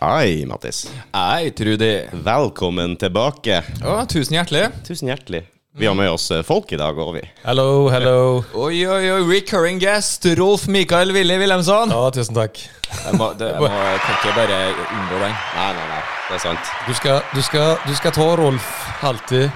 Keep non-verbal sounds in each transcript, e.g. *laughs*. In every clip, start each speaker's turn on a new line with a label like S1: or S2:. S1: Hei, Mattis.
S2: Hei, Trudy.
S1: Velkommen tilbake.
S2: Å, tusen hjertelig.
S1: Tusen hjertelig. Vi har med oss eh, folk i dag, og vi.
S3: Hello, hello.
S2: Oi, oi, oi, recurring guest Rolf Mikael Willy Wilhelmsson.
S3: Ja, tusen takk.
S2: Jeg, må, det, jeg må, jeg kan ikke bare unngå den.
S1: Nei, nei, nei. Det er sant.
S3: Du skal, du skal, du skal ta Rolf alltid.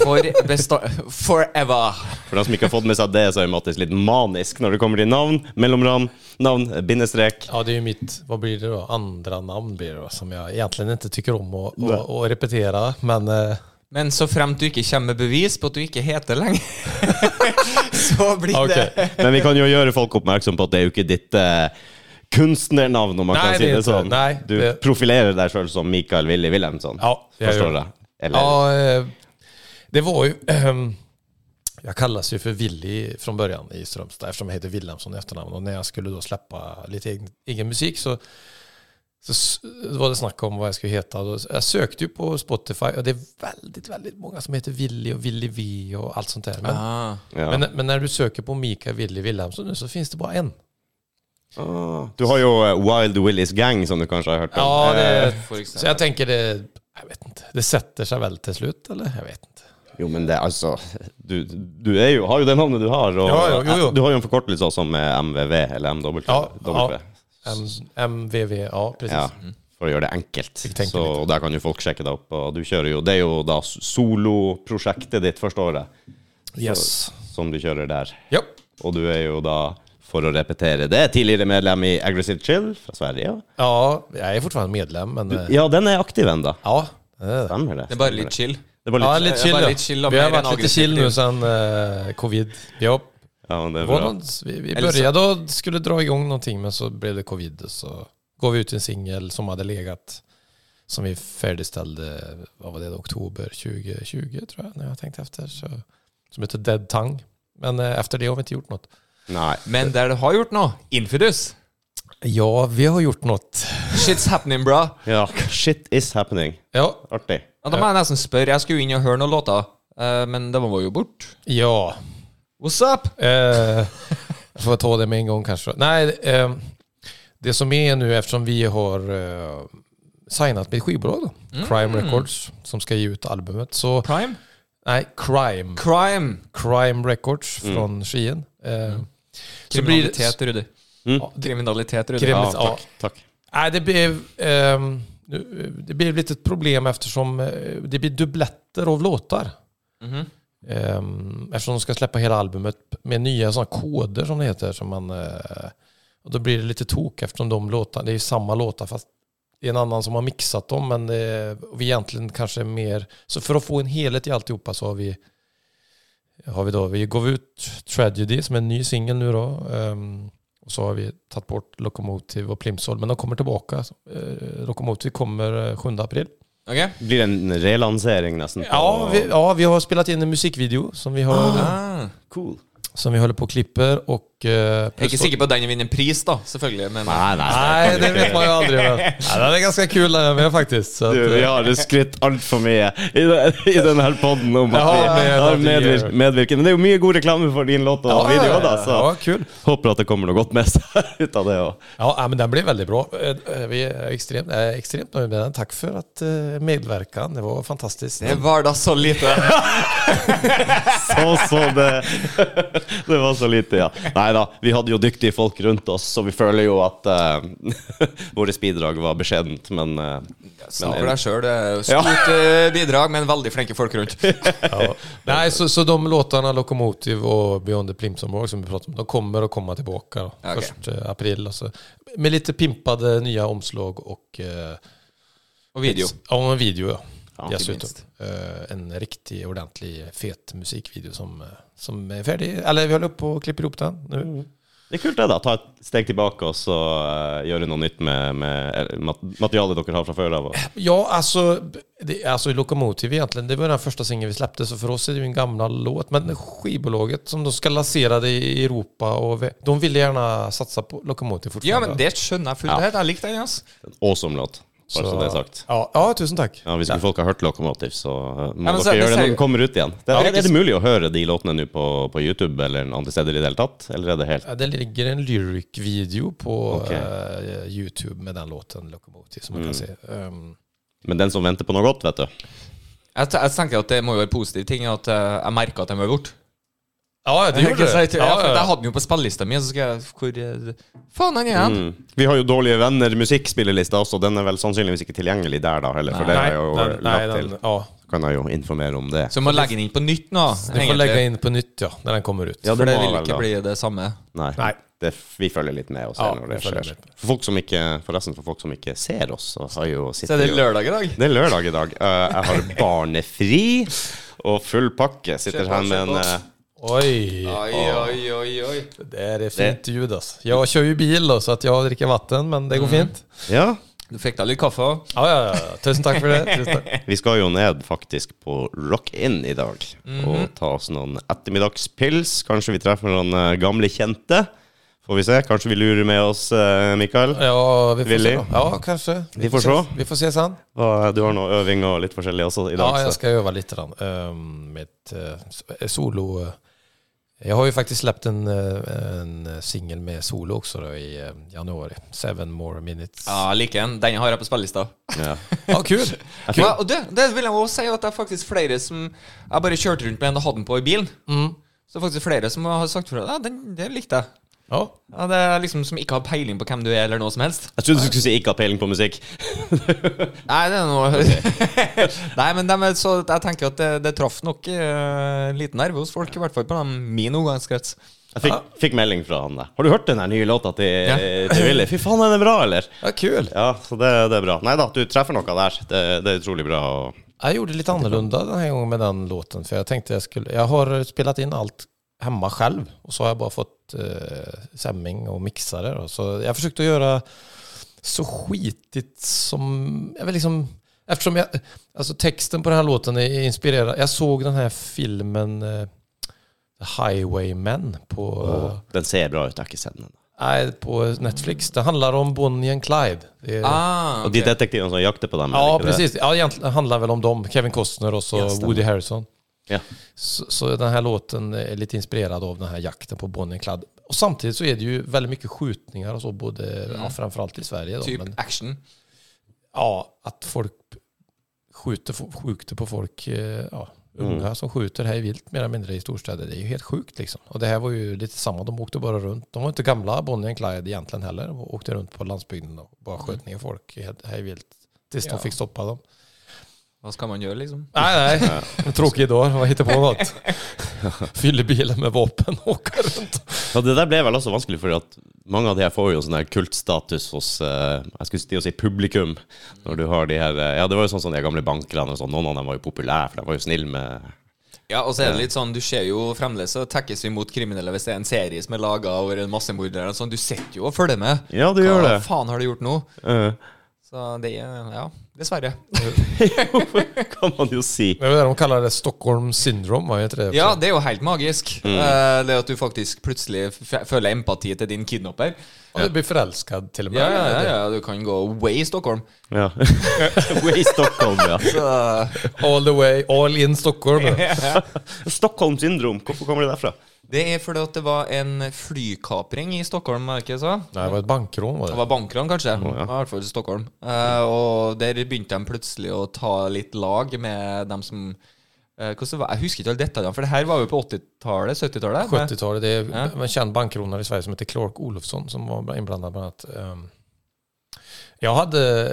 S2: For besta forever.
S1: For de som ikke har fått med seg det, så er Mattis litt manisk når det kommer til navn, mellomnavn, navn, eh, bindestrek.
S3: Ja, det är ju mitt, vad blir det då? Andra namn blir det då, som jag egentligen inte tycker om att, att, att repetera. Men eh,
S2: Men så fremt du ikke kommer med bevis på at du ikke heter lenger, *laughs* så blir
S3: okej.
S2: det
S1: Men vi kan jo gjøre folk oppmerksom på at det er jo ikke ditt eh, kunstnernavn, om man
S3: Nei,
S1: kan si
S3: det er
S1: det
S3: ikke
S1: sånn.
S3: det. Nei,
S1: du
S3: det-
S1: profilerer deg sjøl som Mikael Willy Wilhelmsson.
S3: Ja, jeg
S1: Forstår
S3: gjør
S1: jeg. Eller
S3: ja, eh, det var ju... ehm, jag kallas ju för Willy från början i Strömstad eftersom jag heter Wilhelmsson i efternamn. Och när jag skulle då släppa lite egen, egen musik så, så s- var det snack om vad jag skulle heta. Då- Jag sökte ju på Spotify och det är väldigt, väldigt många som heter Willy och Willy V och allt sånt där. Men
S2: ah.
S1: ja.
S3: Men, men när du söker på Mika Willy Wilhelmsson nu så finns det bara en.
S1: Ah, Du har jo eh, Wild Willies Gang, som du kanskje har hørt om.
S3: Ja, det,
S2: for eksempel.
S3: så jag tänker det, jag vet inte, det sätter sig väl till slut eller? Jag vet inte.
S1: Jo, men det er altså Du, du er jo, har jo det navnet du har, og
S3: Ja, ja, jo, jo.
S1: du har jo en forkortelse også med MVV, eller MW.
S3: Ja,
S1: W.
S3: M, MVV, ja precis. Mm.
S1: Ja, for å gjøre det enkelt.
S3: tenker
S1: Så der kan jo folk sjekke deg opp. Og du kjører jo Det er jo da soloprosjektet ditt, forstår jeg,
S3: Yes.
S1: som du kjører der.
S3: Ja.
S1: Og du er jo da, for å repetere det, tidligere medlem i Aggressive Chill fra Sverige.
S3: ja, jag är fortfarande medlem men eh,
S1: Ja, den er aktiv ennå.
S3: ja. det är det.
S1: Stemmer det?
S2: Det er bare litt chill.
S1: Det er bare
S3: Ja,
S1: litt,
S3: lite
S2: det
S3: chill.
S2: var
S3: ja.
S2: lite chill och
S3: vi har
S2: mer än
S3: varit lite
S2: aggressivt
S3: chill
S2: liv.
S3: nu sedan eh, covid. Ja,
S1: ja, det er
S3: var
S1: bra.
S3: någon, vi, vi
S2: Eller så-
S3: började och skulle dra igång någonting men så blev det covid och så gav vi ut en singel som hade legat som vi färdigställde, vad var det, då, oktober 2020 tror jag när jag tänkte efter. Så, som heter Dead Tongue. Men eh, efter det har vi inte gjort något.
S1: Nei.
S2: Men der du har gjort noe, Infidus.
S3: Ja, vi har gjort något.
S2: Shit's happening, bra.
S1: Ja, shit is happening.
S3: Ja,
S1: Artig.
S2: Ja, da må jeg nesten spørre. Jeg skulle jo inn og høre noen låter, eh, men de var jo bort
S3: ja.
S2: What's up?
S3: Eh, får jag ta det med en gång kanske. Nej, eh, det som är nu eftersom vi har eh, signat med ett skivbolag då, Crime Records, som ska ge ut albumet. Så,
S2: Prime?
S3: nej, Crime.
S2: Crime.
S3: Crime Records från Skien. Eh, Mm. Så blir det,
S2: Kriminalitet, Rudi. Ja, Kriminalitet, Rudi.
S3: Krim-
S1: Ja,
S3: Ja.
S1: takk. takk.
S3: nej, det blev, ehm, nu- det blev lite ett problem eftersom eh, det blir dubbletter av låtar.
S2: Mhm.
S3: Ehm, eftersom de ska släppa hela albumet med nya såna koder som det heter. Som man, eh, och då blir det lite tok eftersom de låtar, det är ju samma låtar fast det är en annan som har mixat dem. Men det, är- och vi egentligen kanske är mer... Så för att få en helhet i alltihopa så har vi har vi då, vi gav ut Tragedy som är en ny singel nu då. ehm, och så har vi tagit bort Lokomotiv och Plimsoll. Men de kommer tillbaka. Uh, Lokomotiv kommer eh, 7 april.
S2: Ok.
S1: Blir det en relansering, nesten? på-
S3: Ja vi, ja, vi har spelat in en musikvideo som vi har...
S2: Ah.
S1: Cool.
S3: som vi håller på och klipper och... eh,
S2: Jeg er ikke
S3: plus-
S2: sikker på at den vinner pris, da, selvfølgelig, men
S1: Nei, nei.
S3: Nej, det vet man ju aldrig.
S2: *laughs*
S3: Men. Nej, det är ganska kul det med faktiskt. Så att,
S1: Du,
S3: eh,
S1: vi har skrytt altfor mye i, den- i denne podden om at
S3: Ja,
S1: vi
S3: men-
S1: har medvirk, medvirket. Men det er jo mye god reklame for din låt og video, da, så
S3: ja, kul.
S1: håper at det kommer noe godt med seg *laughs* ut av det. Og.
S3: Ja, nej, men den blev väldigt bra. Eh, eh, Vi är extremt, jag är extremt nöjda med den. Tack för att eh, medverkan. Det var fantastiskt.
S2: eh, det var da så lite.
S1: Så, så det, det *laughs* var så lite, ja. Nei da, vi hadde jo dyktige folk rundt oss, så vi føler jo at *laughs* uh, vårt bidrag var beskjedent, men eh,
S2: Snakk for deg sjøl. Stort eh, bidrag, men veldig flinke folk rundt.
S3: Ja. Nej, så, så de låtarna Lokomotiv och Beyond the Plimsollborg som vi pratade om, de kommer att komma tillbaka. Då.
S2: Okej.
S3: Först eh, april och så. Med lite pimpade nya omslag och... eh,
S2: Og video.
S3: Ja, en video ja.
S1: Ja,
S3: Dessutom. Eh, en riktig, ordentlig fet musikkvideo som, eh, som är färdig. Eller vi håller på och klipper ihop den nu.
S1: Det er kult, det, da. Ta et steg tilbake og så eh, gjøre noe nytt med, med mat- materialet dere har fra før av. og-
S3: Ja, alltså, det, alltså Lokomotiv egentligen, det var den första singeln vi släppte, så för oss är det ju en gammal låt. Men skivbolaget som de ska lansera det i Europa, och vi, de ville gärna satsa på Lokomotiv
S2: Ja,
S3: fortfarande.
S2: men det skjønner jeg fullt
S1: Ja.
S2: ut. Jeg likte den. ass.
S1: En awesome låt, bare så det er sagt.
S3: Ja, ja, tusen tack.
S1: Ja, Hvis ikke folk har hørt Lokomotiv, så eh, må
S2: Ja, men
S1: dere
S2: så- det
S1: gjøre det
S2: ser-
S1: når den kommer ut igjen. Det,
S2: Ja,
S1: er,
S2: det er
S1: er det mulig å høre de låtene nå på, på YouTube eller andre steder i det hele tatt? Eller er det helt
S3: Ja, Det ligger en lyric-video på
S1: Okej.
S3: eh, Youtube med den låten Lokomotiv som man kan se. Ehm,
S1: Men den som venter på noe godt, vet du.
S2: Jeg, te- jeg tenker at det må jo være positiv ting at eh, jeg merka at den var borte.
S3: ja, det gjorde
S2: Ja,
S3: det.
S2: for Jeg
S3: Ja,
S2: hadde den jo på spillelista mi, og så skal jeg Hvor eh, faen er den igjen?
S1: Mm. Vi har jo Dårlige venner musikkspillelista også. Den er vel sannsynligvis ikke tilgjengelig der, da heller. For det
S3: ja.
S1: er jo
S3: Nej, nej,
S1: lagt til.
S3: den, ja.
S1: Kan jeg jo informere om det.
S2: Så jeg må legge den inn på nytt nå.
S3: Du får lägga in på nytt ja, när den kommer ut.
S1: Ja,
S2: For det
S1: må
S2: vil
S1: vel
S2: ikke
S1: da.
S2: bli det samme.
S1: Nei.
S3: Nei.
S1: Det, vi følger litt med og ser
S3: Ja,
S1: når det
S3: vi følger
S1: skjer.
S3: litt
S1: For folk som ikke, forresten, for folk som ikke ser oss, så har jo
S2: Så er det lørdag i dag.
S1: Det er lørdag i dag. Eh, jeg har barnefri og full pakke. Sitter
S2: Kjør på,
S1: her med
S2: kjør
S1: en
S2: på.
S1: eh,
S3: Oj,
S2: Oi, oi, oi, oi.
S3: det där är fint ljud altså. alltså. Jag kör ju bil då, så att jag dricker vatten, men det går
S1: Mm.
S3: fint.
S1: Ja,
S2: Du fikk deg litt kaffe òg.
S3: Ja, ja, ja. Tusen takk for det. *laughs* Tusen takk.
S1: vi skal jo ned faktisk på Rock In i dag og ta oss noen ettermiddagspils. Kanskje vi treffer noen eh, gamle kjente. Får vi se. Kanskje vi lurer med oss, eh, Mikael.
S3: Ja, vi får
S1: Willy?
S3: se. då. Ja, kanske.
S1: Vi får
S3: se.
S1: se.
S3: Vi får se sen.
S1: Hva- Du har noe øving og litt forskjellig også i dag.
S3: Ja,
S1: så.
S3: jag ska öva lite grann ehm, med ett eh, solo. eh. Jag har ju faktiskt släppt en, eh, en singel med solo också då i eh, januari. Seven more minutes.
S2: Ja, jeg liker den. Den har jeg på spillelista.
S1: Ja. *laughs*
S3: Ja, kul!
S2: Ja, og det, det vil jeg også si at det er faktisk flere som Jeg bare kjørte rundt med den og hadde den på i bilen. Så det er faktisk flere som har sagt fra ja, den, det likte jeg.
S3: Ja.
S2: Ja, det er liksom Som ikke har peiling på hvem du er, eller noe som helst.
S1: Jeg trodde du skulle si 'ikke ha peiling på musikk'.
S2: Nei, det er noe *laughs* Nei, men dem er så jeg tenker at det, det traff nok eh, en liten nerve hos folk, i hvert fall på dem, min omgangskrets.
S1: Jeg fikk, fikk melding fra han der. Har du hørt den her nye låta til,
S2: Ja.
S1: til Willy? Fy faen, er den bra, eller?
S3: ja, kul!
S1: Ja, så det, det er bra. Nei da, du treffer noe der. Det, det er utrolig bra. Og
S3: Jag gjorde lite annorlunda den här gången med den låten. För jag tänkte jag skulle... Jag har spelat in allt hemma själv. Och så har jag bara fått eh, sämming och mixare. Då. Så jag försökte göra så skitigt som... Jag vill liksom... Eftersom jag... Alltså texten på den här låten är inspirerad. Jag såg den här filmen eh, Highwaymen på...
S1: den ser bra ut. Jeg har ikke sett den ennå.
S3: Nej, på Netflix. Det handlar om Bonnie and Clyde. Det är,
S2: Ah,
S1: Og de
S2: ok.
S1: detektivene som jakter på dem. er
S3: ja,
S1: det ikke det?
S3: precis. Ja, egentligen handlar väl om dem. Kevin Costner och så
S1: Ja, stämmer.
S3: Woody Harrison.
S1: Ja.
S3: Så, så den här låten är lite inspirerad av den här jakten på Bonnie and Clyde. Och samtidigt så är det ju väldigt mycket skjutningar och så, både, ja,
S1: Mm.
S3: framförallt i Sverige. Då,
S2: Typ
S3: men,
S2: action.
S3: ja, att folk skjuter, fo- skjuter på folk, eh, ja, unga
S1: Mm.
S3: som skjuter här i vilt mer eller mindre i storstäder. Det är ju helt sjukt liksom. Och det här var ju lite samma, de åkte bara runt. De var inte gamla Bonnie and Clyde egentligen heller. De åkte runt på landsbygden och bara
S1: Mm.
S3: sköt ner folk i- här i vilt. Tills
S2: Ja.
S3: de fick stoppa dem.
S2: Hva skal man gjøre, liksom?
S3: Nej, nej. En tråkig dag. Vad hittar på något? Fyller bilen med vapen och åker runt.
S1: Og det der ble vel også vanskelig, for at mange av de her får jo sånn her kultstatus hos eh, Jeg skulle til å si publikum. Når du har de her eh, Ja, det var jo sånn som de gamle bankerne og sånn. Noen av dem var jo populære, for de var jo snille med
S2: Ja, og så er det litt sånn, du ser jo fremdeles så tekkes vi mot kriminelle hvis det er en serie som er laga over en massemorder eller sånn. Du sitter jo og følger med.
S1: Ja, du
S2: Hva
S1: gjør det.
S2: faen har du gjort nå?
S1: Eh, *laughs*
S2: Så det er Ja, dessverre.
S1: kan man jo si.
S3: Det var det de kallade Stockholm syndrom, var ju inte det?
S2: Ja, det er jo helt magisk. Eh, Det at du faktisk plutselig f- føler empati til din kidnapper.
S3: Och du blir förälskad till och med.
S2: Ja, ja, ja, ja, du kan gå way i Stockholm.
S3: *laughs*
S1: Ja. Way Stockholm, ja.
S2: Så,
S3: All the way, all
S2: *laughs*
S3: in Stockholm.
S1: Stockholm syndrom, hvorfor kommer det derfra?
S2: det er fordi at det var en flykapring i Stockholm, var det ikke så?
S3: Nej, det var ett bankrån var
S2: Det
S3: det.
S2: var bankran, kanskje. I hvert fall i Stockholm. Eh, og der begynte de plutselig å ta litt lag med dem som eh, hvordan var, Jeg husker ikke alle detaljene, for det her var jo på 80-tallet? 70-tallet?
S3: 70-talet. Det är en känd bankrånare i Sverige som heter Clark Olofsson som var inblandad bland annat. Ehm, Jag hade,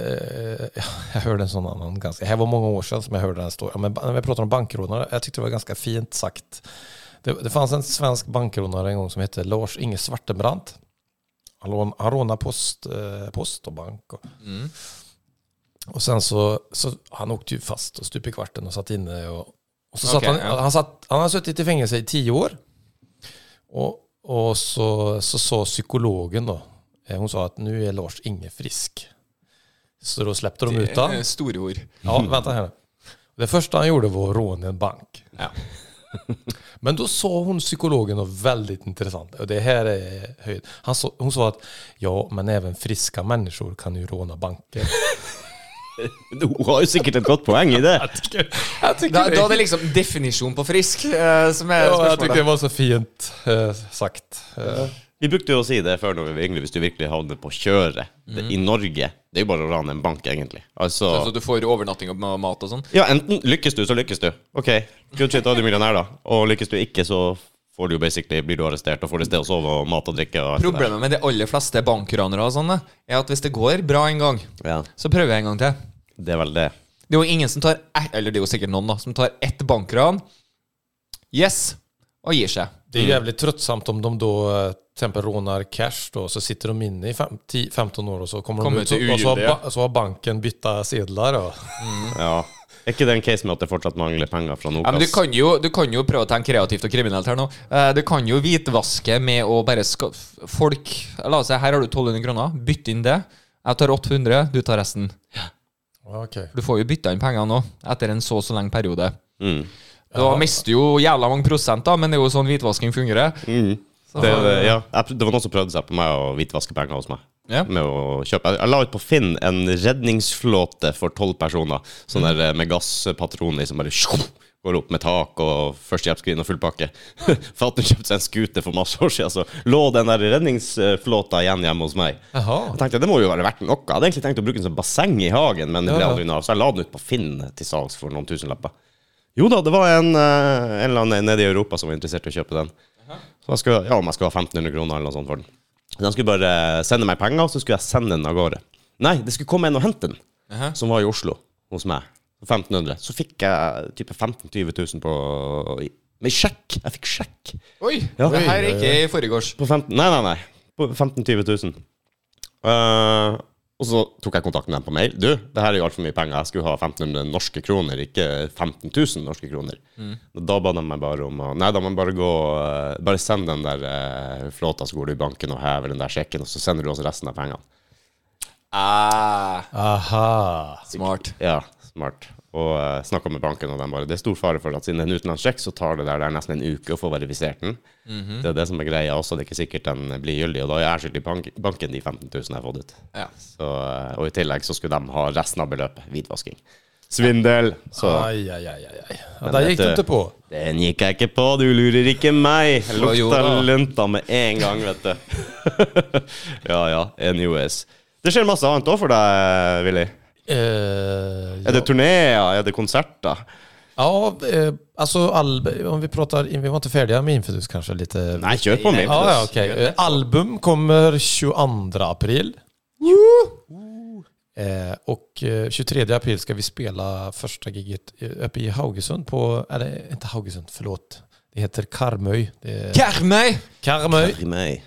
S3: eh, *laughs* jag hörde en sån annan ganska, det här var många år sedan som jag hörde den här storyn. Men ba- när vi pratar om bankrånare, jag tyckte det var ganska fint sagt. Det, det fanns en svensk bankrånare en gång som hette Lars-Inge Svartenbrandt. Han lån- han rånade post, eh, post och bank. Och,
S2: Mm.
S3: och sen så, så, han åkte ju fast och stup i kvarten och satt inne. Och, och så satt
S2: Okej,
S3: han,
S2: ja.
S3: han, satt, han har suttit i fängelse i tio år. Och, Och så, så sa psykologen då, eh, hon sa att nu är Lars Inge frisk. Så då släppte de ut honom.
S2: Store ord.
S3: Ja, vänta här nu. Det första han gjorde var att råna en bank. *laughs* Men då sa hon psykologen något väldigt intressant. Och det här är höjd. Han sa, hon sa att ja, men även friska människor kan ju råna *laughs* banker.
S1: Hun har jo sikkert et godt poeng *laughs* i det.
S2: Da, da er det liksom definisjonen på frisk eh, som er
S3: Ja, jag tyckte det
S2: spørsmålet.
S3: var så fint eh, sagt. Eh,
S1: Vi brukte jo å si det før når vi yngre, hvis du virkelig havner på kjøret det,
S2: Mm.
S1: i Norge. Det er jo bare å rane en bank, egentlig. Altså,
S2: Så du får overnatting og mat og sånn?
S1: ja, enten lykkes du, så lykkes du. Ok, good shit, da er du millionær, da. Og lykkes du ikke, så får du jo basically, blir du arrestert og får et sted å sove og mat og drikke. Og alt det der.
S2: Problemet med de aller fleste bankranere og sånne, er at hvis det går bra en gang,
S1: Ja,
S2: så prøver jeg en gang til.
S1: det er vel det.
S2: Det er jo ingen som tar ett- Eller det er jo sikkert noen, da. Som tar ett bankran. Yes! Og gir seg.
S3: Det
S1: Mm.
S3: är ju jävligt tröttsamt om de då eh, till exempel rånar cash då, så sitter de inne i fem, 10, 15 år och så kommer,
S2: Kommer
S3: de ut
S2: till
S3: och så har,
S2: ogiltiga.
S3: ba, så har banken bytta sedlar. Då.
S1: Ja. Er ikke det en case med at det fortsatt mangler penger fra
S2: Ja, men du
S1: Nokas?
S2: kan, jo, du kan jo prøve å tenke kreativt og kriminelt her nå. Eh, Du kan jo hvitvaske med å bare skaffe folk La oss si her har du 1200 kroner. Bytt inn det. Jeg tar 800, du tar resten.
S3: Ja, okej.
S2: Du får jo bytta inn pengene nå, etter en så og så lenge periode.
S1: Mm.
S2: Da mister du jo jævla mange prosent, da, men det er jo sånn hvitvasking fungerer.
S1: Mm.
S2: Så-
S1: Det, det- ja. Jeg pr- det var noen som prøvde seg på meg å hvitvaske penger hos meg.
S2: Ja.
S1: Med å kjøpe. Jeg- Jeg la ut på Finn en redningsflåte for tolv personer. Sånn der eh, med gasspatroner som bare shum, går opp med tak og førstehjelpsskrin og full pakke. *laughs* Fatter'n kjøpte seg en scooter for masse år siden, så lå den der redningsflåta igjen hjemme hos meg.
S3: Jaha.
S1: Jeg tenkte det må jo være verdt noe. Jeg hadde egentlig tenkt å bruke den som basseng i hagen, men det ble
S3: Ja, ja.
S1: aldri noe av. Så jeg la den ut på Finn til salgs for noen tusenlapper. Jo da, det var en, eh, en eller annen nede i Europa som var interessert i å kjøpe den. Så jeg skulle, ja, om jeg skulle ha 1500 kroner eller noe sånt for den. Så de skulle bare sende meg penger, og så skulle jeg sende den av gårde. Nei, det skulle komme en og hente den,
S2: Aha.
S1: som var i Oslo hos meg. For 1500. Så fikk jeg type 15 000-20 000 på Med sjekk! Jeg fikk sjekk.
S2: Oi!
S1: Ja.
S2: Det her er
S3: Oi, oi,
S2: ikke i forgårs.
S1: På 15, nei, nei, nei. På 15 000-20 000. Eh, og så tok jeg kontakt med dem på mail. Du, det her er jo altfor mye penger. Jeg skulle ha 1500 norske kroner, ikke 15 000 norske kroner. Da ba de meg bare om å Nei, da må jeg bare gå eh, Bare send den der eh, flåta, så går du i banken og hever den der sjekken, og så sender du oss resten av pengene.
S2: Ah,
S3: Aha.
S2: smart.
S1: Ja, smart. Og uh, snakka med banken, og de bare Det er stor fare for at siden det er en utenlandsk sjekk, så tar det der, der nesten en uke å få verifisert den.
S3: Mhm.
S1: Det er det som er greia også. Det er ikke sikkert den blir gyldig, og da er jeg skyldig bank banken de 15 000 jeg har fått ut.
S2: Ja.
S1: Så, eh, og i tillegg så skulle de ha resten av beløpet. Hvitvasking. Svindel! Så
S3: Aj, aj, aj, aj, aj. Ah, Ja,
S1: Men
S3: där
S1: vet
S3: gick du
S1: du-
S3: inte på.
S1: den gikk jeg ikke på, du lurer ikke meg! Jeg
S2: Å, jo
S1: Lukta
S2: da.
S1: lunta med en gang, vet du. *laughs* ja ja, anyways. Det skjer masse annet òg for deg, Willy.
S3: Eh,
S1: Er det
S3: ja.
S1: turneer? Er det konserter?
S3: ja, eh, alltså all, om vi pratar, vi var inte färdiga med Infidus kanske lite.
S1: Nei, kjør på, min.
S3: Ja, ja, okej. Eh, Album kommer 22 april. Eh, och eh, 23 april ska vi spela första giget eh, uppe i Haugesund på, eller inte Haugesund, förlåt. Det heter Karmøy. Det är
S2: Karmøy!
S3: Karmøy.
S1: Fy meg.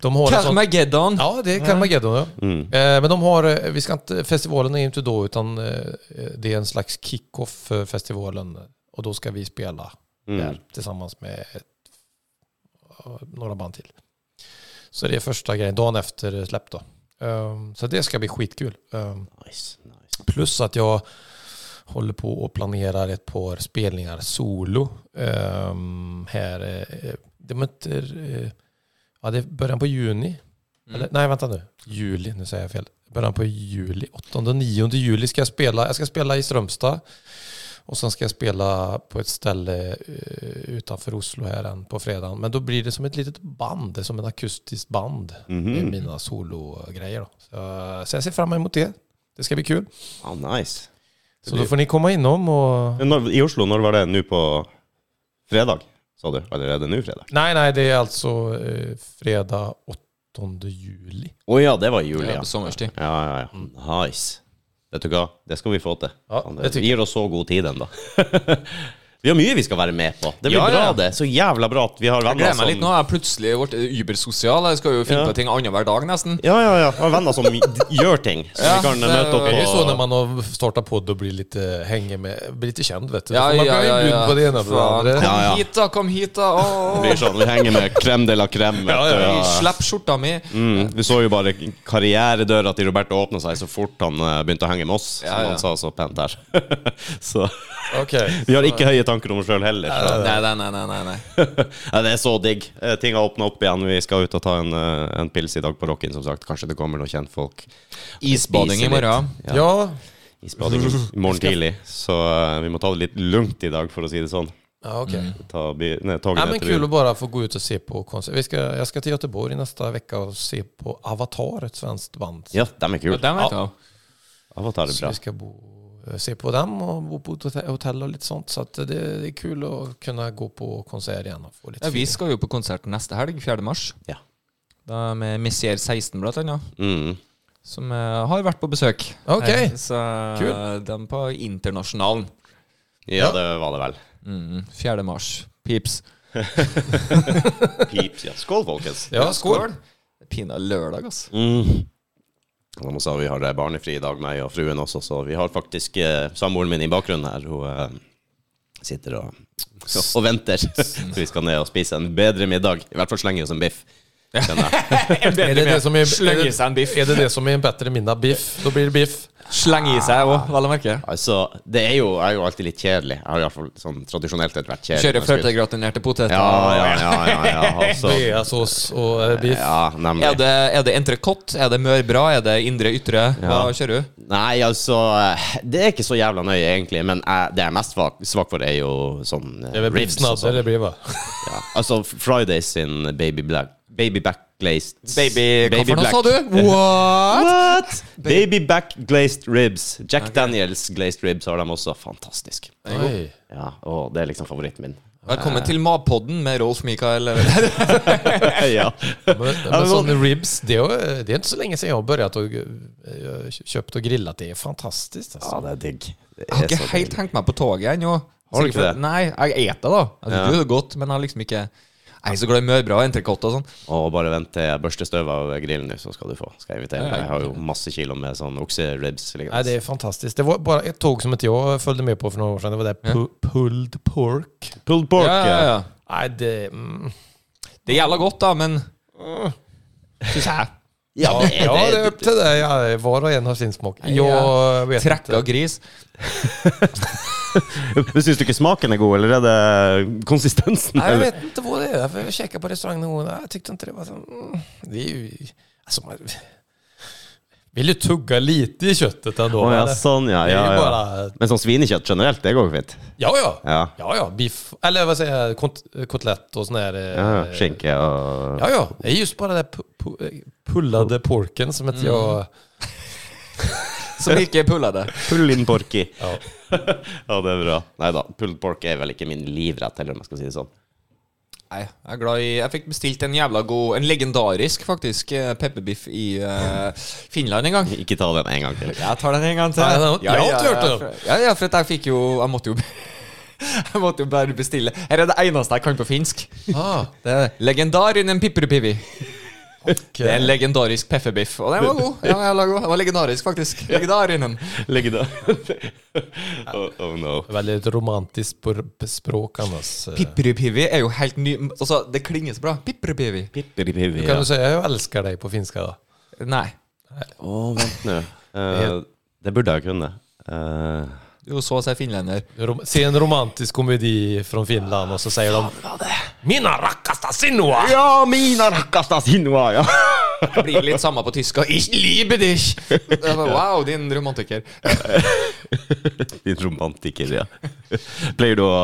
S3: De har en sån,
S2: Karmageddon.
S3: ja, det är Karmageddon. Ja.
S1: Mm.
S3: Eh, men de har, eh, vi ska inte, festivalen är ju inte då utan eh, det är en slags kick-off för festivalen. Och då ska vi spela
S1: Mm.
S3: där tillsammans med ett, några band till. Så det är första grejen, dagen efter eh, släpp då. Ehm, så det ska bli skitkul. Ehm,
S1: Nice, nice.
S3: plus att jag håller på och planerar ett par spelningar solo. ehm, här, eh, det möter, eh, ja det är början på juni. Eller, nej vänta nu, juli, nu säger jag fel. Början på juli, 8 och 9 juli ska jag spela. Jag ska spela i Strömstad. Och sen ska jag spela på ett ställe eh, utanför Oslo här än på fredagen. Men då blir det som ett litet band, det är som ett akustiskt band. Det är
S1: Mhm.
S3: mina sologrejer då. Så, så jag ser fram emot det. Det ska bli kul.
S1: Ah, nice.
S3: Så då får ni komma inom och...
S1: Når, I Oslo, når var det? Nå på fredag, sa du? Allerede nå fredag?
S3: Nej, nej, det är alltså eh, fredag 8 juli.
S1: Å ja, det var i juli,
S2: Ja,
S1: ja.
S2: på sommerstid.
S1: Ja, ja, ja. Nice. Vet du hva, det skal vi få til.
S3: Ja,
S1: Faen,
S3: det
S1: det
S3: tycker
S1: gir oss så god tid ennå. *laughs* Vi har mye vi skal være med på. Det blir
S2: Ja,
S1: bra,
S2: ja.
S1: det. Så jævla bra at vi har
S2: Jeg
S1: venner
S2: gleder
S1: som
S2: meg litt nå. Jeg er plutselig blitt übersosial. Jeg skal jo finne
S1: Ja.
S2: på ting annenhver dag, nesten.
S1: Ja, ja, ja. Har venner som gjør ting. Så
S2: Ja,
S1: vi kan
S2: det-
S1: møte opp
S3: Det är ju så när
S1: og
S3: man har startat podd och blir lite, hänger med, blir lite känd vet du. Då
S2: Ja,
S3: får man
S2: ja,
S3: blir
S2: ja, ja.
S3: inbjuden på det ena och
S2: Faen.
S3: det andra.
S1: Ja.
S2: Kom hit, da! Kom hit, da! Åh,
S1: blir sånn, Vi henger med krem de la krem. vet du,
S2: åh.
S1: og-
S2: Slipp skjorta mi!
S1: Mm, vi så jo bare karrieredøra til Roberto åpne seg så fort han eh, begynte å henge med oss.
S2: Ja,
S1: Som
S2: ja.
S1: han sa så pent her. *laughs* så
S3: Okej.
S1: vi har ikke høye tanker om oss sjøl heller. Så.
S2: Nei, nei, nei. nei, nei, nei.
S1: *laughs* Ja, det er så digg. Eh, ting har åpna opp igjen. Vi skal ut og ta en, eh, en pils i dag på Rockin, som sagt. Kanskje det kommer noen kjentfolk.
S2: Isbading i morgen.
S1: Ja.
S3: Ja.
S1: Isbading i
S2: *laughs*
S1: morgen tidlig. Så eh, vi må ta det litt lunt i dag, for å si det sånn.
S3: Ja, okej.
S2: Mm.
S1: Ta by, nei, toget
S3: Ja, men
S1: ned til
S3: kul
S1: byen.
S3: att bara få gå ut och se på konsert. Vi ska, jag ska till Göteborg nästa vecka och se på Avatar, ett svenskt band.
S1: Ja, dem er
S2: Ja,
S1: kule.
S2: den vet jeg.
S1: Avatar er
S3: Så
S1: bra.
S3: vi ska bo, eh, se på dem och bo på ett hotell- hotell och lite sånt. Så att det, det är kul att kunna gå på konsert igen och få lite
S2: Ja, vi
S3: feeling.
S2: skal jo på konsert neste helg, 4. mars.
S1: Ja.
S2: Da med Messier 16, blant annet.
S1: Mm.
S2: Som eh, har vært på besøk.
S3: Ok.
S2: Eh, Så
S3: Kul.
S2: de på Internasjonalen.
S1: Ja, det var det vel.
S2: Mm, 4. mars. Pips.
S1: Pips, ja. Skål, folkens.
S3: Ja, skål!
S2: Pina lørdag, altså.
S1: Mm. De sa vi har eh, barnefri i dag, meg og fruen også, så vi har faktisk eh, samboeren min i bakgrunnen her. Hun eh, sitter og, og venter. Så vi skal ned og spise en bedre middag. I hvert fall slenge oss en biff. Kjenner jeg.
S3: Är det det som är,
S2: Sleng
S3: är,
S2: i seg en biff.
S3: det, är det det som är en bättre middag? Biff? Då blir det biff.
S2: Sleng i seg òg, vel å merke.
S1: Altså, det er jo, jeg er jo alltid litt kjedelig. Jeg har i hvert fall sånn tradisjonelt sett vært kjedelig.
S2: Kjører flørtegratinerte poteter.
S1: Ja, ja, ja. ja, ja. Altså,
S3: *laughs* Beasås och eh, biff.
S1: ja, nemlig.
S2: Er det, er det entrecôte? Er det mørbra? Er det indre ytre? Hva
S1: Ja.
S2: kjører du?
S1: Nei, altså eh, Det er ikke så jævla nøye, egentlig. Men eh, det jeg er mest svak, svak for, er jo sånn eh,
S3: Det är väl biff
S1: ribs og
S3: snabbare,
S1: sånn.
S3: det blir va?
S1: Ja. Altså Fridays sin Baby Black Baby Back Glazed
S2: Baby,
S1: Baby
S2: Hva
S1: Black
S2: for noe sa du? What?
S1: What? Baby Back Glazed Ribs. Jack Daniels Glazed Ribs har de også. Fantastisk.
S3: Oj.
S1: Ja, og det er liksom favoritten min.
S2: Velkommen til Mapodden med Rolf Mikael. Eller?
S1: *laughs* ja.
S3: Men, men sån ribs, det, är- det är inte så länge sedan jag har börjat och eh, köpt och grillat. Det altså. är fantastiskt alltså.
S1: ja, det er digg. Det
S2: Jeg har
S1: er
S2: ikke
S1: så
S2: helt
S1: digg.
S2: hengt meg på toget ennå.
S1: Har du ikke
S2: Sikkert-
S1: det?
S2: Nei, jeg eter da. Jeg
S1: Ja.
S2: synes det er godt, men jeg har liksom ikke Jeg er så glad i mørbra og entrecôte og sånn.
S1: Og bare vent til jeg børster støv av grillen nå, så skal du få. Skal jeg invitere
S2: Ja,
S1: deg.
S2: ja.
S1: Jeg har jo masse kilo med sånn okseribs. liggende.
S3: Nej, det är fantastiskt. Det var bara ett tåg som inte jag följde med på för några år sedan. Det var det pu- pulled pork.
S1: Pulled pork.
S2: Ja, ja, ja.
S3: Nej, det... Mm.
S2: Det er jævla godt, da, men Syns jeg.
S1: Ja, det,
S3: Ja, det är
S1: det,
S3: upp till dig. Ja, var och en har sin smak.
S2: Nej,
S3: Jag vet
S2: Trekka
S3: inte.
S2: gris.
S1: Men *laughs* Syns du ikke smaken er god, eller er det konsistensen?
S3: Nej, jag
S1: eller?
S3: vet inte vad det är. För jag käkade på restaurang någon gång. Nej, Jag tyckte inte det var så... Mm. Det är ju... Alltså, altså, man vill ju tugga lite i köttet ändå.
S1: Å ja,
S3: eller?
S1: sånn, ja.
S3: Det
S1: ja,
S3: är ju
S1: ja.
S3: bara...
S1: Men sånn svinekjøtt generelt, det går jo fint.
S3: Ja, ja.
S1: Ja.
S3: Ja, ja, biff, eller vad säger jag, kont- kotlett och sån här... eh,
S1: ja, ja. Skinke og
S3: Ja, ja, det är just bara det pu- pu- eh, pullade porken som inte jag...
S1: *laughs*
S2: Som ikke puller det.
S1: *laughs* pull in porky.
S3: Ja.
S1: Ja, det er bra. Nei da, pulled pork er vel ikke min livrett, heller, om jeg skal si det sånn.
S2: Nei, jeg er glad i Jeg fikk bestilt en jævla god En legendarisk, faktisk, eh, pepperbiff i eh, Finland en gang.
S1: Ikke ta den en gang til.
S2: Jeg tar den en gang til.
S3: Nei, den- jeg har ikke hørt
S2: ja, ja, ja, for at jeg fikk jo Jeg måtte jo *laughs* Jeg måtte jo bare bestille. Her er det eneste jeg kan på finsk.
S3: Ah,
S2: Det er legendarinen piprupivi. Det er en
S3: okej.
S2: legendarisk pefferbiff. Og den var god. Den var jævla god. Den var legendarisk, faktisk. Legendarinen.
S1: Ligge da. *laughs* oh, oh no.
S3: Väldigt romantiskt på på språk annars. eh.
S2: Piprupivi er jo helt ny Altså, det klinger så bra. Piprupivi.
S1: Pipperi-pippi.
S3: Kan du säga jag älskar dig på finska då?
S2: Nei.
S1: vent nå. Eh, det burde jeg kunne. Eh,
S2: Du er jo så å si finlender.
S3: Rom se en romantisk komedi från Finland och så säger de Mina rakkasta sinua!
S1: ja, mina rakkasta sinua, ja. *laughs*
S2: Det blir litt samme på tysk. og Ich liebe dich! Det var, Wow, din romantiker.
S1: Din romantiker, ja. Pleier du å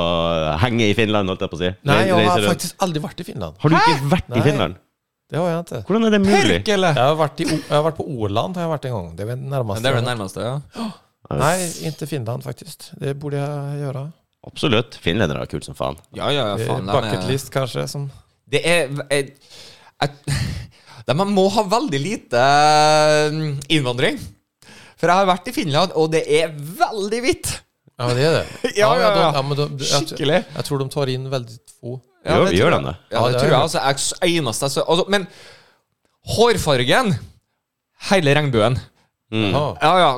S1: henge i Finland, holdt jeg på å si?
S3: Nej, jag
S1: Reise
S3: har
S1: rundt?
S3: faktiskt aldrig varit i Finland.
S1: Har du ikke vært i
S3: Nei.
S1: Finland?
S3: Det har jag inte.
S1: Hvordan er det mulig?
S2: Perkele!
S3: Jag har varit, i, O- jag har varit på Åland har jag varit en gång. Det är väl nærmast.
S2: Det er det nærmeste, ja.
S3: Nej, inte Finland faktiskt. Det borde jag göra.
S1: Absolutt. Finlendere er kult som faen.
S2: Ja, ja, ja, faen. de er-
S3: Bucketlist kanske som...
S2: Det er jeg, jeg, *laughs* de, Man må ha veldig lite um, eh, innvandring. For jeg har vært i Finland, og det er veldig hvitt.
S3: Ja, det är det.
S2: *laughs* Ja, ja, ja.
S3: de, ja men de, jag,
S2: Skikkelig.
S3: jag tror de tar in väldigt få.
S2: Ja,
S1: gjør
S2: det
S1: gjør
S2: tror
S1: de det?
S2: Ja, det tror jeg. Altså, jeg s- eneste jeg så, altså, Men hårfargen Hele regnbuen.
S1: Mm.
S3: Ja.
S2: Ja, ja.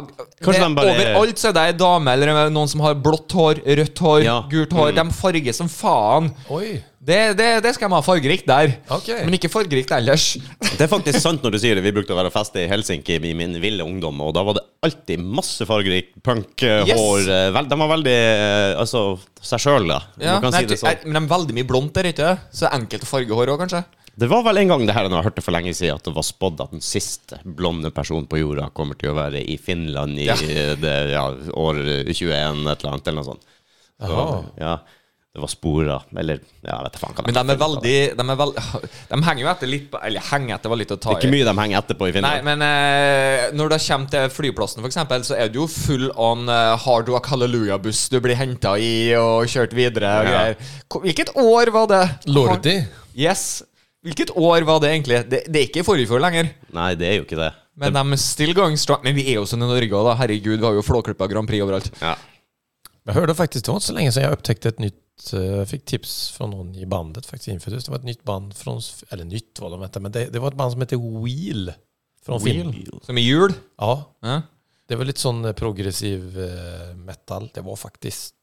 S1: Kanskje
S2: det,
S1: de bare-
S2: Overalt så er det ei dame eller noen som har blått hår, rødt hår,
S1: Ja. Mm.
S2: gult hår. De farger som faen.
S3: Oj.
S2: Det, det, det skal de ha fargerikt der.
S3: Okej.
S2: Men ikke fargerikt ellers.
S1: Det er faktisk sant når du sier det. Vi brukte å være og feste i Helsinki i min ville ungdom, og da var det alltid masse fargerik punk, eh,
S2: Yes.
S1: hår eh, vel, De var veldig eh, altså seg sjøl, da. om
S2: Ja,
S1: Man kan
S2: men
S1: si
S2: jeg
S1: det
S2: tror-
S1: sånn.
S2: jeg- Men de er veldig mye blondt der, ikke det? Så enkelt å farge hår òg, kanskje?
S1: Det var vel en gang det her når jeg hørte for lenge siden at det var spådd at den siste blonde personen på jorda kommer til å være i Finland i
S2: Ja.
S1: eh, *laughs* det, ja, år 21 et eller annet, eller noe sånt. Så,
S3: Jaha.
S1: ja, det var sporer, eller ja, jeg vet da faen hva
S2: Men de er veldig De, er vel, *laughs* de henger jo etter litt på Eller henger etter var litt å ta
S1: Ikke
S2: i.
S1: mye de henger etterpå i
S2: Nei,
S1: Finland.
S2: men eh, når du kommer til flyplassen, for eksempel, så er du jo full on eh, hard rock hallelujah-buss du blir henta i og kjørt videre. og
S1: Ja.
S2: greier. Ko- Hvilket år var det?
S3: Lordi.
S2: Yes. Hvilket år var det egentlig? Det, det er ikke forrige fjor lenger.
S1: Nei, det er jo ikke det.
S2: Men de er still going strong. Men vi er jo sånn i Norge òg, da. Herregud, vi har jo Flåklypa Grand Prix overalt.
S1: Ja.
S3: Jag hörde faktiskt, det var inte så länge sedan jag upptäckte ett nytt, eh, jag fick tips från någon i bandet faktiskt inför det. Det var ett nytt band från, eller nytt var de inte, men det, det var ett band som hette Wheel. Från Finland.
S2: Som i jul.
S3: Ja,
S2: Ja.
S3: Det var lite sån eh, progressiv eh, metal. Det var faktiskt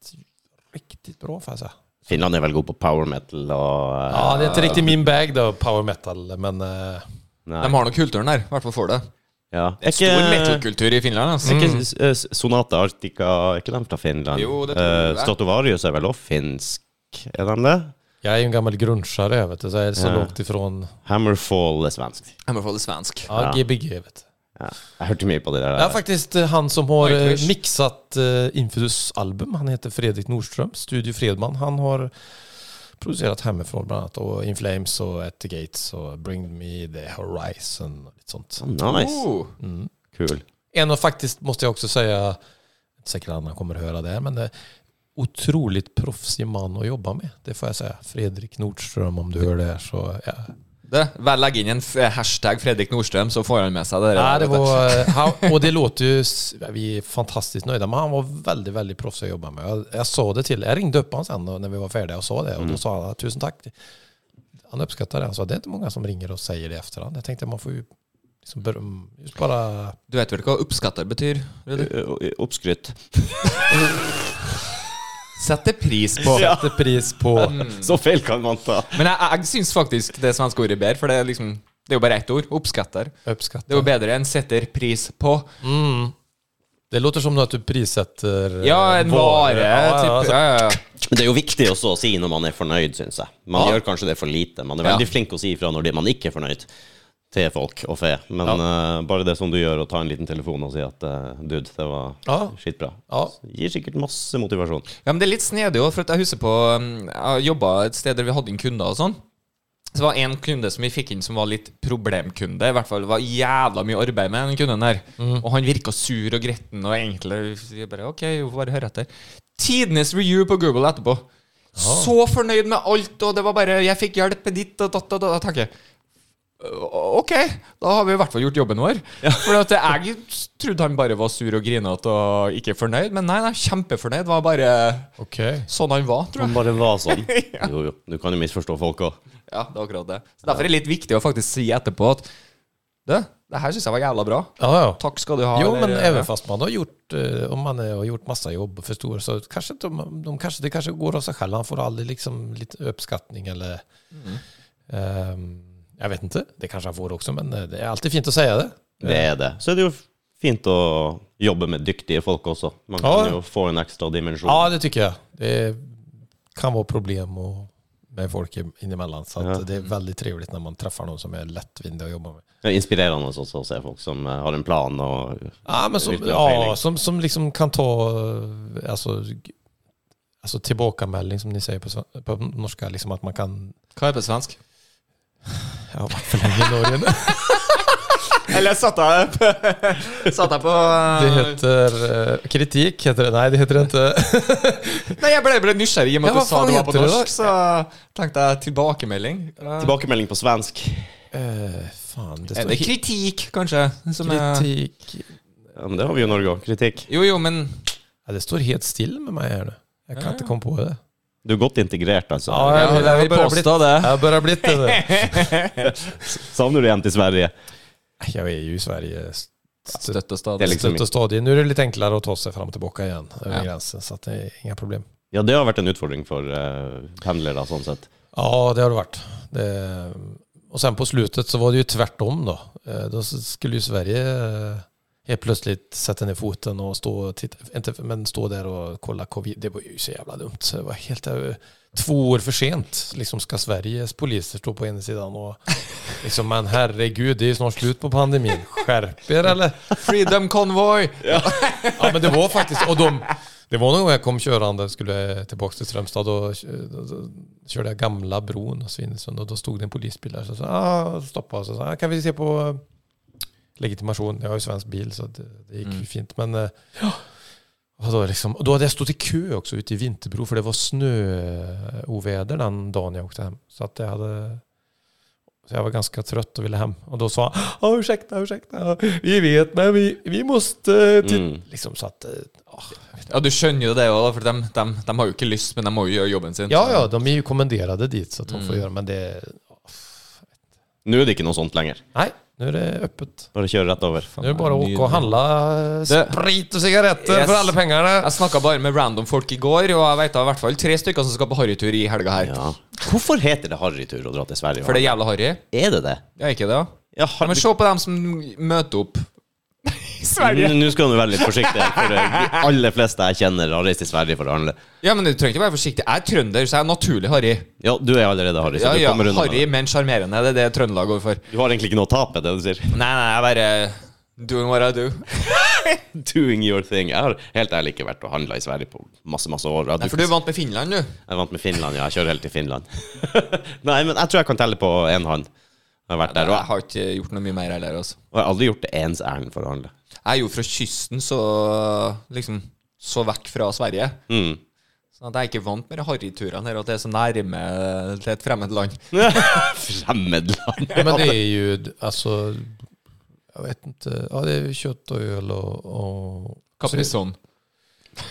S3: riktigt bra får jag säga.
S1: Finland er vel god på power metal og eh,
S3: Ja, det är inte riktigt min bag då, power metal, men eh,
S1: nei. Eh,
S2: De har nok kulturen der, i hvert fall for det.
S1: Ja. Er
S2: Stor metal-kultur i Finland. Altså.
S1: er ikke s- s- Sonata Arctica Er ikke de fra Finland?
S2: Jo, det tror jeg det
S1: Eh,
S2: er.
S1: Stratovarius er vel også finsk? Er de det?
S3: jag är ju en gammal grunchare, jag vet du, så jag är så
S1: Ja.
S3: lågt ifrån.
S1: Hammerfall er svensk.
S2: Jeg må få det svensk.
S3: Ja,
S1: Ja.
S3: Gbg vet du.
S1: Ja. Jeg hørte mye på det der.
S3: Det är faktiskt eh, han som har eh,
S2: Nightwish.
S3: mixat eh, Infidus album. Han heter Fredrik Nordström, Studio Fredman. Han har producerat hemifrån bland annat och In Flames och At the Gates och Bring Me The Horizon och lite sånt.
S1: Nice.
S2: Oh.
S3: Mm.
S1: Kul.
S3: En och faktiskt måste jag också säga, säkert annan kommer att höra det, här, men eh, otroligt proffsig man att jobba med. Det får jag säga. Fredrik Nordström om du hör det här så... Ja.
S2: Det, vel, legg inn en f hashtag Fredrik Nordstrøm, så får han med seg det. der.
S3: Nej, det var, eh, han, och det låter ju... s- Vi är fantastiskt nöjda, men han var väldigt, väldigt proffsig att jobba med. Jag, jag sa det till... Jag ringde upp honom sen och- när vi var färdiga och sa det
S2: Mm.
S3: och då sa han tusen tack. Han uppskattade det. Han sa det är inte många som ringer och säger det i efterhand. Jag tänkte man får ju liksom beröm,
S2: *laughs*
S3: just bara...
S2: Du vet vel hva 'oppskatter' betyr? Rudi?
S1: Eh, Oppskrytt.
S2: Sette pris på.
S1: Ja.
S3: Sätter pris på...
S2: Mm.
S1: Så feil kan man ta.
S2: Men jeg, jeg syns faktisk det svenske ordet er bedre, for det er liksom Det er jo bare ett ord. 'Oppskatter'. Det er
S3: Uppskattar.
S2: jo bedre enn 'setter pris på'.
S3: Mm. Det låter som att du prissätter... eh,
S2: Ja, en vare.
S3: Ja, altså.
S2: typ.
S3: ja, alltså,
S2: ja, ja, ja.
S1: Men det er jo viktig også å si når man er fornøyd, syns jeg. Man
S2: Ja.
S1: gjør kanskje det for lite. Man er
S2: Ja.
S1: veldig flink å si ifra når det- man ikke er fornøyd. Til folk og fe. Men eh, bare det som du gjør, å ta en liten telefon og si at eh, dude, det var
S3: Ja.
S1: skitbra.
S3: ja.
S1: Gir sikkert masse motivasjon.
S2: Ja, men det er litt snedig òg, for at jeg husker på um, Jeg jobba et sted der vi hadde inn kunder og sånn. Så var det en kunde som vi fikk inn som var litt problemkunde. I hvert fall det var jævla mye arbeid med den kunden der.
S3: Mhm.
S2: Og han virka sur og gretten og egentlig jeg bare OK, vi får bare høre etter. Tidenes review på Google etterpå.
S3: Ah.
S2: Så fornøyd med alt, og det var bare 'Jeg fikk hjelp ditt og datt og datt'. Da tenker jeg, «Ø, OK, da har vi i hvert fall gjort jobben vår. For at jeg trodde han bare var sur og grinete og ikke fornøyd, men nei, nei, kjempefornøyd. Var bare
S3: Okej.
S2: sånn han var, tror jeg.
S1: Han bare var *laughs* sånn. Jo, jo. Du kan jo misforstå folk òg.
S2: Ja, det er akkurat det. Så Derfor er det litt viktig å faktisk si etterpå at Du, det her syns jeg var jævla bra.
S3: Ja, ja.
S2: Takk skal du ha.
S3: Jo, men
S2: eller-
S3: även fast man har gjort, eh, om man eh, har gjort massa jobb och förstår så kanske inte, de, de kanske, det kanske går av sig själv. Han får aldrig liksom lite uppskattning eller... ehm, jag vet inte, det kanske han får också, men eh, det är alltid fint att säga det.
S1: Det er det. Så er det jo fint å jobbe med dyktige folk også. Man kan
S3: Ja.
S1: jo få en ekstra dimensjon.
S3: Ja, det tycker jag. Det kan vara problem och, med folk i- inemellan, så att det är väldigt trevligt när man träffar någon som är lättvindig att jobba med.
S1: Det er inspirerende også å se folk som eh, har en plan og
S3: Ja, men som,
S1: Virkelig
S3: ja,
S1: feeling.
S3: som, som liksom kan ta eh, alltså, g- alltså tillbakamelding som ni säger på, sven- på norska, liksom att man kan...
S2: Hva er på svensk?
S3: Jag har varit för länge i Norge *laughs* nu.
S2: Eller satt jeg
S3: *laughs*
S2: på Satt jeg på
S3: Det heter... eh, kritik heter det. Nej, det heter det inte.
S2: Nei, jeg ble, ble nysgjerrig i og med at
S3: Ja,
S2: du
S3: hva
S2: sa
S3: faen
S2: det var på
S3: heter det
S2: norsk, så tenkte jeg tilbakemelding. Eh,
S1: Tilbakemelding på svensk.
S3: *laughs* Eh, fan, det
S2: Er
S3: står
S2: det kritikk, kanskje? Som er
S3: kritik.
S1: Ja, men det har vi jo i Norge òg. Kritikk.
S2: Jo, jo, men
S3: Ja, det står helt still med meg her nå. Jeg kan ikke komme på det.
S1: Du er godt integrert, altså.
S3: Ja,
S2: jeg vil- jeg vil
S3: börjar
S2: påstå
S3: bli-
S2: det.
S3: Jag börjar bli lite... Nej, *laughs*
S1: Savner du hjem til Sverige?
S3: Jag är ju i Sverige stött
S2: Støtt og
S1: Det er
S2: stadig.
S1: liksom-
S3: stött och stadig. Nu är det lite enklare att ta sig fram och tillbaka igen över
S2: Ja.
S3: gränsen, så att det är inga problem.
S1: Ja, det har vært en utfordring for eh, pendlere, sånn sett.
S3: Ja, det har det varit. Det... Och sen på slutet så var det ju tvärtom då. Eh, Då skulle ju Sverige eh, helt plötsligt sätta ner foten och stå, och titta, inte, men stå där och kolla covid. Det var ju så jävla dumt. Så det var helt eh, två år för sent. Liksom ska Sveriges poliser stå på ena sidan och liksom, men herregud, det är ju snart slut på pandemin. Skärp er eller?
S2: Freedom Convoy!
S3: Ja, men det var faktiskt, och de, det var någon gång jag kom körande, skulle tillbaka till Strömstad och kö- då, då, körde jag gamla bron och Svinesund och då stod det en polisbil där. Så sa ah, stoppa och så sa ah, kan vi se på eh, legitimation? Jag har ju svensk bil så det, det gick ju fint. Men eh, ja. och då, liksom, och då hade jag stått i kö också ute i Vinterbro för det var snöoväder den dagen jag åkte hem. Så att jag hade så jag var ganska trött och ville hem. Och då sa han, "Ah, ursäkta, ursäkta, vi vet men vi, vi måste eh, titta
S1: Mm.
S3: Liksom så att, eh, ja.
S2: Ja, du skjønner jo det òg, for de, de, de har jo ikke lyst, men de må jo gjøre jobben sin.
S3: ja, ja, de är ju kommenderade dit så att de får göra, men det...
S1: Nå er det ikke noe sånt lenger.
S3: Nej, nu är det öppet.
S1: Bare kjøre rett over.
S3: Nu är det bara att åka och handla eh,
S2: Det-
S3: sprit och cigaretter
S2: Yes.
S3: för alla pengarna.
S2: Jeg snakka bare med random folk i går, og jeg veit i hvert fall tre stykker som skal på harrytur i helga her.
S1: Ja. Hvorfor heter det harrytur å dra til Sverige?
S2: For det er jævla harry.
S1: Er det det?
S2: Ja, ikke det?
S1: Ja,
S2: Ja,
S1: har...
S2: men se på dem som møter
S3: *laughs*
S2: opp. I
S1: N- Nå skal du være litt forsiktig, for eh, de aller fleste jeg kjenner har reist til Sverige for å handle.
S2: Ja, men du trenger ikke være forsiktig. Jeg er trønder, så jeg er naturlig harry.
S1: Ja, du er allerede harry, så
S2: Ja,
S1: du
S2: ja,
S1: kommer unna med
S2: harry,
S1: det.
S2: men sjarmerende. Det er det Trøndelag går for.
S1: Du har egentlig ikke noe å tape, det du sier. *laughs*
S2: Nei, nei, jeg bare Doing what I do.
S1: Doing your thing. Jeg har helt ærlig ikke vært og handla i Sverige på masse, masse år. Jeg,
S2: Nei, for du er vant med Finland, du.
S1: jeg er vant med Finland, ja. Jeg kjører helt til Finland. *laughs* Nei, men jeg tror jeg kan telle på én hånd. Jeg har vært der, og
S2: Jeg har ikke gjort noe mye mer heller, altså.
S1: jeg har aldri gjort det ens ærend for å handle.
S2: Jeg er jo fra kysten, så liksom så vekk fra Sverige.
S1: Mm. *laughs*
S2: Sånn at jeg er ikke vant med de harryturene her, at det er så nærme til et fremmed land.
S1: Fremmedland.
S3: Ja, men det är ju, alltså, jag vet inte, ja det är ju kött och öl och... och
S2: Kaprison.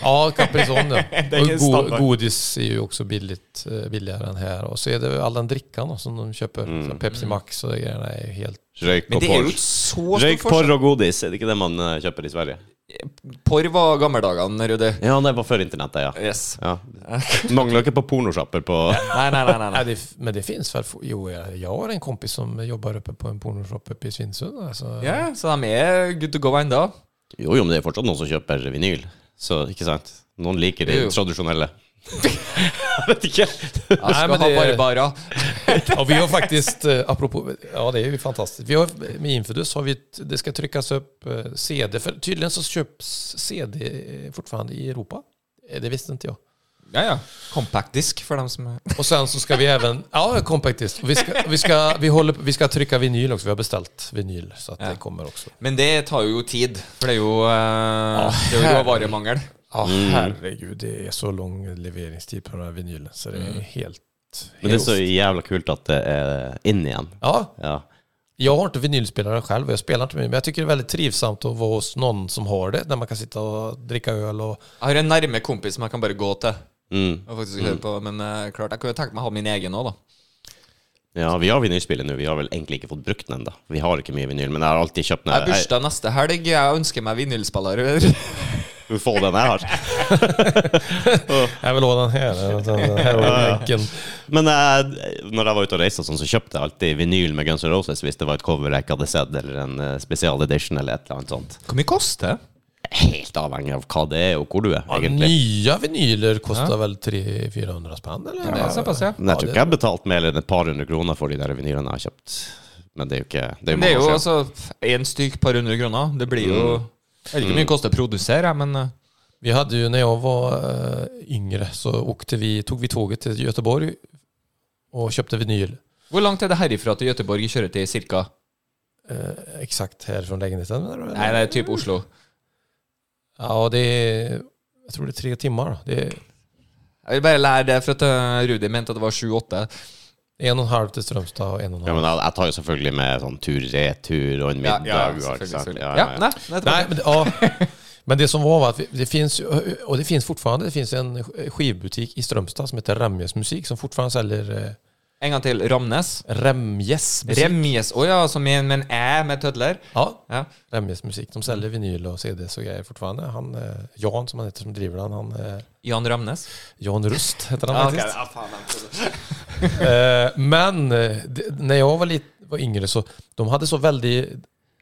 S3: Ja, Caprison
S2: *laughs*
S3: ja.
S2: är ingen
S3: Och go,
S2: standard.
S3: godis är ju också billigt, eh, billigare än här. Och så är det väl all den drickan då, som de köper.
S2: Mm.
S3: Så Pepsi Max og de grejerna är ju helt...
S1: Røyk
S2: Men
S1: og
S2: det er jo
S1: porr.
S2: ikke så stor
S1: Røyk,
S2: forskjell.
S1: porr og godis, er det ikke det man eh, kjøper i Sverige?
S2: Porr var gammeldagene, Rudi.
S1: Ja, det var før internettet, ja.
S2: Yes. *laughs*
S1: ja. Mangler ikke på pornosjapper på
S2: Nei, nei, nei. nei,
S3: Ja,
S2: nei.
S3: det, men det finns väl, få- jo jag, jag har en kompis som jobbar uppe på en pornoshop uppe i Svinesund. Alltså,
S2: *laughs*
S3: *laughs*
S2: Ja, så de er good to go *laughs* ennå.
S1: Jo, jo, men det er fortsatt noen som kjøper vinyl. Så, ikke sant? Noen liker de
S2: Jo, jo. *laughs*
S1: tradisjonelle. Jeg vet ikke.
S2: Jeg skal
S3: men
S2: ha
S3: det-
S2: barbarer.
S3: Ja, vi har faktiskt, eh, apropå, ja det är ju fantastiskt. Vi har, med Infidus har vi, ett- det ska tryckas upp eh, CD, för tydligen så köps CD eh, fortfarande i Europa. Eh, Det visste inte jag.
S2: Ja, ja. Compactisk for dem som er
S3: Och sen så ska vi även, *laughs* ja compact disc. Vi ska, vi ska, vi håller, vi ska trycka vinyl också, vi har beställt vinyl så att det kommer också.
S2: Men det tar jo tid, for det er jo, eh, det er jo råvaremangel.
S3: Ja
S1: Mm.
S3: herregud, det är så lång leveringstid på den här vinylen så det är helt...
S1: Mm. Men det er
S3: helt-
S1: så jævla kult at det er inn igjen.
S3: Ja,
S1: Ja.
S3: Jag har inte vinylspelare själv och jag spelar inte med men jag tycker det är väldigt trivsamt att vara hos någon som har det, där man kan sitta och dricka öl og
S2: Jeg har en nærme kompis som jeg kan bare gå til.
S1: Mm.
S2: Og faktisk høre på Men eh, klart, jeg kunne jo tenkt meg å ha min egen òg, da.
S1: ja, vi har vinylspillet nå. Vi har vel egentlig ikke fått brukt den ennå. Vi har ikke mye vinyl, men jeg har alltid kjøpt
S2: Jeg har
S1: den. Jeg-
S2: bursdag neste helg. Jeg ønsker meg vinylspiller.
S1: Du får den jeg har.
S3: Jeg vil ha den her. Den *laughs* her over benken.
S1: Men eh, når jeg var ute og reiste, og sånn, så kjøpte jeg alltid vinyl med Guns N' Roses hvis det var et cover jeg ikke hadde sett, eller en eh, spesial edition eller et eller annet sånt.
S2: Hvor mye koster det?
S1: Helt avhengig av hva det er, og hvor du er, egentlig.
S3: Nya vinyler kostar väl 300-400 spänn eller?
S2: Ja, såpass, ja.
S1: Men jeg tror ikke jeg har betalt mer enn et par hundre kroner for de der vinylene jeg har kjøpt. Men det er jo ikke Det er jo,
S2: Det er jo
S1: mange år siden.
S2: altså én stykk par hundre kroner. Det blir jo Jeg vet ikke hvor mye det koster å produsere, men eh,
S3: Vi hade ju när jag var eh, yngre så åkte vi, tog vi tåget till Göteborg och köpte vinyl
S2: Hvor langt er det herifra til Göteborg i kjøretid, cirka?
S3: eh, exakt här från lägenheten.
S2: Nei, det er typ Oslo.
S3: Ja, det är, jag tror det är tre timmar. Det är
S2: Jeg vil bare lære det, for at eh, Rudi mente at det var sju-åtte.
S3: en och en halv till Strömstad og en och en
S1: ja,
S3: halv.
S1: men jeg, jeg tar jo selvfølgelig med sånn tur-retur og en middag. og alt sånt.
S2: selvfølgelig.
S1: Ja,
S2: Ja,
S1: ja, ja.
S2: nei, nei,
S3: Nej, men, ja. Men det som var var att vi- det finns, ju- och det finns fortfarande, det finns en skivbutik i Strömstad som heter Remjes musik som fortfarande säljer eh,
S2: En gang til. Ramnes.
S3: Remjes musik.
S2: Remjes. Å ja, som i en med en æ med tødler.
S3: ja,
S2: Ja.
S3: Remjes musik. De säljer vinyl och CDs och grejer fortfarande. Han, eh, Jan som han heter som driver den, han, eh,
S2: Jan Ramnes.
S3: Jan Rust heter han
S2: Ja,
S3: faktiskt.
S2: ok. Ja, faen, jeg trodde-
S3: Eh, men eh, det, när jag var, lite, var yngre så de hade så väldigt,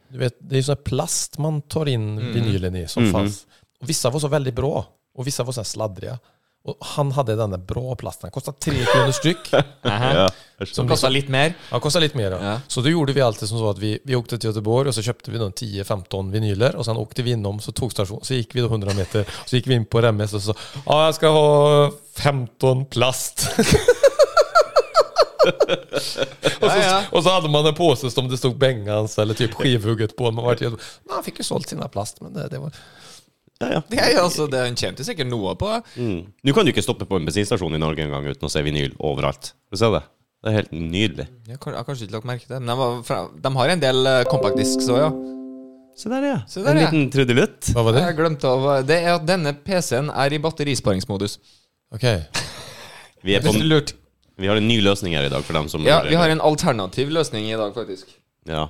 S3: du vet, det är ju sån här plast man tar in vinylen i som
S1: Mhm.
S3: fanns. Och vissa var så väldigt bra och vissa var så här sladdriga. Och han hade den där bra plasten, kostade tre kronor styck.
S2: Aha.
S1: Ja, jeg
S2: Som
S1: skjønner.
S2: kosta litt mer.
S3: Ja, kostade lite mer.
S2: Ja.
S3: Ja. Så då gjorde vi alltid som så att vi, vi åkte till Göteborg och så köpte vi då 10-15 vinyler och sen åkte vi inom så tågstation, så gick vi då 100 meter, så gick vi in på Remmes och så ja, jag ska ha 15 plast. *laughs* och, så,
S2: Ja,
S3: *laughs*
S2: ja.
S3: och så hade man en påse som det stod Bengans eller typ skivhugget på. Man, var till, man fick ju sålt sina plast, men det, det var...
S1: ja,
S2: *laughs*
S1: ja.
S2: Det er jo altså, det Han tjente sikkert noe på det.
S1: Mm. Nå kan du ikke stoppe på en bensinstasjon i Norge engang uten å se vinyl overalt. Du ser det? Det er helt nydelig.
S2: Jeg har jeg har kanskje ikke lagt merke til det, men de, var fra, de har en del eh, compact discs òg, ja.
S1: Se der, ja.
S2: Se der,
S1: en
S2: ja.
S1: liten trudelutt.
S3: Vad var det?
S2: Jeg glemte å Det er at denne PC-en er i batterisparingsmodus.
S3: Okej.
S1: Vi, er på,
S2: Hvis du lurte.
S1: vi har en ny løsning her i dag for dem som
S2: Ja, vi har en alternativ løsning i dag, faktisk.
S1: Ja.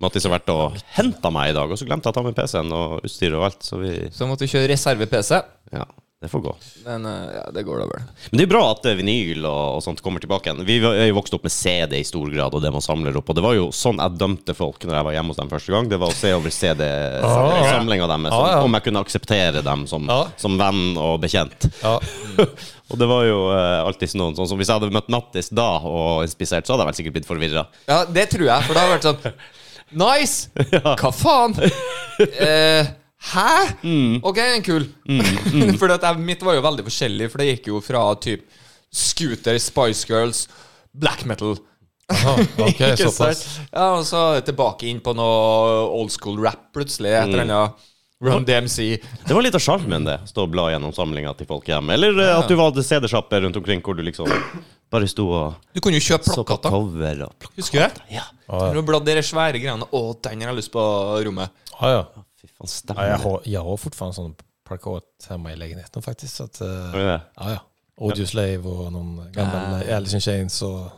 S1: Mattis har vært og henta meg i dag, og så glemte jeg å ta med PC-en og utstyret og alt, så vi
S2: Så måtte vi kjøre reserve-PC.
S1: Ja, det får gå.
S2: Men eh, ja, det går da vel.
S1: Men det er bra at eh, vinyl og, og sånt kommer tilbake igjen. Vi var- er jo vokst opp med CD i stor grad, og det man samler opp. Og det var jo sånn jeg dømte folk når jeg var hjemme hos dem første gang. Det var å se over
S3: Ah.
S1: CD-samlinga deres,
S3: Ah, ja.
S1: sånn,
S3: Ah.
S1: om jeg kunne akseptere dem som,
S3: Ja.
S1: som venn og bekjent.
S3: Ja.
S1: *laughs* Og det var jo eh, alltid noen sånn som Hvis jeg hadde møtt Mattis da og inspisert, så hadde jeg vel sikkert blitt forvirra.
S2: Ja, det tror jeg, for det har vært *laughs* sånn Nice! Hva faen? *laughs* Eh, hæ? Ok, den er kul. *laughs* Fordi at jeg, mitt var jo veldig forskjellig, for det gikk jo fra typ Scooter, Spice Girls, black metal.
S3: Aha,
S2: *laughs*
S3: Okej, så pass.
S2: Ja, og så tilbake inn på noe old school rap plutselig. Et
S1: Mm.
S2: eller annet Run DMC.
S1: Det var litt av sjarmen, det. Stå og bla gjennom samlinga til folk hjemme. Eller eh, at du var CD-sjapper rundt omkring hvor du liksom bare sto og
S2: Du kunne jo kjøpe
S1: så på
S2: plakater.
S1: cover og plak-
S2: Husker du det?
S1: Ja.
S3: Ja,
S2: Du bladde de svære greiene. Å, den har jeg lyst på rommet.
S3: Ah, ja. ja.
S1: Fy faen,
S3: Ja, jag,
S1: stemmer det.
S3: har, jag har fortfarande sån parkett hemma i lägenheten faktiskt. Så att, eh,
S1: Har du det?
S3: ja, ja. Audioslave och någon gammal eh, Alice in Chains. Och,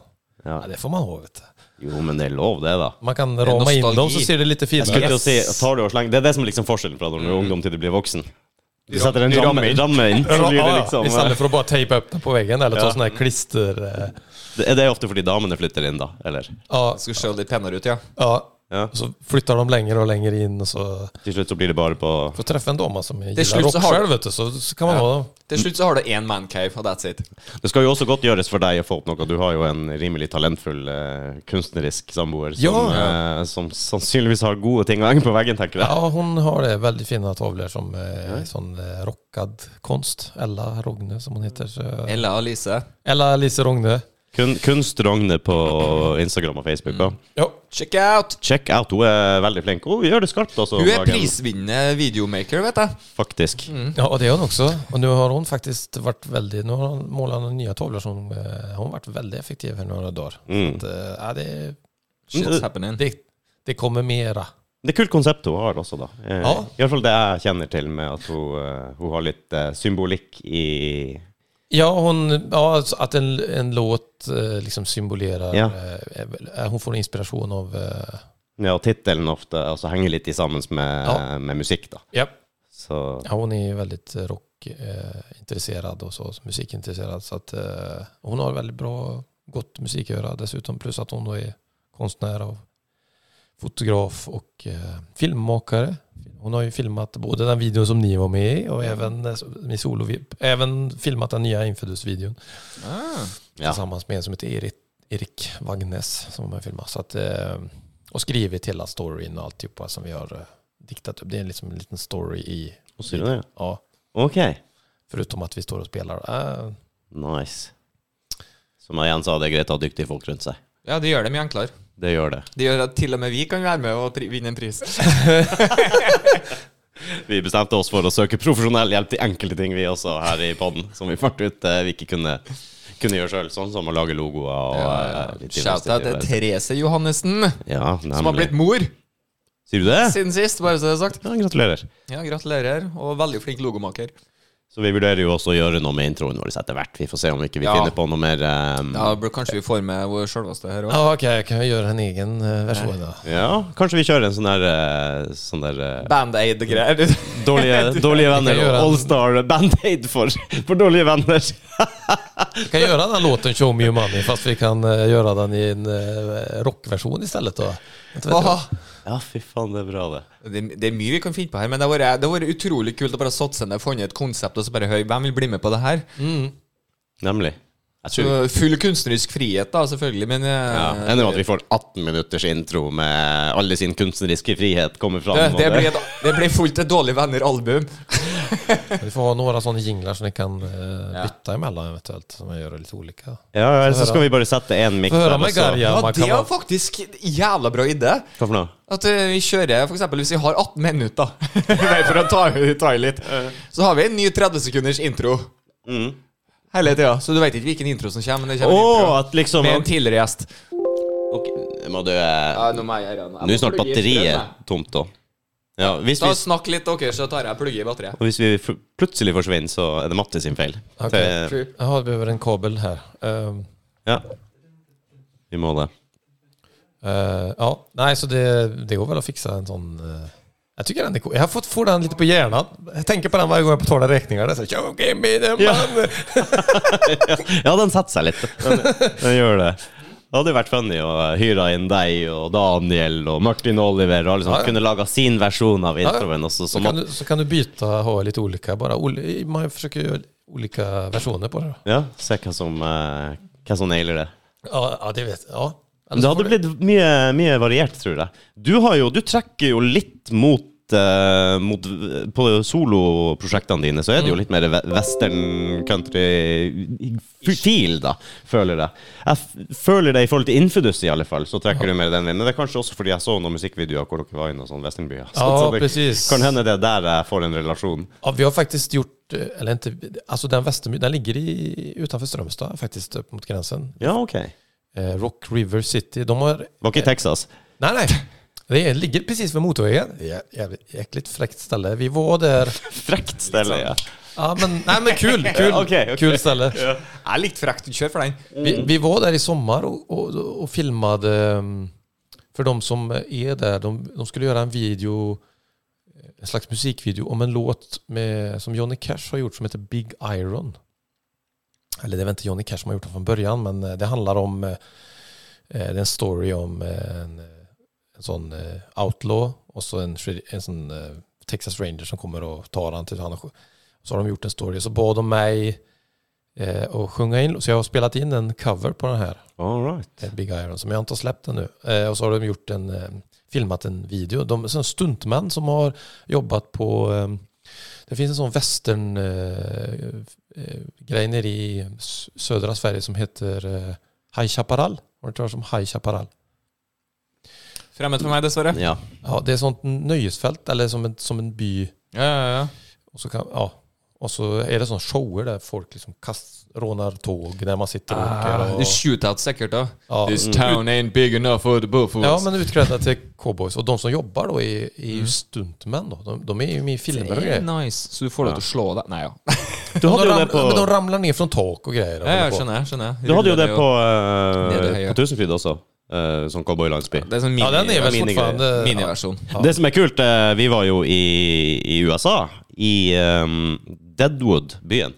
S1: Ja.
S3: ja, det får man ha. Vet du.
S1: Jo, men det er lov, det, da.
S3: Man kan
S2: är
S3: rama in
S2: nostalgi.
S3: dem så ser det lite
S1: Jeg
S3: fint
S1: skulle til å
S3: ut.
S1: si, tar du og slenger Det er det som er liksom forskjellen fra når du er ungdom til du blir voksen. Du
S2: Ja,
S1: setter en
S2: du
S1: ramme,
S2: rammer inn.
S1: ramme inn, så
S3: *laughs* Ja,
S1: blir det
S3: ja,
S1: liksom eh,
S3: Istället för att bara tejpa upp den på väggen eller ta
S1: Ja.
S3: sån här klister... eh,
S1: det- Er det ofte fordi damene flytter inn, da? Eller?
S3: Ja,
S2: Jeg skulle se litt penere ut, ja.
S3: ja.
S1: Ja.
S3: Och så flyttar de längre och längre in och så
S1: Til slutt så blir det bare på
S3: får träffa en dam som gillar
S2: slut
S3: rock
S2: så har-
S3: själv vet du, så, så kan man
S2: Ja.
S3: ha dem.
S2: Til slutt så har du én mancave, og that's it.
S1: Det skal jo også godt gjøres for deg å få opp noe. Du har jo en rimelig talentfull eh, kunstnerisk samboer som,
S3: Ja.
S1: eh, som sannsynligvis har gode ting å henge på veggen, tenker jeg.
S3: Ja, hon har det väldigt fina tavlor som eh, sån eh, rockad konst. Ella Rogne som hon heter. Så,
S2: Ella og Lise.
S3: Ella Lise Rogne.
S1: Kun, kunst Rogne på Instagram og Facebook. da.
S3: Ja.
S2: Check out!
S1: Check out, hun er veldig flink. Hun gjør det skarpt, altså.
S2: Hun er
S1: om dagen,
S2: prisvinnende videomaker, vet jeg.
S1: Faktisk.
S3: Ja, och det är hon också. Och nu har hon faktiskt varit väldigt, nu har hon målat några nya tavlor som, eh, hon har varit väldigt effektiv här några dagar.
S1: Mm.
S3: Så, eh, ja, det,
S2: Shit's happening.
S3: det, det kommer mera.
S1: Det er kult konsept hun har også, da. Eh,
S3: Ja.
S1: I hvert fall det jeg kjenner til med at hun, eh, hun har litt eh, symbolikk i
S3: Ja, hon, ja alltså att en, en låt eh, liksom symbolerar,
S1: Ja.
S3: eh, är väl- eh, hon får inspiration av, eh,
S1: ja, tittelen ofte, altså henger litt i sammen med,
S3: Ja.
S1: med musikk, da.
S3: ja.
S1: Så
S3: ja, hon är ju väldigt eh, rockintresserad och så, så musikintresserad. Så att, eh, hon har väldigt bra, gott musiköra dessutom, plus att hon då är konstnär och fotograf och eh, filmmakare. Hon har ju filmat både den videon som ni var med i och även eh, min solo, även filmat den nya Infidus-videon.
S2: Ah.
S1: ja.
S3: tillsammans med en som heter Erik, Erik Wagnes som var med i filmen. Så att, eh, och skrivit hela storyn och alltihopa som vi har eh, diktat upp. Det är liksom en liten story i,
S1: Hva sier du det?
S3: ja,
S1: OK.
S3: förutom att vi står och spelar. Eh,
S1: Nice. Som jeg igjen sa, det er greit å ha dyktige folk rundt seg.
S2: Ja, det gjør det mye enklere.
S1: Det gjør det.
S2: Det gjør at til og med vi kan være med og pri vinne en pris.
S1: Vi bestemte oss for å søke profesjonell hjelp til enkelte ting, vi også, her i podden. Som vi fant ut eh, vi ikke kunne, kunne gjøre sjøl. Sånn som å lage logoer og eh, litt
S2: Shout-out til
S1: illustrativt.
S2: Therese Johannessen,
S1: Ja,
S2: som har
S1: nemlig.
S2: blitt mor.
S1: Sier du det?
S2: Siden sist, bare så det er sagt.
S1: Ja, gratulerer.
S2: Ja, gratulerer, og veldig flink logomaker.
S1: Så vi vurderer jo også å gjøre noe med introen vår etter hvert. Vi får se om ikke vi
S2: Ja.
S1: finner på noe mer ehm,
S2: Ja, bro, Kanskje vi får med vår sjølveste her òg.
S3: Ja, ok, jeg kan jo gjøre en egen eh, versjon. da.
S1: Ja, kanskje vi kjører en sånn der, eh, sånn der eh,
S2: *laughs* Band-aid-greier.
S1: dårlige, dårlige
S3: Vi
S1: venner
S3: kan
S1: og
S3: gjøre en-
S1: Allstar Band-Aid for, for dårlige venner.
S3: Vi kan göra den här låten Show Me Your Money fast vi kan eh, göra den i en eh, rockversion istället då. Inte vet jag.
S2: Aha.
S1: Ja, fy faen, det er bra, det.
S2: Det, det er mye vi kan finne på her, men det har vært, det har vært utrolig kult å bare satse ned, funnet et konsept og så bare høre hvem vil bli med på det her.
S1: Nemlig. Jeg
S2: Så øh,
S1: tror
S2: full kunstnerisk frihet, da, selvfølgelig, men
S1: ja,
S2: eh,
S1: Ender med at vi får 18 minutters intro med alle sin kunstneriske frihet kommer fram.
S2: det,
S1: og
S2: det, blir et, det blir fullt et Dårlig venner-album.
S3: Vi får ha några sådana jinglar som ni kan eh, byta emellan eventuelt. Som man gör lite olika.
S1: Ja, eller så skal vi bare sette én miks
S3: Få høre
S1: der, og
S3: med
S1: så-
S3: Garja.
S2: Ja,
S3: man
S2: det
S3: kan
S2: er
S3: ha-
S2: faktisk jævla bra idé.
S1: Hva for noe?
S2: At eh, vi kjører for eksempel hvis vi har 18 minutter, *laughs* Nei, for å ta, ta i litt, så har vi en ny 30 sekunders intro
S1: Mm.
S2: hele tida. Så du veit ikke hvilken intro som kommer, men det
S1: Å,
S2: kommer en
S1: at liksom
S2: intro med en tidligere gjest.
S1: Ok, Må du eh,
S2: nå må jeg gjøre det. Jeg
S1: Nå
S2: må
S1: er snart
S2: plugge i strømmen.
S1: batteriet tomt, da. Ja, hvis vi
S2: Da snakk litt dere, så tar jeg plugge i batteriet.
S1: Og hvis vi f- plutselig forsvinner, så er det Matti sin feil.
S3: Ok.
S1: Det-
S3: Jaha, vi behöver en kabel här. Ehm,
S1: ja. Vi må det.
S3: eh, ja, nej så det, det går väl att fixa en sånn eh, jag tycker den är cool. Jag har fått få den lite på hjärnan. Jag tänker på den varje gång jag betalar räkningar. Det är så här, Yo, give me
S1: *laughs*
S3: the
S1: Ja.
S3: money!
S1: Ja, den setter seg litt. Den, den gjør det. Det hadde jo vært funny å eh, hyre inn deg og Daniel og Martin Oliver og alle sånne.
S3: Ja, ja.
S1: Kunne laga sin versjon av
S3: ja.
S1: introen. Også, så
S3: Så kan,
S1: Matti,
S3: du, så kan du byta, ha lite olika bara. Oli, man försöker göra olika versioner på det.
S1: ja, se hva som, eh, hva som nailer det.
S3: Ja, ja det vet jag. Ja.
S1: Men det hadde blitt mye, mye variert, tror jeg. Du, har jo, du trekker jo litt mot eh, mot, på soloprosjektene dine så er det jo litt mer ve- western country-feel, da, føler jeg. Jeg f føler det i forhold til Infidus, i alle fall, så trekker du mer den veien. Men det er kanskje også fordi jeg så noen musikkvideoer hvor dere var i noen sånne westernbyer. Så,
S3: Ja,
S1: så det
S3: precis.
S1: kan hende det er der jeg får en relasjon.
S3: Ja, vi har faktiskt gjort, eh, eller inte, alltså den Västermy, den ligger i, utanför Strömstad faktiskt, upp mot gränsen.
S1: Ja, ok.
S3: Eh, Rock River City, de har,
S1: Var ikke i Texas.
S3: nej nej, det är- ligger precis vid motorvägen. Jä- Jävligt, jäkligt fräckt ställe. Vi var där,
S1: Frekt ställe, ja.
S3: ja men, nej men kul, kul,
S1: Ja, okej, okej.
S3: kul ställe.
S2: Jeg er litt frekt, kjør for den.
S3: Vi, vi var där i sommar och, och, och filmade ehm, för de som är där. De, de skulle göra en video, en slags musikvideo om en låt med, som Johnny Cash har gjort som heter Big Iron. Eller det var inte Johnny Cash som har gjort den från början men eh, det handlar om eh, eh, det är en story om eh, en, eh, en sån eh, outlaw och så en, shred- en sån eh, Texas Ranger som kommer och tar han till han har- Så har de gjort en story. Så bad de mig eh, och sjunga in. Så jag har spelat in en cover på den här,
S1: All right.
S3: eh, Big Iron, som jag inte har släppt ännu. Eh, och så har de gjort en, eh, filmat en video. De är en stuntman som har jobbat på... Eh, det finns en sån western eh, eh, grej nere i s- södra Sverige som heter eh, High Chaparral. Har du hört talas om High Chaparral?
S2: Fremmed for meg, dessverre.
S1: Ja.
S3: Ja, det är sånt nöjesfält, eller som en, som en by.
S2: Ja, ja, ja.
S3: Och så, kan, ja, och så är det sån shower där folk liksom kast, rånar tåg när man sitter och åker. Och,
S2: Du shooter sikkert, da.
S3: ja.
S2: This
S1: Mm.
S2: town ain't big enough for the both of us.
S3: Ja, men utklädda till cowboys. Och de som jobbar då är, är
S1: Mm.
S3: ju stuntmän då. De, de är ju med i filmer och
S2: det er
S3: grejer.
S2: nice. Så du får lov til å slå deg Nei, ja.
S1: Du
S3: De,
S1: hadde jo
S3: ramlar,
S1: det på
S3: men de ramlar ner från tak och grejer. och
S2: ja,
S3: håller
S2: ja
S3: på.
S2: skjønner. jeg, skjønner jeg.
S1: Du hadde jo det
S2: Ruller
S1: på,
S2: Nede i
S1: uh,
S2: høyre.
S1: på Tusenfryd også, uh, som cowboylandsby.
S2: Det er sånn mini,
S3: Ja, den är väl
S1: Minigrejer.
S3: fortfarande... Ja.
S2: miniversjon.
S1: Det som er kult, eh, vi var jo i, i USA, i ehm, Deadwood, byen.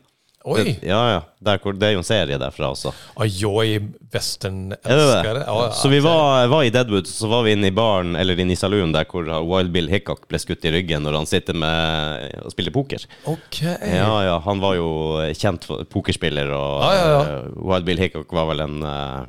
S3: Oj!
S1: Det, ja, ja. Der, hvor- det er jo en serie derfra også.
S3: Ja, jag är westernälskare.
S1: Er det det?
S3: Ja, ja,
S1: så vi var, var i Deadwood, så var vi inne i baren, eller inne i saloon, der hvor Wild Bill Hickok ble skutt i ryggen når han sitter med og spiller poker.
S3: Okej.
S1: Ja, ja, han var jo eh, kjent for- pokerspiller, og
S3: Ja, ja, ja.
S1: eh, Wild Bill Hickok var vel en eh,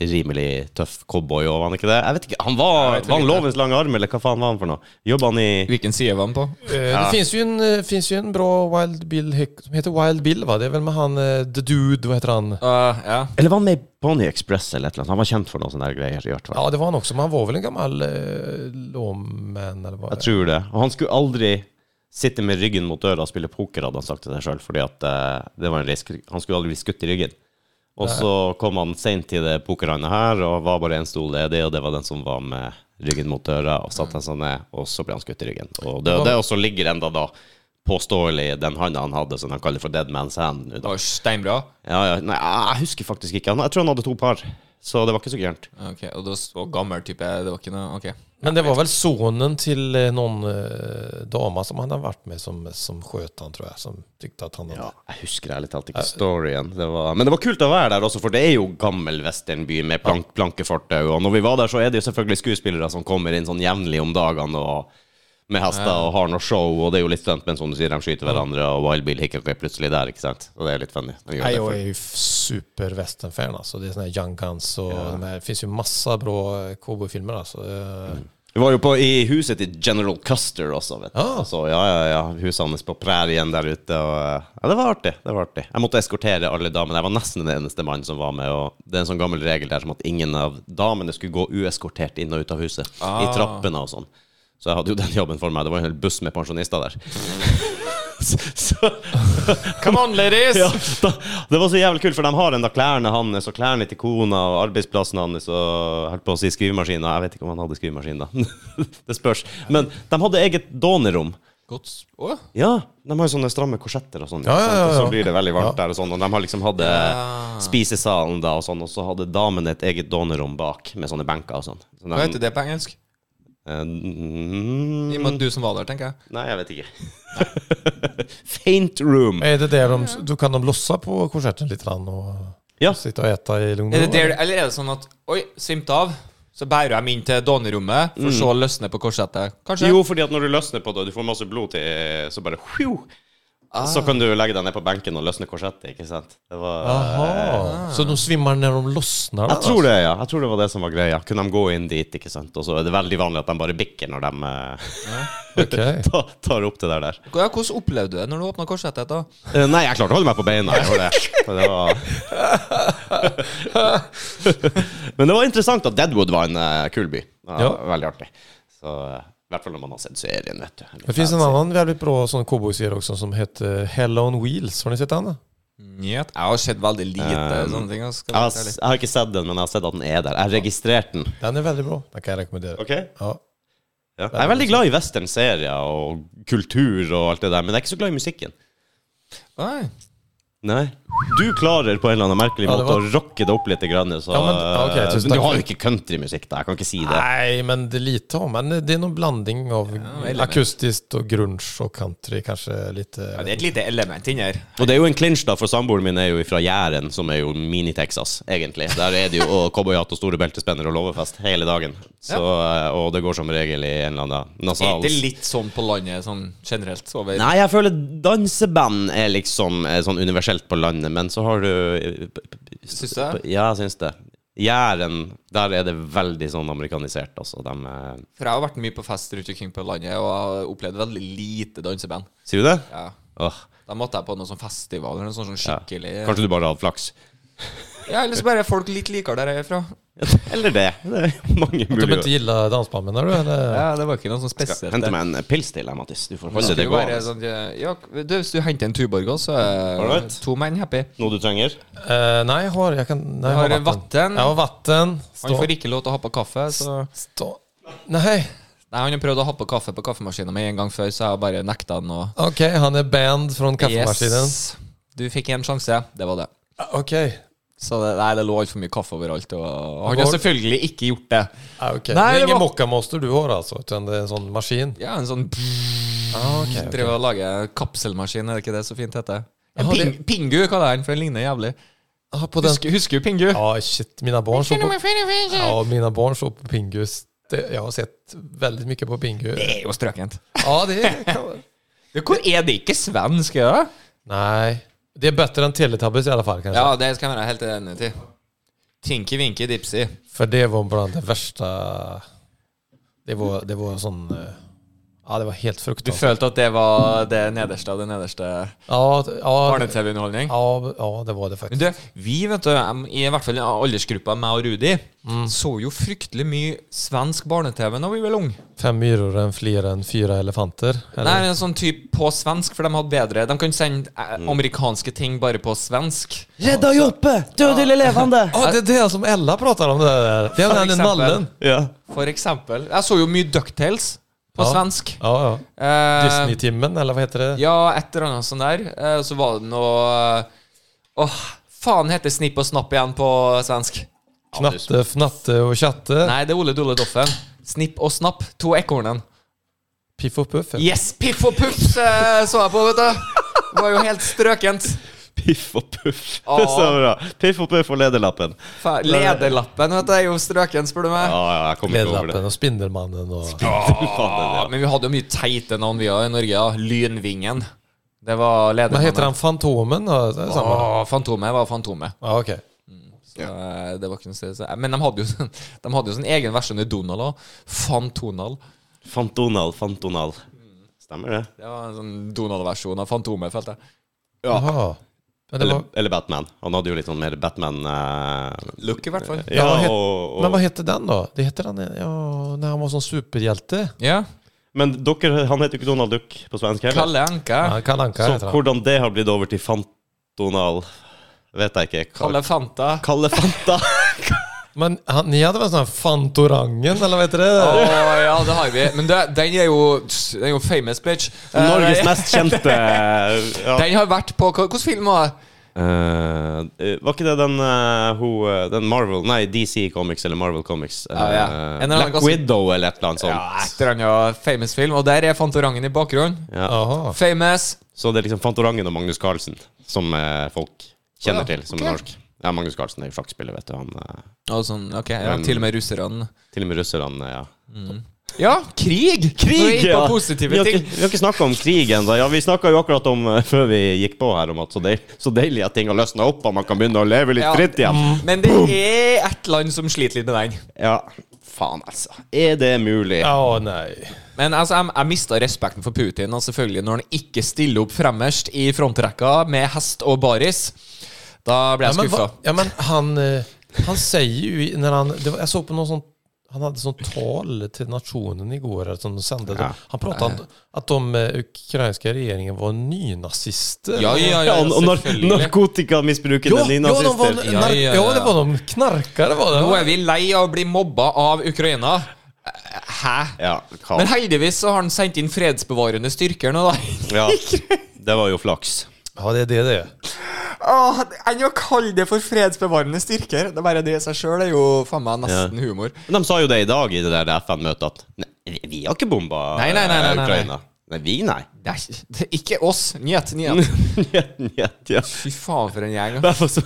S1: rimelig tøff cowboy, og var han ikke det? Jeg vet ikke, han var,
S2: Jeg vet
S1: var han
S2: ikke.
S1: lovens lange arm, eller hva faen var han for noe? Jobba han i
S2: Hvilken side var den på?
S3: Eh, Det finns ju, en, eh, finns ju en bra Wild Bill Hick- som heter Wild Bill va? Det är väl med han eh, The Dude, vad heter han?
S2: Uh, ja.
S1: Eller var han med i Bonnie Express eller et eller annet? Han var kjent for noen sånne der greier. i hvert fall.
S3: Ja det var han också, men han var väl en gammal eh, låmän eller vad
S1: Jeg tror det. Og han skulle aldri sitte med ryggen mot døra og spille poker, hadde han sagt til seg sjøl, fordi at eh, det var en risk. Han skulle aldri bli skutt i ryggen. Og så kom han seint til det pokerlandet her, og var bare én stol ledig, og det var den som var med ryggen mot døra og satte seg ned, og så ble han skutt i ryggen. Og det, det også ligger enda da påståelig den handa han hadde, som de kaller for dead man's hand. nå
S2: Det
S1: Da.
S2: var steinbra.
S1: Ja, ja. Nei, jeg husker faktisk ikke. Han- Jeg tror han hadde to par, så det var ikke så gærent.
S2: Ok, Og det var så gammel type Det var ikke noe Ok.
S3: Men det var väl sonen till eh, någon eh, dama som han hade varit med som, som sköt han tror jag. Som tyckte att han hade...
S1: Ja, jeg husker ærlig talt ikke storyen. Det var, men det var kult å være der også, for det er jo gammel westernby med plank, plankefortau. Og når vi var der, så er det jo selvfølgelig skuespillere som kommer inn sånn jevnlig om dagene og med hester og har noe show, og det er jo litt stunt, men som du sier, de skyter hverandre, og Wild Bill Hickok er plutselig der, ikke sant? Og det er litt funny. De gjør
S3: Nej,
S1: det
S3: jag
S1: for-
S3: är ju supervästernfan alltså. Det är såna här Young Guns och de här, det finns ju massa bra eh, cowboyfilmer alltså. Eh,
S1: Vi var jo på, i huset til General Custer også, vet du.
S3: Ah.
S1: Så ja, ja, ja, huset hans på prærien der ute. Og, eh, ja, det var artig. det var artig. Jeg måtte eskortere alle damene. Jeg var nesten den eneste mannen som var med. Og det er en sånn gammel regel der som at ingen av damene skulle gå ueskortert inn og ut av huset. I trappene og sånn. Så jeg hadde jo den jobben for meg. Det var en hel buss med pensjonister der. *laughs* så, så
S2: Come on,
S3: *laughs*
S2: ladies!
S1: ja, da, det var så jævlig kult, for de har enda klærne hans og klærne til kona og arbeidsplassen hans og jeg holdt på å si skrivemaskinen. Jeg vet ikke om han hadde skrivemaskin, da. *laughs* det spørs. Men de hadde eget donerom.
S2: Godt s- Å?
S1: Ja, de har jo sånne stramme korsetter og sånn.
S3: Ja, ja, ja,
S1: ikke sant? Og
S3: ja.
S1: Så blir det veldig varmt der og sånn. Og de har liksom hadde spisesalen da og sånn, og så hadde damene et eget donerom bak med sånne benker og sånn. Så Eh,
S2: Hva heter det på engelsk? I og med
S1: Mm,
S2: at du som var der, tenker jeg.
S1: nei, jeg vet ikke. *laughs* Faint room.
S3: Är det där de, då kan de lossa på korsetten lite grann och
S1: Ja.
S3: sitta och äta i lugn och
S2: Er det
S3: ro,
S2: der,
S3: eller?
S2: eller er det sånn at Oi, svimte av. Så bærer jeg meg inn til donerommet, for så å løsne på korsettet. Kanskje?
S1: Jo, fordi at når du løsner på det, du får masse blod til Så bare whew, Så kan du legge deg ned på benken og løsne korsettet, ikke sant? Det var
S3: Ah. Jaha, så de svimmar när de lossnar?
S1: Jeg tror det, ja. Jeg tror det var det som var greia. Kunne de gå inn dit, ikke sant? Og så er det veldig vanlig at de bare bikker når de eh, *laughs*
S3: Okej.
S1: ta- tar opp det der der.
S2: Ja, hvordan opplevde du det når du åpna korsettet? da?
S1: Eh, Nei, jeg klarte å holde meg på beina. Jeg gjorde det. Så det
S3: *laughs*
S1: var... Men det var interessant at Deadwood var en eh, kul by. Ja,
S3: Ja.
S1: Veldig artig. Så eh, i hvert fall når man har sett serien, vet du.
S3: Det finns en annan väldigt bra sån cowboyserie också som heter eh, Hell on Wheels. Har ni sett den?
S2: Njet. Jeg har sett veldig lite sånne ting. Um, Jeg skal
S1: Jeg har,
S2: være helt ærlig.
S1: s- jeg har ikke sett den, men jeg har sett at den er der. Jeg har registrert den.
S3: Den är väldigt bra. Den kan jag rekommendera.
S1: Ok?
S3: Ja.
S1: Ja. Jeg er veldig glad i westernserier og kultur og alt det der, men jeg er ikke så glad i musikken.
S2: Nei.
S1: Nei. Du klarer på en eller annen merkelig
S3: Ja, det
S1: måte
S3: var-
S1: å rocke det opp litt, grann, så eh,
S3: Ja, men- ja, ok,
S1: men
S3: tusen takk.
S1: Du har jo ikke countrymusikk, da. Jeg kan ikke si det.
S3: Nej, men det är lite om. Men det är någon blandning av
S2: element.
S3: akustiskt och grunge och country eh, kanske lite.
S2: Ja, det er et lite element inni her.
S1: Og det er jo en clinch, da, for samboeren min er jo fra Jæren, som er jo mini-Texas, egentlig. Der er det jo og cowboyhatt og store beltespenner og låvefest hele dagen. Så, eh, Og det går som regel i en eller annen
S2: Er
S1: nasal
S2: det litt sånn på landet sånn generelt? Over
S1: Nei, jeg føler danseband er liksom eh, sånn universelt på landet, men så har du eh,
S2: Syns du det?
S1: Ja, jeg syns det. Jæren, der er det veldig sånn amerikanisert, altså. De, eh,
S2: For jeg har vært mye på fest rundt omkring på landet og har opplevd veldig lite danseband.
S1: sier du det?
S2: Ja.
S1: Åh,
S2: Da måtte jeg på noen sånn festival eller noe sånn sånn
S1: ja.
S2: skikkelig
S1: Kanskje du bare hadde
S2: *laughs*
S1: flaks?
S2: Ja, ellers bare er folk litt likere der jeg er fra.
S1: Eller det. Det er mange
S3: Att de inte
S1: muligheter.
S3: gillar dansband menar du? Eller?
S2: Ja, det var ikke noe sånn spesielt.
S1: Hente meg en eh, pils til, jeg, Mattis. Du får
S2: Det
S1: holde
S2: skulle
S1: det
S2: jo være
S1: gående.
S2: sånn, ja, du, hvis du henter en tuborg også, så er
S1: Alright.
S2: to menn happy.
S1: Noe du trenger?
S3: Eh, nej, jag har, jag kan, nej, jag
S2: Har du
S3: har
S2: vatten?
S3: Jag har vatten. Stå,
S2: Han får ikke lov til å ha på kaffe, så
S3: stå. Nej,
S2: Nei, han har prøvd å ha på kaffe på kaffemaskinen med en gang før, så jeg har bare nekta han å
S3: okej, han är banned från kaffemaskinen.
S2: Yes. Du fikk en sjanse, det var det.
S3: Okej.
S2: Så det, nei, det lå altfor mye kaffe overalt, og han har
S3: Hvor-
S2: selvfølgelig ikke gjort det.
S3: Ah, okej.
S2: Nej,
S3: det
S2: det
S3: är ingen
S2: var-
S3: mockamaster du har alltså, utan det är en sån maskin.
S2: Ja, en sånn
S3: Ah, okej, okej.
S2: Driver og lager kapselmaskin, er det ikke det så fint heter? En
S3: Jaha,
S2: ping,
S3: det-
S2: pingu, hva det er den, for den ligner jævlig.
S3: Ah, på den.
S2: Husker, husker du pingu?
S3: Ja, shit, mina barn såg på, ja, mina barn såg på Pingus. Det, jag har sett väldigt mycket på Pingu.
S2: Det er jo strøkent.
S3: Ja, det är...
S2: Det- Hvor er det ikke svensk, er det?
S3: Nej. Det är bättre än Teletubbies i alla fall kanske.
S2: Ja, det skal jeg være helt enig til. Tinky Winky Dipsy.
S3: För det var bland det värsta... Det var, det var en sån... eh, Ja, det var helt
S2: Du
S3: fruktansvärt.
S2: følte at det var det nederste av det nederste
S3: Ja, t- ja, d-
S2: barne-TV-underholdning?
S3: ja, ja, det var det
S2: Men
S3: faktiskt.
S2: du, vi, vet du, em, i hvert fall i aldersgruppa meg og Rudi,
S3: Mm.
S2: så jo fryktelig mye svensk barne-TV da vi var unge.
S3: Fem myror än fler än fyra elefanter. Eller?
S2: Nei, en sånn type på svensk, for de hadde bedre De kan sende eh, amerikanske ting bare på svensk.
S4: Rädda Joppe! Död eller levande!
S3: Ja, det är det som Ella pratar om det där. Det är den
S2: exempel.
S3: nallen.
S1: Ja.
S2: For eksempel. Jeg så jo mye Ducktails på
S3: Ja.
S2: svensk.
S3: Ja, ja.
S2: Eh,
S3: Disney-timmen, eller vad heter det?
S2: ja, et eller annet sånn der. Eh, så var det noe eh, Åh, faen heter Snipp og Snapp igjen på svensk?
S3: Knatte, fnatte och tjatte.
S2: Nei, det er Ole Dole Doffen. Snipp og Snapp, to ekornen.
S3: Piff och puff.
S2: Yes, Piff og Puff eh, så jeg på, vet du. Det var jo helt strøkent.
S1: Piff og puff.
S2: Ah.
S1: Det er *laughs* så bra. Piff og puff og lederlappen.
S2: Fa- Lederlappen, vet du, er jo strøken, spør du
S1: Ja,
S2: meg.
S1: ja, jeg kommer ikke over det. *laughs*
S3: Lederlappen och Spindelmannen och...
S2: Ja, men vi hadde jo mye teite navn vi òg i Norge. Ja. Lynvingen. Det var
S3: Vad
S2: ledermannen.
S3: heter han? Fantomen? Ja, det är samma.
S2: Åh, Fantomet var Fantomet.
S3: Ja, okej.
S2: Så, eh, det var ikke noe sted. så- Men de hadde jo sånn, de hadde jo sånn egen versjon i Donald òg. Fantonald.
S1: Fantonal, Fantonal. Stemmer det?
S2: Det var en sånn Donald-versjon av Fantomet, følte jeg.
S3: Jaha. Men, det
S1: Eller,
S3: var,
S1: eller Batman. Han hadde jo litt sånn mer Batman eh,
S2: Look, i hvert fall.
S1: Ja,
S3: hva het-
S1: og,
S3: men
S1: og
S3: vad hette den då? Det hette den, ja, när han var sånn som superhjälte.
S2: Ja.
S1: Men dere, han heter jo ikke Donald Duck på svensk heller.
S2: Kalle Anka.
S3: Ja, Kalle Anka
S1: Så
S3: heter han.
S1: hvordan det har blitt over til Fantonal, vet jeg ikke. Ka-
S2: Kalle Fanta.
S1: Kalle Fanta.
S3: Men han, ni hade väl sån här sånn Fantorangen, eller vad heter det?
S2: Å ja, det har vi. Men det, den er jo Den er jo famous, bitch. Eh,
S1: Norges mest kjente eh, ja.
S2: Den har vært på Hvilken film var det?
S1: Eh, Var ikke det den eh, ho- eh, Den Marvel Nei, DC Comics eller Marvel Comics. eh,
S2: Ah, Ja, ja. En eller annen
S1: Black
S2: ganske-
S1: Widow eller et eller annet
S2: Ja, et
S1: sånt.
S2: eller annet famous film. Og der er Fantorangen i bakgrunnen.
S1: Ja.
S3: Jaha.
S2: Famous.
S1: Så det er liksom Fantorangen og Magnus Carlsen som eh, folk kjenner
S2: Å ja,
S1: til som
S2: ok.
S1: er norsk. Ja, Magnus Carlsen er jo sjakkspiller, vet du. Han, eh,
S2: Og sånn, ok, ja, Til og med russerne.
S1: til og med russerne, ja.
S2: Ja, krig! Krig! Når vi gikk på
S1: Ja. vi
S2: positive
S1: har
S2: ting.
S1: ikke, vi har ikke snakka om krig ennå. Ja, vi snakka jo akkurat om eh, før vi gikk på her, om at så, deil, så deilig at ting har løsna opp, og man kan begynne å leve litt
S2: Ja.
S1: fritt igjen.
S2: Men det er ett land som sliter litt med den.
S1: Ja, faen altså. Er det mulig?
S3: Ja, nej.
S2: Men altså, jeg, jeg mista respekten for Putin, og selvfølgelig når han ikke stiller opp fremmest i frontrekka med hest og baris. Da ble jeg
S3: men,
S2: skuffa.
S3: va- ja, men han, eh, han säger ju i- när han, det var, jag såg på någon sån, han hade sånt tal till nationen igår eller som de sände.
S1: Ja.
S3: Han pratade om att de eh, ukrainska regeringen var nynazister.
S2: Ja, ja, ja,
S1: Ja, og nar
S2: selvfølgelig.
S1: narkotikamisbrukende
S3: ja, ja, de var,
S1: nynazister.
S2: Ja,
S3: nar-
S2: ja,
S3: ja,
S2: ja.
S3: det var de knarkare var det.
S2: Nå er vi lei av å bli mobba av Ukraina. Hæ?
S1: Ja, hva?
S2: Men heldigvis så har han sendt inn fredsbevarende styrker nå, da.
S1: Ja, det var jo flaks.
S3: Ja, det är det det är.
S2: Åh, Enn å kalle det for fredsbevarende styrker, det er bare det i seg sjøl er jo faen meg nesten humor.
S1: Men de sa jo det i dag i det der FN-møtet at nei, vi- vi har ikke bomba
S2: Nei, nei, nei, nei,
S1: eh,
S2: nei, nei.
S1: Ukraina. Nei, vi,
S2: *laughs*
S1: nei.
S2: Det er, ikke- det er ikke oss. Njet,
S1: Mm.
S2: njet.
S1: Njet, njet, ja.
S2: Fy faen, for en gjeng. da.
S1: Derfor så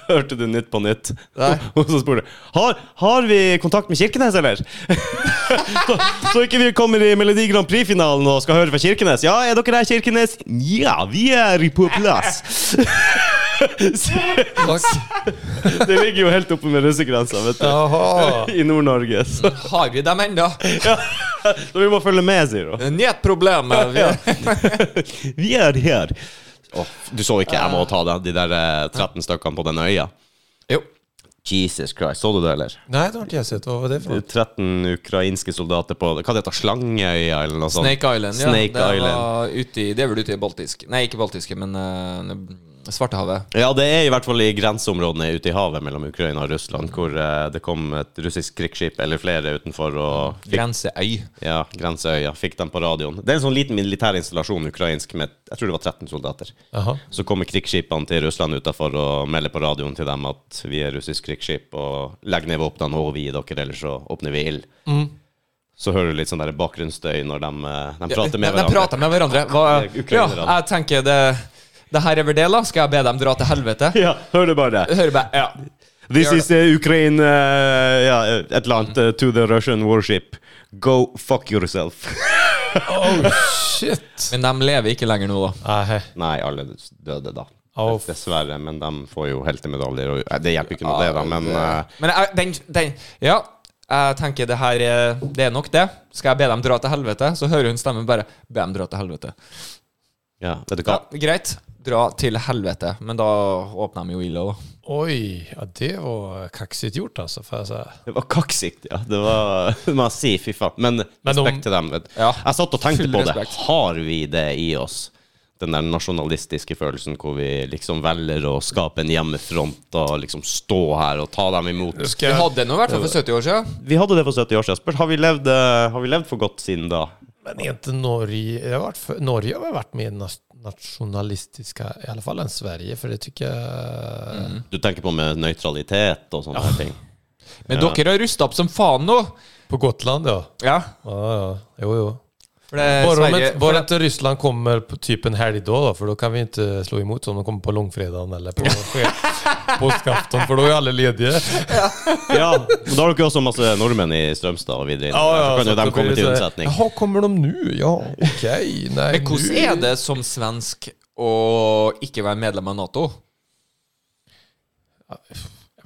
S1: *laughs* hørte du Nytt på Nytt.
S2: Nei.
S1: *laughs* Og så spurte jeg har, har vi kontakt med Kirkenes, eller? *laughs* så, så ikke vi kommer i Melodi Grand Prix-finalen og skal høre fra Kirkenes. Ja, er dere der, Kirkenes? Ja, vi er på plass. Så- det ligger jo helt oppe med russegrensa, vet du.
S3: Jaha.
S1: *laughs* I Nord-Norge. Så,
S2: Har vi dem ennå?
S1: så vi må følge med, sier hun.
S2: Njet-problemet. Vi- *laughs*
S1: Vi er her. Åh, du så ikke jeg må ta den, de der eh, 13 stykkene på den øya?
S2: Jo.
S1: Jesus Christ, så du det, eller?
S3: Nej, det har inte jag sett. Vad var det för
S1: Det
S3: något?
S1: er 13 ukrainske soldater på Hva det heter Slangeøya, eller noe sånt?
S2: Snake Island, ja.
S1: Snake
S2: det, var
S1: Island.
S2: Ute i, det er vel ute i Baltisk Nei, ikke Baltiske, men eh, Svartehavet.
S1: Ja, det er i hvert fall i grenseområdene ute i havet mellom Ukraina og Russland, hvor eh, det kom et russisk krigsskip eller flere utenfor og fikk,
S2: Grenseøy.
S1: ja, grenseøya. Fikk dem på radioen. Det er en sånn liten militær installasjon ukrainsk med jeg tror det var 13 soldater.
S3: Jaha.
S1: Så kommer krigsskipene til Russland utenfor og melder på radioen til dem at vi er russisk krigsskip, og legg ned våpnene og vi dere, ellers så åpner vi ild.
S2: Mm.
S1: Så hører du litt sånn der bakgrunnsstøy når de, eh, de prater med
S2: de, de
S1: hverandre.
S2: prater med hverandre. Hva,
S1: Det er
S2: ja,
S1: ukrainerne.
S2: jeg tenker det Det her er vel det, da. Skal jeg be dem dra til helvete?
S1: *laughs* Ja, hør det bare.
S2: Hører bare ja.
S1: This
S2: Gjør
S1: is the Ukraine uh, ja, et eller annet uh, to the Russian warship. Go fuck yourself.
S3: Oh shit.
S2: Men de lever ikke lenger nå, da.
S3: Nej.
S1: Nei, alle døde da.
S3: Au.
S1: Dessverre, men de får jo heltemedaljer. Og, eh, det hjelper ikke noe, det, da. Men eh,
S2: Men jeg- den, den Ja, Jeg tenker det her er, det er nok det. Skal jeg be dem dra til helvete? Så hører hun stemmen bare Be dem dra til helvete.
S1: Ja, vet du hva?
S2: Ja, greit. Dra til helvete. Men da åpner de jo ille òg.
S3: Oj, ja, det var kaxigt gjort altså, alltså. För så här.
S1: Det var kaksikt, ja. Det var *laughs* Man sier fy faen. Men
S3: Men om-
S1: respekt til dem. Vet. du.
S2: Ja.
S1: Jeg satt og tenkte
S2: Full
S1: på det.
S2: respekt.
S1: Har vi det i oss? Den der nasjonalistiske følelsen hvor vi liksom velger å skape en hjemmefront og liksom stå her og ta dem imot.
S3: Ska
S2: Vi
S3: jag,
S2: hadde nå i hvert fall for 70 år siden.
S1: Vi hadde det for 70 år siden. Spørs, har vi levd, eh, har vi levd for godt siden da?
S3: men är inte Norge, jag har varit för, Norge har väl varit mer nas- nationalistiska, i alla fall än Sverige, för det tycker jag...
S2: Mm.
S1: Du tenker på med nøytralitet og sånne her ting.
S2: Men dere har rusta opp som faen nå.
S3: På Gotland ja.
S2: Ja.
S3: Ja, ja. Jo, jo.
S2: For det er
S3: Bara, om
S2: Eh, Sverige
S3: inte,
S2: for
S3: bara
S2: det,
S3: inte Ryssland kommer på typ en helg då, då, för då kan vi inte slå emot om de kommer på långfredagen
S2: *laughs*
S3: eller på påskafton, för då är alla lediga.
S1: Ja, men da har dere også masse nordmenn i Strømstad og videre. inn. så kan
S3: så
S1: jo de
S3: att då blir
S1: komme
S3: det
S1: til
S3: så här,
S1: unnsetning.
S3: Jaha, kommer de nu? Ja, okej. Nej,
S2: Men hvordan
S3: nu-
S2: er det som svensk å ikke være medlem av Nato?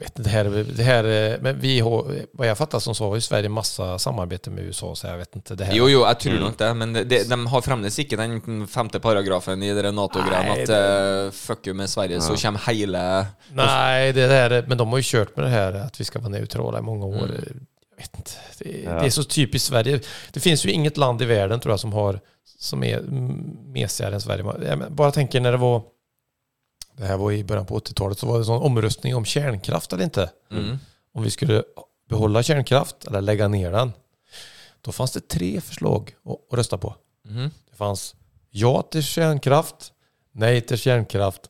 S3: Jag vet inte, det här, det här, eh, men vi har, vad jag fattar som så har ju Sverige massa samarbete med USA, så jag vet inte. Det här,
S2: Jo, jo, jeg tror
S1: Mm.
S2: nok det, men det, de har fremdeles ikke den femte paragrafen i dere Nato-greia
S3: Nei,
S2: at eh, fuck you med Sverige, så kommer hele
S3: nej, det här, men de har ju kört med det här att vi ska vara neutrala i många år. Jag vet inte. Det, det är så typiskt Sverige. Det finns ju inget land i världen tror jag som har som är mm, mesigare än Sverige. Jag men- bara tänker när det var, det här var i början på 80-talet, så var det en sån omröstning om kärnkraft eller inte.
S2: mm.
S3: om vi skulle behålla kärnkraft eller lägga ner den. Då fanns det tre förslag att, att rösta på.
S1: Mm.
S2: Mhm.
S3: Det fanns ja till kärnkraft, nej till kärnkraft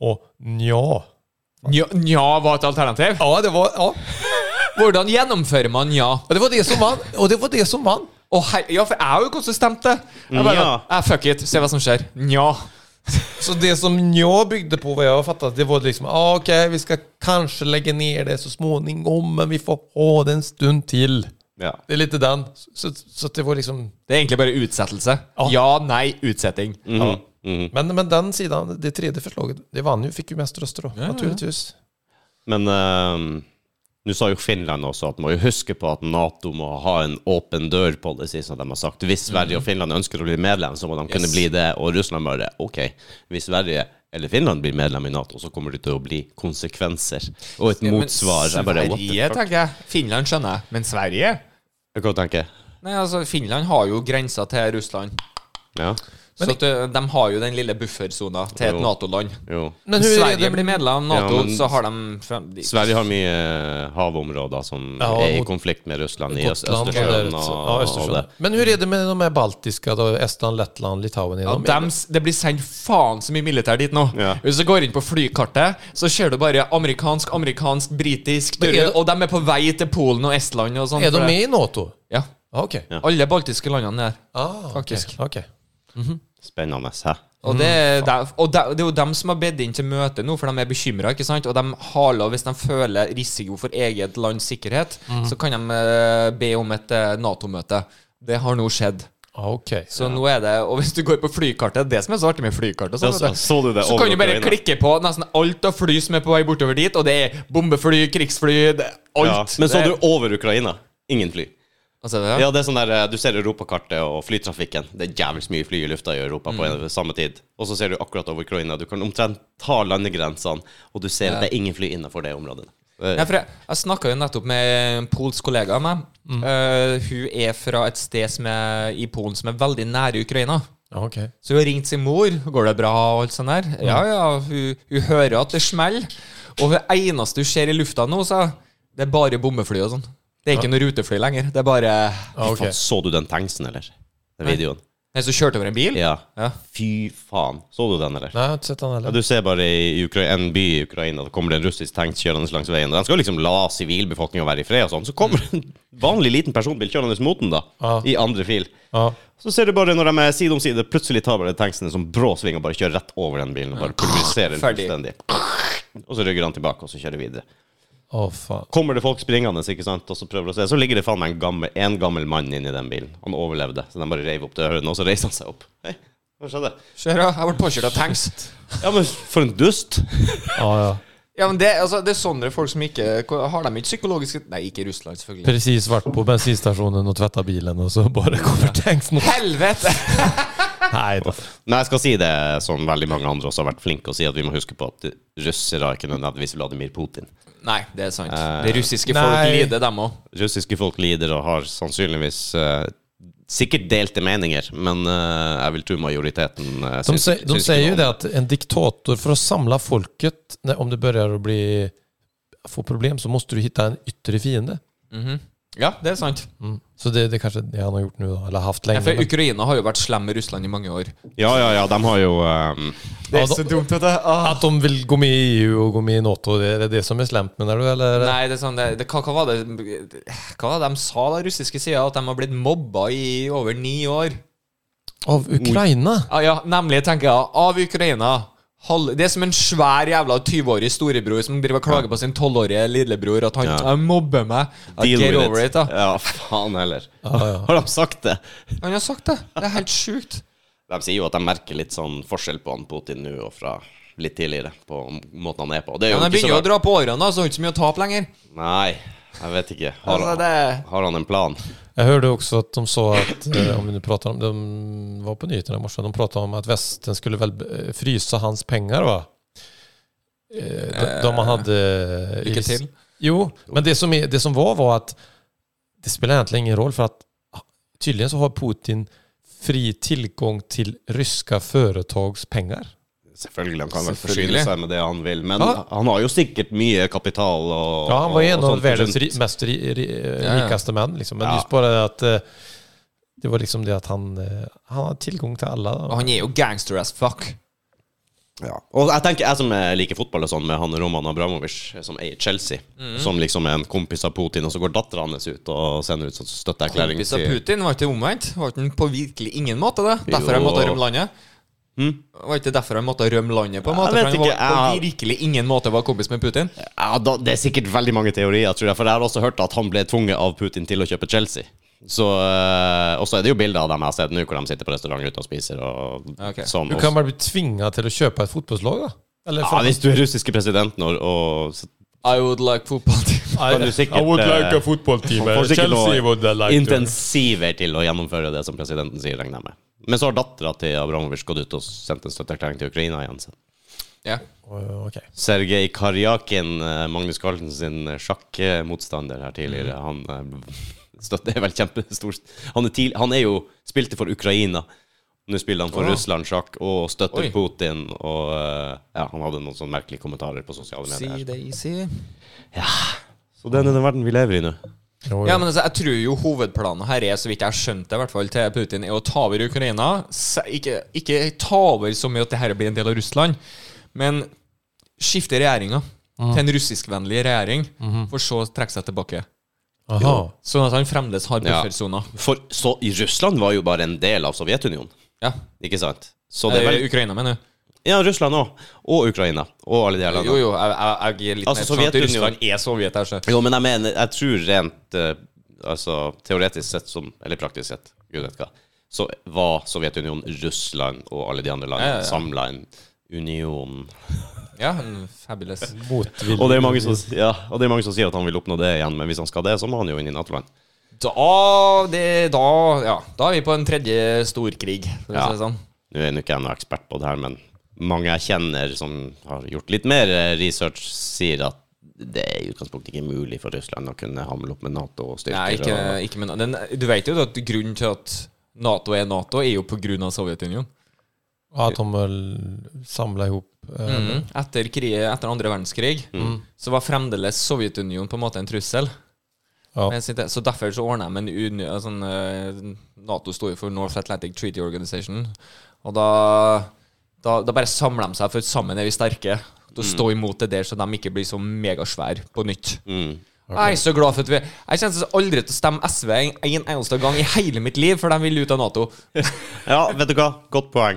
S3: och nja.
S2: Nja, nja var et alternativ?
S3: Ja, det var, ja.
S2: Hvordan gjennomfører man nja?
S3: Och det var det som vann. Och det var det som vann.
S2: Å, hei- ja, for jeg har jo konsistent det. Jeg bare,
S1: Nja.
S2: eh, fuck it, se hva som skjer. Nja.
S3: Så det som jag byggde på vad jag har fattat, det var liksom, ah, okej, vi ska kanske lägga ner det så småningom, men vi får ha det en stund till.
S1: Ja.
S3: Det är lite den. Så, så att det var liksom,
S2: Det er egentlig bare utsettelse.
S3: Ja.
S2: Ja, nei, utsetting.
S1: Mhm. Mhm.
S3: men, men den sidan, det tredje förslaget, det vann ju, fick ju mest röster då, naturligtvis.
S1: Men eh, nå sa jo Finland også at man må jo huske på at Nato må ha en åpen dør-policy, som de har sagt.
S2: Mhm.
S1: Hvis Sverige og Finland ønsker å bli medlem, så må de kunne bli det, og Russland bare OK. Hvis Sverige eller Finland blir medlem i Nato, så kommer det til å bli konsekvenser og et motsvar. Jeg bare, what the
S2: Sverige,
S1: fuck?
S2: tenker jeg. Finland skjønner jeg. Men Sverige?
S1: Jeg kan tenke.
S2: Nei, altså, Finland har jo grensa til Russland.
S1: Ja.
S2: Så at, eh, de har jo den lille buffersona til et
S1: Jo.
S2: Nato-land.
S1: Jo.
S3: Men hur är
S2: Sverige
S3: det
S2: blir medlem av Nato,
S1: Ja, men-
S2: så har de frem... de-
S1: Sverige har mye eh, havområder som
S3: Ja,
S1: er i
S3: mot-
S1: konflikt med Russland, i Øst-
S3: Gotland och
S1: Østersjøen og,
S3: ja,
S1: og det.
S3: Östersjön. Men hur är det med de här baltiska då? Estland, Lettland, Litauen? Är
S2: Ja,
S3: de med?
S2: dem, det blir sendt faen så mye militær dit nå.
S1: Ja.
S2: Hvis du går inn på flykartet, så ser du bare amerikansk, amerikansk, britisk
S3: Men er det-
S2: Og de er på vei til Polen og Estland og sånn.
S3: Är
S2: for
S3: de
S2: det-
S3: med i NATO?
S2: Ja.
S3: Ja, okej.
S1: Ja.
S2: Alle baltiske landene der.
S3: Ah,
S2: Faktiskt.
S3: okej, okej.
S1: Spennende, hæ?
S2: Og, det,
S1: Mm,
S2: er de, og de, det er jo dem som har bedt inn til møte nå, for de er bekymra. Og de haler, hvis de føler risiko for eget lands sikkerhet,
S1: Mm.
S2: så kan de eh, be om et eh, Nato-møte. Det har nå skjedd.
S3: Ah, okej.
S2: Så nå er det, og hvis du går på flykartet Det som er så artig med flykartet
S1: Da
S2: så,
S1: så- så du det
S2: så
S1: over
S2: kan du bare
S1: Ukraina.
S2: klikke på nesten alt av fly som er på vei bortover dit Og det er bombefly, krigsfly, det, alt
S1: Ja. Men så
S2: Det-
S1: du over Ukraina? Ingen fly.
S2: altså, det,
S1: Ja, det er sånn der, eh, Du ser europakartet og flytrafikken. Det er jævlig mye fly i lufta i Europa på
S2: Mm.
S1: en, samme tid. Og så ser du akkurat over Ukraina. Du kan omtrent ta landegrensene, og du ser at det er ingen fly innenfor det området. Eh,
S2: Nei, for jeg, jeg snakka jo nettopp med en polsk kollega av meg.
S1: Mm.
S2: Eh, hun er fra et sted som er, i Polen som er veldig nære Ukraina.
S3: Ja, okej.
S2: Så hun har ringt sin mor. 'Går det bra?' og alt sånt der.
S1: Mm.
S2: Ja, ja, hun, hun hører at det smeller. Og det eneste hun ser i lufta nå, sa hun, det er bare bombefly og sånn. Det er ikke noe rutefly lenger. Det er bare
S3: Ah, okej.
S1: Faen, så du den tanksen, eller? Den videoen?
S2: Nei, så kjørte over en bil?
S1: Ja.
S2: Ja.
S1: Fy faen. Så du den, eller?
S3: Nej, jag har inte sett den
S1: Ja,
S3: heller.
S1: du ser bare i Ukra en by i Ukraina, da kommer det en russisk tanks kjørende langs veien. og De skal liksom la sivilbefolkninga være i fred og sånn. Så kommer en vanlig liten personbil kjørende mot den, da.
S3: Ja.
S1: I andre fil.
S3: Ja.
S1: Så ser du bare når de er side om side, plutselig tar bare tanksene som brå sving og bare kjører rett over den bilen og bare pulveriserer den
S2: Ferdig.
S1: fullstendig. Og så rygger han tilbake, og så kjører videre.
S3: Åh, fan.
S1: Kommer det folk springende, ikke sant, og så prøver å se, så ligger det faen meg en gammel, en gammel mann inni den bilen. Han overlevde, så de bare reiv opp døren, og så reiser han seg opp. Hei, hva skjedde?
S2: Kjør, ja. Jeg ble påkjørt av tanks.
S1: Ja, men for en dust!
S3: Ja, ja.
S2: *laughs* Ja, men det, altså, det er sånne folk som ikke Har de ikke psykologiske Nei, ikke i Russland, selvfølgelig.
S3: Precis varit på bensinstationen och tvättat bilen och så *laughs* bara kommer tanks
S2: *laughs*
S3: mot...
S2: Helvete!
S3: Nej då.
S1: Men jeg skal si det som veldig mange andre også har vært flinke å si, at vi må huske på at russere er ikke nødvendigvis Vladimir Putin.
S2: Nei, det er sant.
S1: Eh,
S2: det russiske folk
S3: nei.
S2: lider, dem òg.
S1: Russiske folk lider og har sannsynligvis eh, sikkert delte meninger, men eh, jeg vil tro majoriteten eh,
S3: De,
S1: syns-
S3: sä, de
S1: syns
S3: säger
S1: ikke
S3: ju
S1: noe
S3: det
S1: om
S3: att en diktator, för att samla folket, när, om det börjar att bli, få problem så måste du hitta en yttre fiende.
S2: Ja, det er sant.
S3: Mm. Så det, det är kanske det han har gjort nu då, eller haft
S2: Ja,
S3: länge.
S2: for
S3: men-
S2: Ukraina har jo vært slem med Russland i mange år.
S1: Ja, ja, ja, de har jo eh,
S3: Det er så
S2: dumt, vet du.
S3: Att de vill gå med i EU och gå med i NATO, det är det det som är slämt menar du? Eller?
S2: Nei, det er sånn, det, det, hva, hva var det Hva var det de sa, da, russiske sida? At de har blitt mobba i over ni år?
S3: Av Ukraina?
S2: Ja, ja, nemlig, tenker jeg, av Ukraina. Halv, det er som en svær jævla 20-årig storebror som driver og klager på sin 12-årige lillebror at han
S1: Ja.
S2: «Jeg mobber meg. Ja,
S1: Deal
S2: Get
S1: with
S2: over it, da.
S1: Ja, faen heller.
S3: Ja, ja.
S1: Har de sagt det?
S2: Han har sagt det. Det er helt
S1: *laughs*
S2: sjukt.
S1: De sier jo at de merker litt sånn forskjell på han Putin nå og fra litt tidligere, på måten han er på. Og Det er
S2: Ja,
S1: jo
S2: men jeg
S1: ikke så
S2: begynner jo å
S1: rart.
S2: dra på årene, da, så har ikke så mye å tape lenger.
S1: Nei, jeg vet ikke. Har,
S2: Altså,
S1: han,
S2: det
S1: har han en plan?
S3: Jag hörde också att de sa att, eh, om vi nu pratar om, de var på nyheterna i morse, de pratade om att västen skulle väl eh, frysa hans pengar va? Eh, De, de man hade... eh, i-
S2: Lykke til.
S3: Jo, men det som, är, det som var var att det spelar egentligen ingen roll för att ah, tydligen så har Putin fri tillgång till ryska företags pengar.
S1: Selvfølgelig, han kan vel forsyne
S2: Selvfølgelig.
S1: seg med det han vil, men
S3: Ja.
S1: han har jo sikkert mye kapital og
S3: Ja, han var ju
S1: og- og
S3: en av
S1: sånt
S3: världens
S1: rundt.
S3: ri, mest ri, ri,
S2: Ja, ja.
S3: rikaste män. Liksom. Men
S1: Ja.
S3: just bara det att eh, det var liksom det att han, eh, han har tillgång till alla.
S2: Og han er jo gangster as fuck.
S1: Ja. Og jeg tenker, jeg som eh, liker fotball og sånn, med han Roman Abramovic, som eier Chelsea,
S3: Mhm.
S1: som liksom er en kompis av Putin, og så går dattera hans ut og sender ut sånn støtteerklæring
S2: Kompis av Putin var ikke omvendt. Var ikke han på virkelig ingen måte det? Derfor han
S1: Jo.
S2: måtte rømme landet?
S1: Hm?
S2: Var ikke derfor han måtte rømme landet, på en
S1: Jeg
S2: måte?
S1: vet
S2: For han var
S1: ikke,
S2: på
S1: jeg-
S2: virkelig ingen måte var kompis med Putin?
S1: Ja, da, Det er sikkert veldig mange teorier, tror jeg, for jeg har også hørt at han ble tvunget av Putin til å kjøpe Chelsea. Så, eh, og så er det jo bilder av dem jeg har sett nå, hvor de sitter på restaurant ute og spiser og
S2: Ok.
S1: sånn.
S3: Hur
S1: Og-
S3: kan man bli tvingad till att köpa ett fotbollslag då? Eller
S1: ja, hvis du er russiske presidenten og, og så
S2: I would like football team.
S1: kan du sikkert eh,
S3: football
S1: Han får sikkert noe intensiver til å gjennomføre det som presidenten sier, regner jeg med. Men så har dattera til Abramovic gått ut og sendt en støtteerklæring til Ukraina igjen. så.
S2: Ja.
S1: Sergej Karjakin, eh, Magnus Carlsen sin sjakkmotstander her tidligere, han eh, støtter *laughs* er vel kjempestor han er, tidlig, han er jo spilte for Ukraina. Nå spiller han for
S2: Åh.
S1: Russland sjakk og støtter
S2: Oi.
S1: Putin. Og eh, ja, han hadde noen sånne merkelige kommentarer på sosiale medier. her.
S2: det easy.
S1: Så den er den verden vi lever i nå.
S2: Ja, men altså, jeg tror jo hovedplanen her er, så vidt jeg har skjønt det, i hvert fall til Putin, er å ta over Ukraina. Se- Ikke, ikke ta over så mye at det her blir en del av Russland, men skifte regjeringa til en russiskvennlig regjering, for så å trekke seg tilbake.
S3: Aha.
S2: Sånn at han fremdeles har
S1: Ja.
S2: buffersoner.
S1: For så, i Russland var jo bare en del av Sovjetunionen,
S2: Ja.
S1: ikke sant? Så det
S2: Eh,
S1: er vel,
S2: Ukraina, mener du?
S1: ja, Russland òg. Og Ukraina. Og alle de her
S2: Jo,
S1: landene.
S2: jo, jeg, jeg, jeg er litt
S1: Altså,
S2: mer sånn at
S1: Sovjetunionen-
S2: Russland er Sovjet her, så.
S1: Jo, men jeg mener, jeg tror rent eh, Altså teoretisk sett som Eller praktisk sett, gud vet hva, så var Sovjetunionen, Russland og alle de andre landene
S2: Ja, ja, ja.
S1: samla en union.
S2: Ja, en fabulous.
S3: Motvillig.
S1: Og det, er mange som, ja, og det er mange som sier at han vil oppnå det igjen, men hvis han skal det, så må han jo inn i Nato-land.
S2: Da, det, da, ja, da er vi på en tredje storkrig, for å
S1: Ja.
S2: si det sånn.
S1: Nå er nå ikke jeg noen ekspert på det her, men mange jeg kjenner som har gjort litt mer eh, research, sier at det er i utgangspunktet ikke mulig for Russland å kunne hamle opp med Nato og styrker.
S2: Nei, ikke,
S1: og,
S2: ikke med, den, du vet jo at grunnen til at Nato er Nato, er jo pga. Sovjetunionen.
S3: Ja, att de väl samlar ihop. eh,
S2: Etter, kriget, etter andre verdenskrig så var fremdeles Sovjetunionen på en måte en trussel.
S3: Ja.
S2: Men sitte- Så derfor så ordna de en uni, en sånn, eh, Nato står jo for North Atlantic Treaty Organization. Og da, da, da bare samler de seg, for sammen er vi sterke. Til å stå imot det der, så de ikke blir så megasvære på nytt.
S1: mm.
S2: Jeg er så glad for at vi Jeg kjenner aldri til å stemme SV en, en eneste gang i hele mitt liv, for de vil ut av Nato.
S1: Ja, vet du hva? Godt poeng.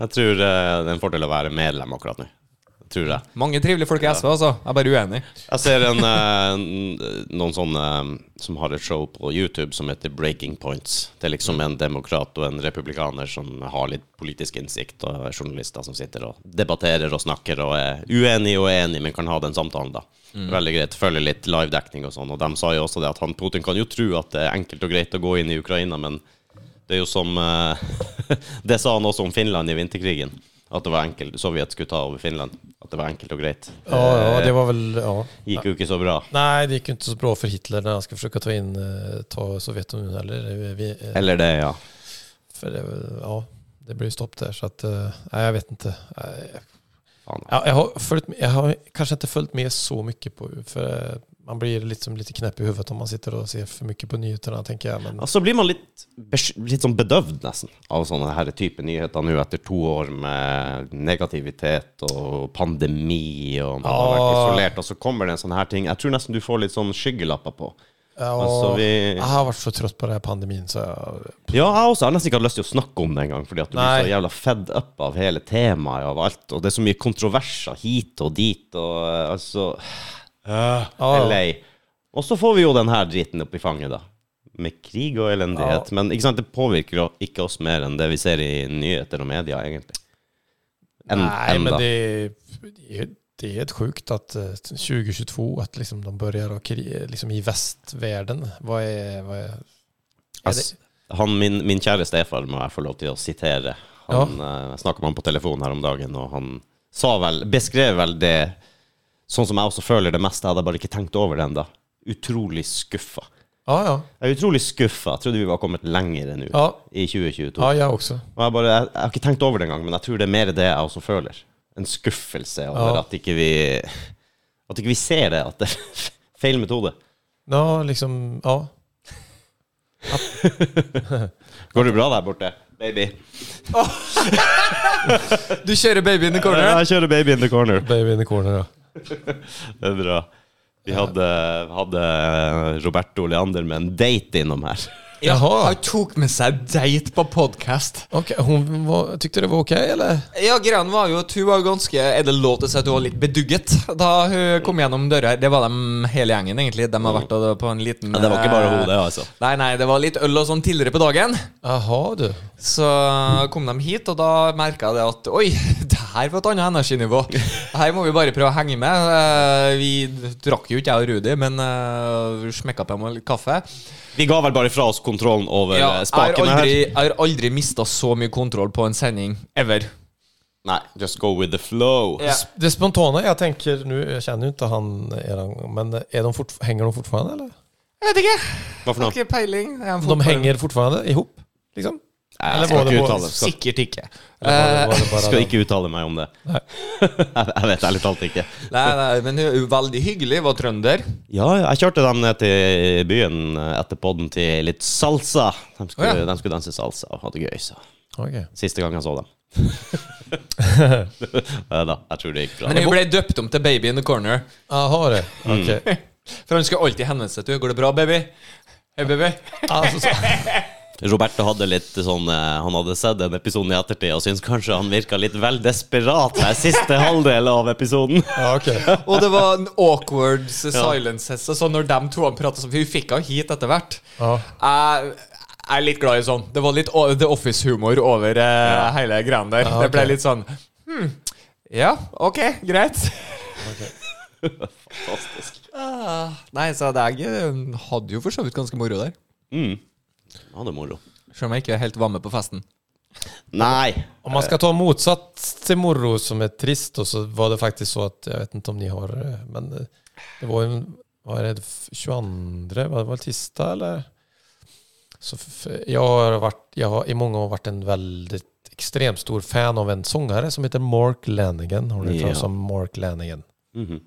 S1: Jeg tror eh, det er en fordel å være medlem akkurat nå. tror jeg.
S2: Mange trivelige folk i SV, altså. Jeg er bare uenig.
S1: Jeg ser en, eh, n- noen sånne eh, som har et show på YouTube som heter Breaking Points. Det er liksom en demokrat og en republikaner som har litt politisk innsikt, og er journalister som sitter og debatterer og snakker og er uenig og enig, men kan ha den samtalen, da. Veldig greit. Følger litt livedekning og sånn. Og de sa jo også det at han Putin kan jo tro at det er enkelt og greit å gå inn i Ukraina, men det er jo som eh, *laughs* Det sa han også om Finland i vinterkrigen. At det var enkelt, Sovjet skulle ta over Finland. At det var enkelt og greit.
S3: Ja, ja, det var väl... Ja.
S1: Gikk jo ikke så bra.
S3: Nej, det gick ju inte så bra för Hitler när han ska försöka ta in eh, ta Sovjetunionen. Eller, eh, vi, eh,
S1: Eller det, ja.
S3: för det, ja, det blir ju stopp där. Så att, eh, nej, jag vet inte. Nej,
S1: Fan.
S3: Ja, jag, har följt, med- jag har kanske inte följt med så mycket på för eh, man blir liksom lite knäpp i huvudet om man sitter och ser för mycket på nyheterna tänker jag. Men,
S1: Så blir man litt, bes- litt sånn bedøvd nesten av sånne her type nyheter nå etter to år med negativitet og pandemi og man har vært
S3: Ah.
S1: isolert, og så kommer det en sånn her ting. Jeg tror nesten du får litt sånn skyggelapper på.
S3: ja,
S1: Altså, vi-
S3: Jag har varit så trött på den här pandemin så jag,
S1: Ja, jeg også har nesten ikke hatt lyst til å snakke om det engang, fordi at du
S3: Nei.
S1: blir så jævla fed up av hele temaet og av alt, og det er så mye kontroverser hit og dit, og eh, altså
S3: ja,
S1: LA. Og så får vi jo den her driten opp i fanget, da. Med krig og elendighet.
S3: Ah.
S1: Men ikke sant, det påvirker jo ikke oss mer enn det vi ser i nyheter og media, egentlig. En,
S3: Nej,
S1: enda.
S3: men det, är- det, är- det är helt sjukt att eh, 2022 att liksom de börjar och kri- liksom i västvärlden. Vad är, vad är, är
S1: Ass- han, min, min kjære stefar må jeg få lov til å sitere. Han, eh, Jeg snakka med han på telefon her om dagen, og han sa vel, beskrev vel det sånn som jeg også føler det meste. Jeg hadde bare ikke tenkt over det ennå. Utrolig skuffa.
S3: ja, ja,
S1: Jeg er utrolig skuffa. Jeg trodde vi var kommet lenger nå
S3: ja,
S1: i 2022.
S3: ja, jag också.
S1: Og jeg, bare, jeg, jeg har ikke tenkt over det engang, men jeg tror det er mer det jeg også føler. En skuffelse over
S3: Ja.
S1: at ikke vi At ikke vi ser det. At det er feil metode.
S3: Ja, liksom, ja.
S1: Går det bra der borte, baby?
S2: *laughs* Du kjører baby in the
S1: Ja,
S2: corner.
S1: Jeg kjører baby in the corner.
S3: Baby in the corner, ja.
S1: Det er bra. Vi hadde, hadde Roberto Leander med en date innom her.
S3: Jaha,
S2: Han tok med seg date på podkast.
S3: okej. hon var, tyckte det var okej eller?
S2: Ja, greia var jo at hun var ganske Er det lov til å si at hun var litt bedugget da hun kom gjennom døra? her? Det var dem hele gjengen, egentlig. De har vært og- på en liten eh,
S1: altså.
S2: Nei, nei, det var litt øl og sånn tidligere på dagen.
S3: Jaha du.
S2: Så kom de hit, og da merka jeg det at Oi, det her var et annet energinivå. Her må vi bare prøve å henge med. Eh, Vi drakk jo ikke, jeg og Rudi, men eh, vi smekka på med litt kaffe.
S1: Vi ga vel bare fra oss kontrollen over
S2: Ja,
S1: eh,
S2: jeg har
S1: spakene
S2: aldri,
S1: her.
S2: jeg har aldri mista så mye kontroll på en sending ever.
S1: Nei, just go with the flow.
S2: Ja.
S3: Det spontana jag tänker, nu jag känner ju inte han, eran, men är de fort, hänger de fortfarande eller?
S2: Jeg vet ikke.
S1: Hva for
S2: Har
S1: noe?
S2: ikke peiling. Jeg har fått
S3: De
S2: bare-
S3: hänger fortfarande ihop? Liksom?
S1: Nei,
S3: Eller
S1: Jeg skal
S3: var det
S1: ikke
S3: på-
S1: uttale, skal,
S2: Sikkert ikke.
S3: Eller var det- var det bara
S1: skal
S3: de?
S1: ikke uttale meg om det. *laughs* Jeg jeg vet ærlig talt ikke.
S2: Eh, Nei, nei, men hun er jo veldig hyggelig. Var trønder.
S1: Ja, ja, jeg kjørte dem ned til byen eh, etter podden til litt salsa. De skulle,
S2: Å, ja.
S1: de skulle danse salsa og ha det gøy. Så.
S3: Okej.
S1: Siste gang jeg så dem. Nei da, jeg tror det gikk bra.
S2: Men hun ble døpt om til Baby in the Corner.
S3: Jaha du. Okej.
S2: For han skulle alltid henvende seg til henne. 'Går det bra, baby?' Hei, baby.
S3: Alltså, så,
S1: *laughs* Roberto hadde litt sånn eh, Han hadde sett en episode i ettertid og syntes kanskje han virka litt vel desperat den siste halvdelen av episoden.
S3: ja, okej.
S2: Og det var en awkward silences. Og så når de to han pratet sånn For hun fikk han hit etter hvert.
S3: Ja.
S2: Jeg jeg er litt glad i sånn. Det var litt o- The Office-humor over eh, hele greia der.
S3: Ja,
S2: Det ble
S3: ok.
S2: litt sånn Hm. Ja, OK, greit.
S1: Fantastisk.
S2: Ah, nei, så det jeg eh, hadde jo for så vidt ganske moro der.
S1: Mm. Ja, det er moro.
S2: Selv om jeg ikke helt var med på festen.
S1: Nei.
S3: Om man ska ta motsatt till Morro som är trist då, så var det faktiskt så att, jag vet inte om ni har eh, men eh, det var en, vad är det, f- 22, var det var det tisdag eller? Så f- jag har varit, jag har i många år varit en väldigt extremt stor fan av en sångare som heter Mark Lanigan. Har ni hört talas
S1: Ja.
S3: om Mark Lanigan?
S1: Mhm.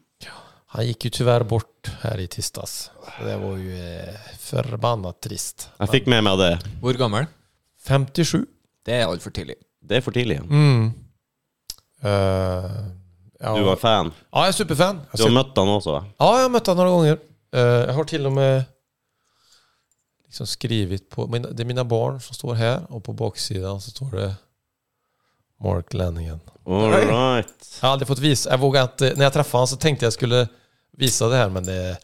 S3: Han gick ju tyvärr bort här i tisdags. Det var ju eh, förbannat trist.
S1: Jeg fikk med meg det.
S2: Hvor gammel?
S3: 57.
S2: Det er altfor tidlig.
S1: Det er for tidlig. igjen.
S3: Mm. Eh, ja.
S1: Du var fan.
S3: Ja, jeg er superfan. Jeg
S1: Du har
S3: ser...
S1: møtt han også.
S3: Ja, jeg har møtt han noen ganger. Eh, jeg har til og med liksom skrivet på mina, Det er mine barn som står her, og på baksiden så står det Mark Lanningen.
S1: All right.
S3: Jag har aldrig fått visa. Jag vågar inte. När jag träffade honom så tänkte jag skulle visa det här men det...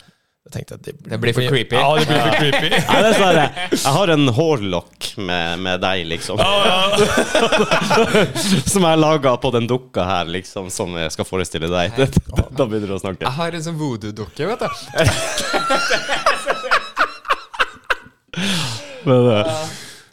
S3: Jag tänkte att det,
S2: Det blir för creepy.
S3: Ja, det blir för creepy.
S1: Nei, det er sånn her, jeg har en hårlokk med, med deg, liksom. *laughs* som jeg laga på den dukka her, liksom, som jeg skal forestille deg. *laughs* da begynner du å snakke.
S2: Jeg har en sånn voodoo-dukke, vet du.
S1: Men, eh,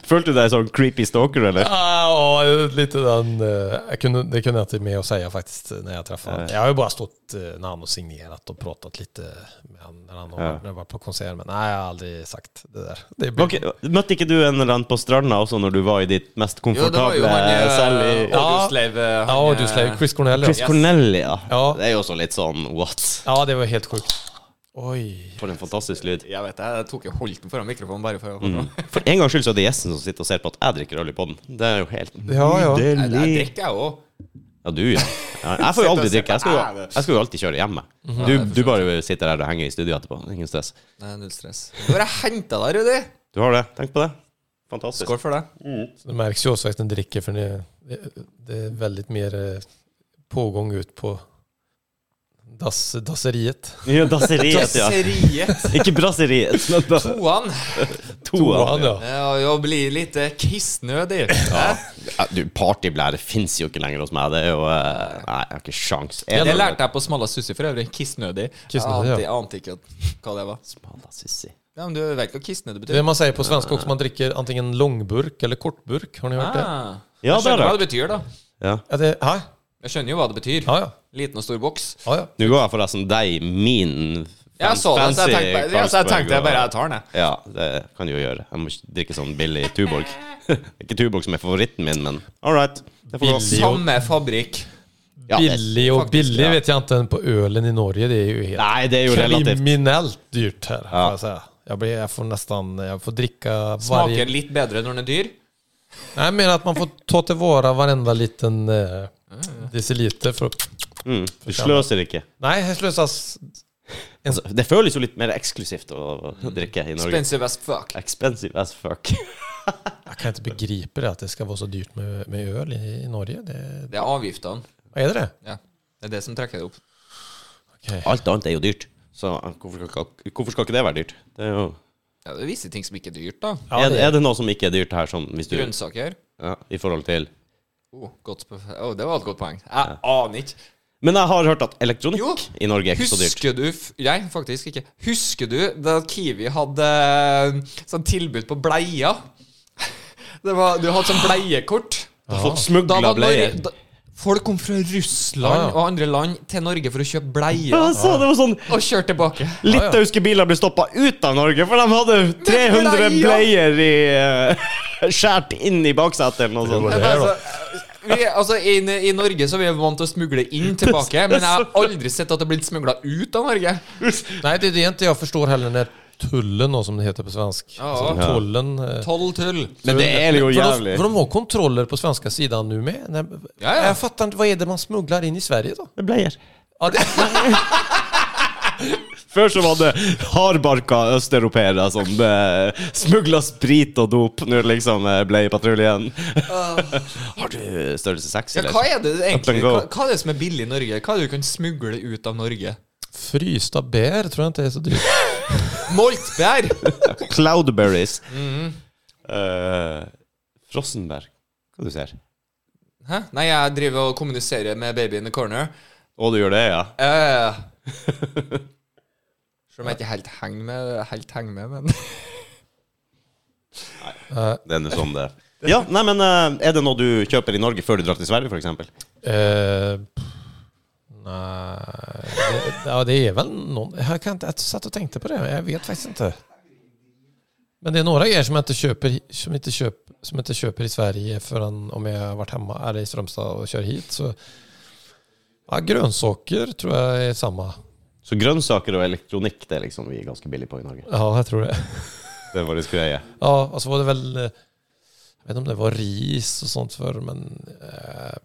S1: følte du deg sånn creepy stalker, eller?
S3: Ja, ja, lite den... eh, Jag kunde, det kunde jag inte med att säga faktiskt när jag träffade honom. Jag har ju bara stått eh, när han har signerat och pratat lite eh, med honom när han har
S1: Ja.
S3: när jag var på konsert. Men nej, jag har aldrig sagt det där. Det blir,
S1: Ok, Møtte ikke du en eller annen på stranda også når du var i ditt mest komfortable
S2: eh,
S1: selv i
S3: eh, Ja.
S2: Audusleiv.
S3: Ja, du
S2: eh,
S3: släpper Chris Cornell.
S1: Chris
S3: Ja.
S1: Cornelia.
S3: Ja.
S1: Det er jo også litt sånn what?
S3: ja, det var helt sjukt. Oj.
S1: For en fantastisk lyd. Mm.
S2: Jeg vet det, jeg tok jo holten foran mikrofonen bare for å
S3: Mm.
S1: For en gangs skyld så er det gjesten som sitter og ser på at jeg drikker øl i podden. Det er jo helt
S3: Ja, ja.
S2: Jeg, jeg
S1: nydelig.
S2: drikker, jeg òg.
S1: Ja, du, ja. ja. Jeg får jo alltid drikke. Jeg skal jo, jeg skal jo alltid kjøre hjemme.
S2: Mhm.
S1: Du, du bare sitter der og henger i studio etterpå. Ingen stress.
S2: Nei, null stress. Du har henta deg, Rudi.
S1: Du har det. Tenk på det. Fantastisk.
S2: Skål for det.
S3: Det märks ju också att den dricker för det, det, det är väldigt mer eh, pågång ut på dass, dasseriet.
S1: Ja, dasseriet, ja.
S2: Tasseriet.
S1: Ikke brasseriet. men da-
S2: Toan.
S1: Toa.
S3: Johan, ja.
S2: Ja, jeg blir litt eh, kissnødig.
S1: Ja, Du, partyblære fins jo ikke lenger hos meg. Det er jo eh, Nei, jeg har ikke sjans. Er
S2: Det lærte jeg på Smalla Sussi for øvrig. Kissnødig.
S3: Kissnødig,
S2: jeg
S3: ja.
S2: ante, jeg ante ikke at- hva det var.
S1: Smala sissi.
S2: Ja, men Du vet hva kissnødig
S3: Det
S2: betyr?
S3: man säger på svenska också, man dricker antingen långburk eller kortburk. Har ni hört det?
S2: Ah.
S1: Ja,
S2: Jeg
S1: det er
S2: skjønner hva
S1: det.
S2: det betyr, da.
S1: Ja.
S3: Ja, det ja,
S2: Jeg skjønner jo hva det betyr.
S3: ja, ja,
S2: Liten og stor boks.
S3: ja, ja.
S1: Nå går jeg forresten deg min
S2: Jeg så den, så jeg
S1: fancy
S2: tenkte, ja, så jeg, tenkte jeg
S1: Carlsberg,
S2: bare
S1: og-
S2: jeg tar den, jeg.
S1: Ja, det kan du jo gjøre. Jeg må ikke drikke sånn billig Tuborg. *laughs* ikke Tuborg som er favoritten min, men all right. Det får gå.
S3: Billig.
S2: Samme fabrikk.
S1: Ja, det-
S3: Billig och
S1: faktisk,
S3: billig
S1: ja.
S3: vet jag inte, på ölen i Norge det är ju helt
S1: Nei, det er jo relativt.
S3: kriminellt dyrt här. får
S1: Ja.
S3: Jag, säga. Jag, blir, jag får nästan, jag får dricka varje...
S2: Smaker litt bedre når den er dyr.
S3: Nej, jag menar att man får ta tillvara varenda liten eh, deciliter för att...
S1: Mm, du sløser ikke.
S3: Nej, här slösas...
S1: Altså, det føles jo litt mer eksklusivt å drikke i Norge.
S2: Expensive as fuck.
S1: Expensive as fuck.
S3: Jag kan inte begripa det, att det ska vara så dyrt med, med öl i, i Norge. Det,
S2: Det er avgiftene.
S3: är det det?
S2: Ja. Det er det som trekker det opp.
S3: Okej.
S1: *laughs* Alt annet er jo dyrt. Så hvorfor skal, hvorfor skal ikke det være dyrt? Det er, jo,
S2: Ja, det er visse ting som ikke er dyrt, da.
S3: Ja,
S1: er,
S3: det,
S1: er det noe som ikke er dyrt her, sånn hvis du
S2: Grønnsaker.
S1: ja, I forhold til
S2: Oh, godt, sp- oh, det var et godt poeng. Jeg aner ikke.
S1: Men jeg har hørt at elektronikk
S2: Jo.
S1: i Norge er ikke så dyrt. *laughs*
S2: Husker du f- Nei, faktisk ikke. Husker du da Kiwi hadde sånn tilbud på bleier? *laughs* Det var, du hadde sånn bleiekort.
S1: Du har fått
S2: Da
S1: smugla
S2: var
S1: bleier. Ah,
S2: Norge, da, folk kom fra Russland
S3: Ja, ja.
S2: og andre land til Norge for å kjøpe
S1: Ja,
S2: bleier.
S1: jeg så det var sånn
S2: Og kjøre tilbake.
S1: Litauiske biler ble stoppa ut av Norge, for de hadde 300
S2: bleier!
S1: bleier i eh, *laughs* skjært inn i baksetet eller noe sånt.
S3: det är då.
S2: Altså, vi, altså, i, I Norge så er vi vant til å smugle
S1: *laughs*
S2: inn tilbake, men jeg har aldri sett at det er blitt smugla ut av Norge.
S3: Nej, det är det inte jag förstår heller när tullen då, som det heter på svensk.
S2: Ja.
S3: Alltså, tullen... eh,
S2: Tolv tull.
S1: Men det er jo
S3: För de,
S1: jævlig.
S3: för de har kontroller på svenska sidan nu med. Nej,
S2: Ja, ja.
S3: Jag fattar inte, vad är det man smugglar in i Sverige då?
S1: Bleier.
S3: Ja, det,
S1: Før så var det hardbarka østeuropeere som eh, smugla sprit og dop. Nå er det liksom eh, bleiepatruljen. *laughs* Har du størrelse seks,
S2: Ah. Ja, hva
S1: eller?
S2: er det
S1: Up
S2: egentlig?
S1: and go.
S2: Hva, hva er det som er billig i Norge? Hva er det du kan smugle ut av Norge?
S3: frysta bär tror jag inte är så dyrt.
S2: Moltbær! *laughs*
S1: Cloudberries.
S2: Mhm.
S1: Eh, frossenbær. Hva du ser
S2: Hæ? Nei, jeg driver og kommuniserer med baby in the corner.
S1: Å, du gjør det, ja?
S2: Eh, Selv om jeg ikke helt henger med, helt henger med men
S1: Det er nå sånn det er. Ja, nei, men eh, Er det noe du kjøper i Norge før du drar til Sverige, f.eks.?
S3: Eh, pff, nej, det, ja, det är väl någon. Jag, kan inte, jag satt och tänkte på det, jag vet faktiskt inte. Men det är några grejer som jag inte köper, som inte köp, som jag inte köper i Sverige förrän om jag har varit hemma eller i Strömstad och kör hit. Så, ja, grönsaker tror jag är samma.
S1: Så grønnsaker og elektronikk det er liksom vi er ganske billige på i Norge.
S3: Ja, jag tror det.
S1: Det er vår greie.
S3: Ja, och så var det väl, eh, jag vet inte om det var ris och sånt förr, men eh,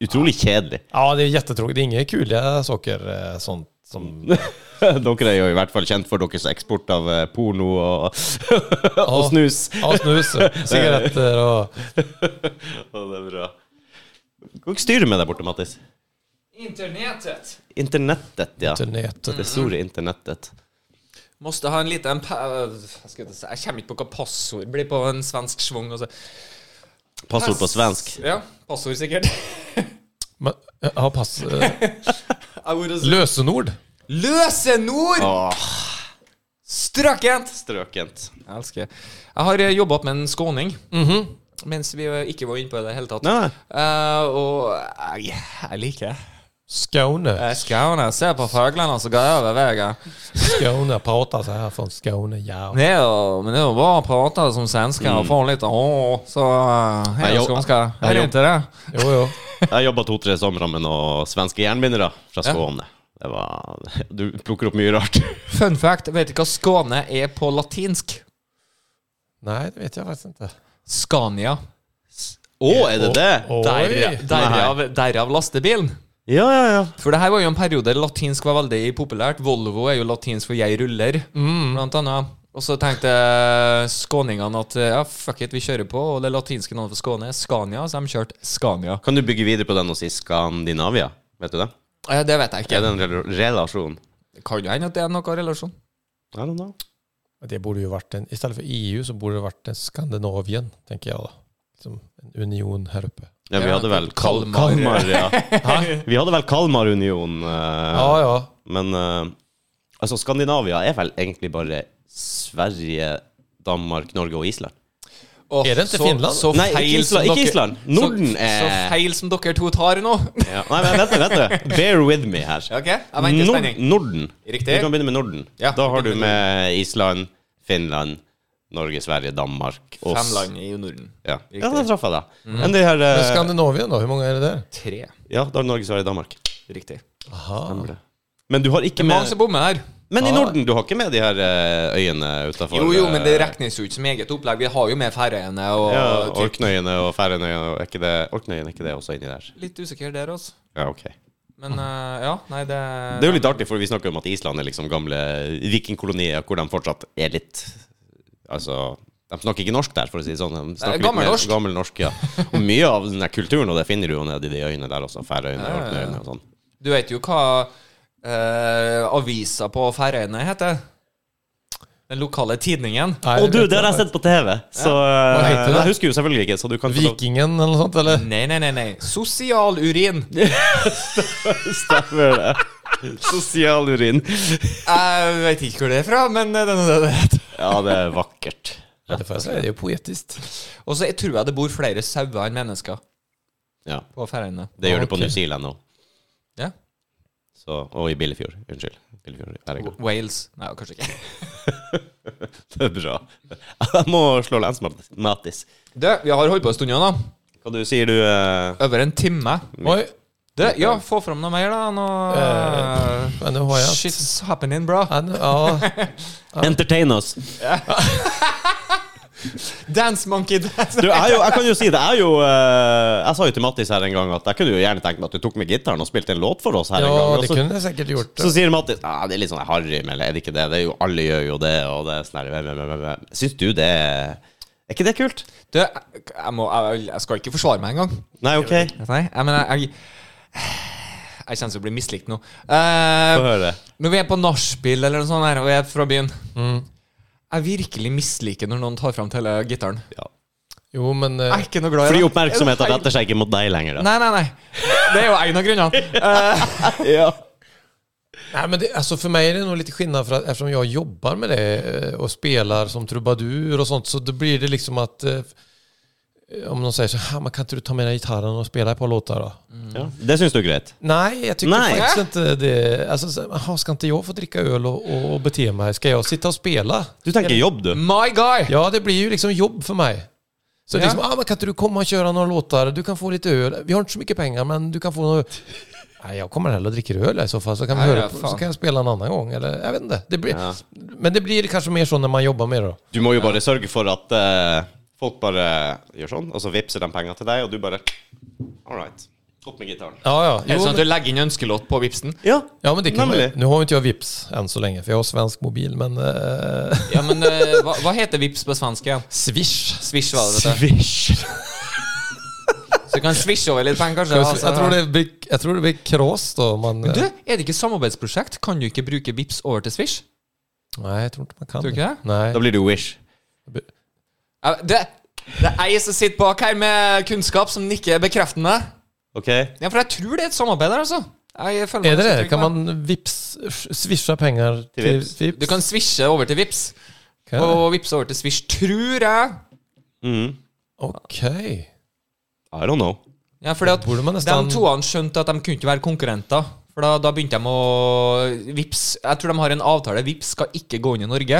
S1: Utrolig kjedelig.
S3: ja, det är jättetråkigt. Det är inga kuliga saker, eh, sånt som
S1: *laughs* Dere er jo i hvert fall kjent for deres eksport av eh, porno og, og snus.
S3: Ja, snus, sigaretter och...
S1: Ja, det er bra. Hva styrer med der borte, Mattis?
S2: Internetet.
S1: Internettet, ja.
S3: Til nätet.
S1: Det store internettet.
S2: Måste ha en liten pa- Jeg skal ikke si- jeg kommer ikke på hva passord blir på en svensk schwung. og så-
S1: Passord på svensk.
S2: Ja, passord sikkert. *laughs*
S3: Men, ja, pass. eh,
S2: Jeg burde si-
S3: Lösenord.
S2: Løsenord!
S1: Åh,
S2: Strøkent!
S1: strøkent.
S2: Jeg elsker Jeg har jobba med en skåning.
S3: Mhm.
S2: Mens vi eh, ikke var inne på det i det hele tatt.
S1: Nei, nei.
S2: Eh, og jeg, jeg liker det.
S3: Skåne.
S2: Jeg skåner, ser på fuglene som går over veien.
S3: Skåne pratar så här från Skåne. Ja.
S2: Det er jo, men det er jo bare å prate som svenske og få litt ååå, så eh,
S1: Mm. Jeg
S2: Her er
S1: jobb-
S2: skånska. Her er
S1: jeg
S2: ikke det.
S3: Jo, jo.
S1: Jeg jobba to-tre somre med noen svenske jernbindere fra Skåne. Det var, du plukker opp mye rart.
S2: Fun fact, vet du hva Skåne er på latinsk?
S3: Nej, det vet jag faktiskt inte.
S2: Scania.
S1: Å, er det det?
S3: Oi.
S2: Derav, derav lastebilen.
S1: Ja, ja, ja.
S2: For det her var jo en periode latinsk var veldig populært. Volvo er jo latinsk for 'jeg ruller', blant annet. Og så tenkte skåningene at ja, fuck it, vi kjører på. Og det latinske navnet for Skåne er Scania, så de kjørte Scania.
S1: Kan du bygge videre på den og si Skandinavia? Vet du det?
S2: Eh, Det vet jeg
S1: Er
S2: ikke.
S1: det en rel- relasjon?
S2: Det kan jo hende at det er noe relasjon.
S1: I don't know.
S3: Det borde ju varit en, istället för EU E så borde det varit en Skandinavien, tänker jag. Då. Som en union här uppe.
S1: Ja, vi
S2: Ja,
S1: hadde vel Kal
S2: Kalmar.
S1: Kalmar,
S2: *laughs*
S1: ja. Vi hadde vel Kalmarunion, uh,
S3: Ja, ja.
S1: men eh, altså Skandinavia er vel egentlig bare Sverige, Danmark, Norge og Island.
S2: Åh,
S3: Er det ikke
S2: så-
S3: Finland?
S2: Så
S1: Nei,
S2: feil
S1: ikke Island.
S2: som
S1: Ikke
S2: dere-
S1: Island. Norden
S2: så, så
S1: er
S2: feil som dere to tar nå. *laughs*
S1: ja. Nei, men vent, vent, vent. Bear with me her.
S2: ok, jeg venter i
S1: Nord-
S2: spenning.
S1: Norden.
S2: Riktig.
S1: Du kan begynne med Norden.
S2: Ja,
S1: da har
S2: vi
S1: du
S2: begynner
S1: med Island, Finland, Norge, Sverige, Danmark og
S2: Fem land i Norden.
S1: Ja, ja
S2: Riktig. Mm.
S1: det traff jeg, da. Men de her
S3: Men
S1: eh,
S3: Skandinavien då, hur många är det där?
S2: Tre.
S1: Ja, da har du Norge, Sverige, Danmark.
S2: Riktig.
S3: Aha.
S1: Men du har ikke
S2: Mange
S1: med
S2: som bommer her.
S1: Men i Norden, du har ikke med de her eh, øyene utafor
S2: Jo, jo, men det regnes jo ikke som eget opplegg. Vi har jo med Færøyene og
S1: eh, ja,
S2: typ-
S1: Orknøyene og Færøyene og er ikke det Orknøyene er ikke det også inni der?
S2: Litt usikker der, altså.
S1: Ja, ok.
S2: Men eh, ja, nei, det
S1: Det er jo litt artig, for vi snakker jo om at Island er liksom gamle vikingkolonier, hvor de fortsatt er litt Altså de snakker ikke norsk der, for å si det sånn. De snakker litt mer-
S2: gammelnorsk.
S1: Gammelnorsk, ja. Og mye av den der kulturen, og det finner du jo nede i de øyene der også. Færøyene,
S2: Ja, ja, ja.
S1: Orknøyene og sånn.
S2: Du vet jo hva eh, avisa på Færøyene heter? Den lokale tidningen.
S3: Nej, det vet jag inte.
S1: sett på TV, så eh,
S3: Hva heter det?
S1: Jeg husker jo selvfølgelig ikke, så du kan
S3: Vikingen eller något sånt eller?
S2: Nei, nei, nei. nei Sosial urin.
S1: Stemmer det. Sosial urin.
S2: Jeg vet ikke hvor det er fra, men det er noe det det heter.
S1: Ja, det er vakkert.
S3: Ja, det får jag säga. Det är ju poetiskt.
S2: Og så jeg tror jeg det bor flere sauer enn mennesker
S1: Ja,
S2: på Færøyene.
S1: Det gjør det på
S3: Ok.
S1: New Zealand nå.
S2: Ja.
S1: Så, og i Billefjord. Unnskyld. Billefjord. Der jeg går.
S2: Wales Nei, kanskje ikke.
S1: Det er bra. Jeg må slå lens, Mattis.
S2: Du, vi har holdt på en stund igjen, da.
S1: Hva du sier du? eh,
S2: Over en time.
S3: Oj,
S2: Du, ja, få fram noe mer, da.
S1: Eh.
S2: Noe
S3: men nu har jag...
S2: Shit's happening, bro.
S3: Ja, nu,
S1: *laughs*
S3: ja.
S1: Entertain oss.
S2: Dance monkey dance.
S1: Du, jeg, er jo, jeg kan jo si det. Jeg, er jo, eh, jeg sa jo til Mattis her en gang at jeg kunne jo gjerne tenkt meg at du tok med gitaren og spilte en låt for oss her en gang.
S3: ja,
S1: Og
S3: det
S1: så,
S3: kunde jag säkert gjort.
S1: altså. så sier Mattis ah, det er litt sånn harry, men er det ikke det? det er jo, alle gjør jo det. Og det er sånn her, men, men, men, men. Syns du det er Er ikke det kult?
S2: Du, jeg, jeg, må, jeg, jeg skal ikke forsvare meg engang.
S1: Nei, OK.
S2: Nei, jeg mener jeg, jeg kjenner å bli mislikt nå. Eh,
S1: Få høre.
S2: når vi er på nachspiel eller noe sånt, her, og jeg er fra byen Mm. Jeg virkelig misliker når noen tar fram hele gitaren.
S1: Ja.
S3: Jo, men... eh,
S2: Jeg er ikke noe glad i
S1: Fordi
S2: det.
S1: oppmerksomheten
S2: Er det feil?
S1: retter seg ikke mot deg lenger, da.
S2: Nei, nei, nei. Det er jo en av *laughs* grunnene.
S1: Ja.
S3: Nej, men det, altså, alltså för mig är det nog lite skillnad för att eftersom jag jobbar med det eh, och spelar som trubadur och sånt så då blir det liksom att eh, om någon säger så här, man kan inte du ta med dig gitarren och spela ett par låtar då?
S1: Ja. Det syns du er greit?
S3: Nej, jag tycker
S1: Nej.
S3: faktiskt inte det. Alltså, så, aha, ska inte jag få dricka öl och, och, och bete mig? Ska jag sitta och spela?
S1: Du tenker jobb, du.
S2: My guy!
S3: Ja, det blir ju liksom jobb för mig. Så
S2: Ja.
S3: liksom, ah, men kan inte du komma och köra några låtar? Du kan få lite öl. Vi har inte så mycket pengar, men du kan få några... Nej, jag kommer hellre och dricker öl i så fall, så kan, vi
S2: Nej,
S3: höra
S2: ja,
S3: på,
S2: fan.
S3: så kan jag spela en annan gång. Eller, jag vet inte. Det blir,
S1: Ja.
S3: Men det blir kanske mer så när man jobbar med det då.
S1: Du må jo bare sørge for at eh, folk bare gjør sånn, og så vippser de penger til deg, og du bare All right. Opp med gitaren.
S3: Ja, ja.
S2: Er det
S3: Jo,
S2: sånn at
S3: men,
S2: du legger inn ønskelåt på Vipsen?
S1: Ja.
S3: ja, men det kan man,
S1: Nämligen.
S3: Nu har ju inte jag Vips än så länge, för jag har svensk mobil, men... eh,
S2: Ja, men eh, hva, hva heter Vips på svensk igjen?
S3: *laughs* Swish.
S2: Swish var det, vet du.
S1: Swish.
S2: Så vi kan svisje over litt penger, kanskje.
S3: Jeg tror det blir, jeg tror det blir kras, da. om Man,
S2: Du, er det ikke samarbeidsprosjekt? Kan du ikke bruke Vips over til Swish?
S3: Nei, jeg tror ikke man kan
S2: Tror du ikke det?
S3: Nei.
S1: Da blir det jo Wish.
S2: Eh, Det, det er jeg som sitter bak her med kunnskap som nikker bekreftende.
S1: OK?
S2: Ja, for jeg tror det er et samarbeid der, altså. Jeg føler meg
S3: Er det det?
S2: ganske trygg
S3: Kan
S2: på det.
S3: man vips, svisje penger
S1: Til
S3: til
S1: Vipps?
S3: Vipps?
S2: Du kan svisje over til Vips
S3: Kan jeg det?
S2: og Vips over til Swish, tror jeg.
S1: Mhm.
S3: Ok.
S1: I don't know.
S2: Ja, fordi at
S3: Burde man nesten
S2: De toene skjønte at de kunne ikke være konkurrenter. For da, da begynte de å Vips, Jeg tror de har en avtale. Vips skal ikke gå inn i Norge.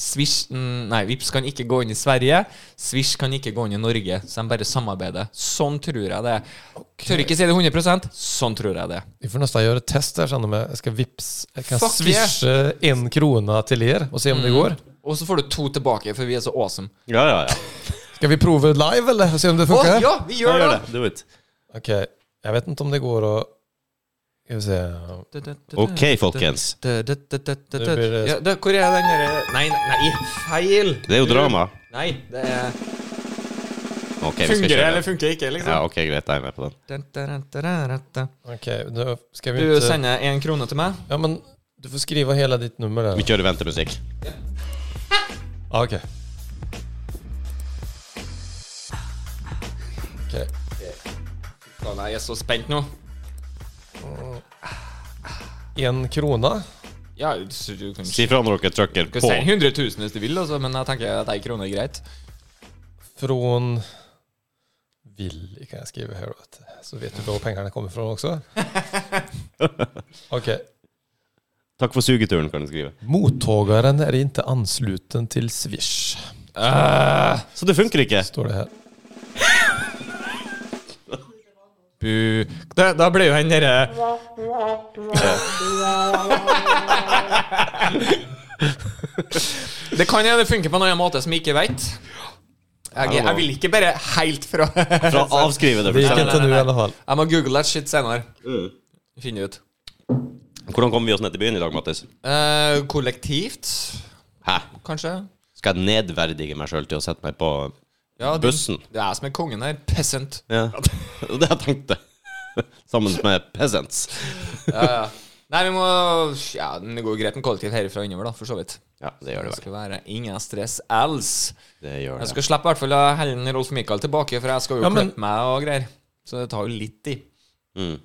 S2: Swish, mm, nei, Vips kan ikke gå inn i Sverige. Swish kan ikke gå inn i Norge. Så de bare samarbeider. Sånn tror jeg det er. Tør ikke si det 100 Sånn tror jeg det er.
S3: Vi får nesten gjøre et test. Jeg kjenner meg. Jeg skal vips Jeg kan
S2: Fuck yeah. Mm.
S3: svisje én krone til dere og se om det går.
S2: Og så får du to tilbake, for vi er så awesome.
S1: Ja, ja, ja.
S3: Skal vi prøve live, eller? Og se om det
S2: Å
S3: funker?
S2: ja, vi
S1: Jeg
S2: gjør
S1: gjør
S2: det!
S1: det. Do it.
S3: Ok, jeg vet ikke om det går å Skal vi se
S1: OK, folkens.
S3: Nå blir det-
S2: Ja, da, hvor er den derre Nei, nei, feil!
S1: Det er jo drama.
S2: Nei, det er
S1: OK, vi skal
S2: Fungerer
S1: kjøre.
S2: eller funker ikke, liksom.
S1: Ja, OK, greit. Jeg er med på den.
S2: Dun, dun, dun, dun, dun.
S3: Ok, da skal vi
S2: Du
S3: ikke
S2: sender én krone til meg.
S3: Ja, men du får skrive hele ditt nummer der.
S1: Vi kjører ventemusikk.
S3: Ah, ok. Ok.
S2: Faen, jeg er så spent nå.
S3: En krone.
S2: Ja, så du kan
S1: Si fra når dere trykker
S2: Du kan
S1: på.
S2: sende 100 000 hvis du vil, altså, men jeg tenker at ei krone er greit.
S3: Från Willy kan jeg skrive her. Vet. du. Så vet du hvor pengene kommer fra også. Ok.
S1: Takk for sugeturen, kan du skrive.
S3: Mottageren er ikke ansluten til Swish,
S1: Så det funker ikke.
S3: står det her.
S2: Bu. Da, da ble jo han derre *laughs* Det kan hende det funker på en annen måte som jeg ikke veit. Jeg, jeg vil ikke bare helt fra Jeg *laughs*
S1: Fra å avskrive det.
S3: Det
S1: for
S3: gikk
S1: eksempel.
S3: ikke nå, i alle fall.
S2: må google that shit senere.
S1: Mm.
S2: Finne ut.
S1: Hvordan kommer vi oss ned til byen i dag, Mattis?
S2: Eh, kollektivt,
S1: Hæ?
S2: kanskje?
S1: Skal jeg nedverdige meg sjøl til å sette meg på
S2: Ja, du-
S1: bussen?
S2: Det er jeg som er kongen her. Peasant.
S1: Ja. *laughs* Det var det jeg tenkte. *laughs* Sammen med peasants.
S2: Nei, vi må Ja, det går greit med kollektiv herfra og innover, da, for så vidt.
S1: Ja, det gjør
S2: Det
S1: det vel.
S2: skal være ingen stress else.
S1: Det gjør
S2: Jeg
S1: det.
S2: skal slippe i hvert fall å Helen Rolf Michael tilbake, for jeg skal jo
S3: Ja, men-
S2: klippe meg og greier. Så det tar jo litt tid.
S1: Mm.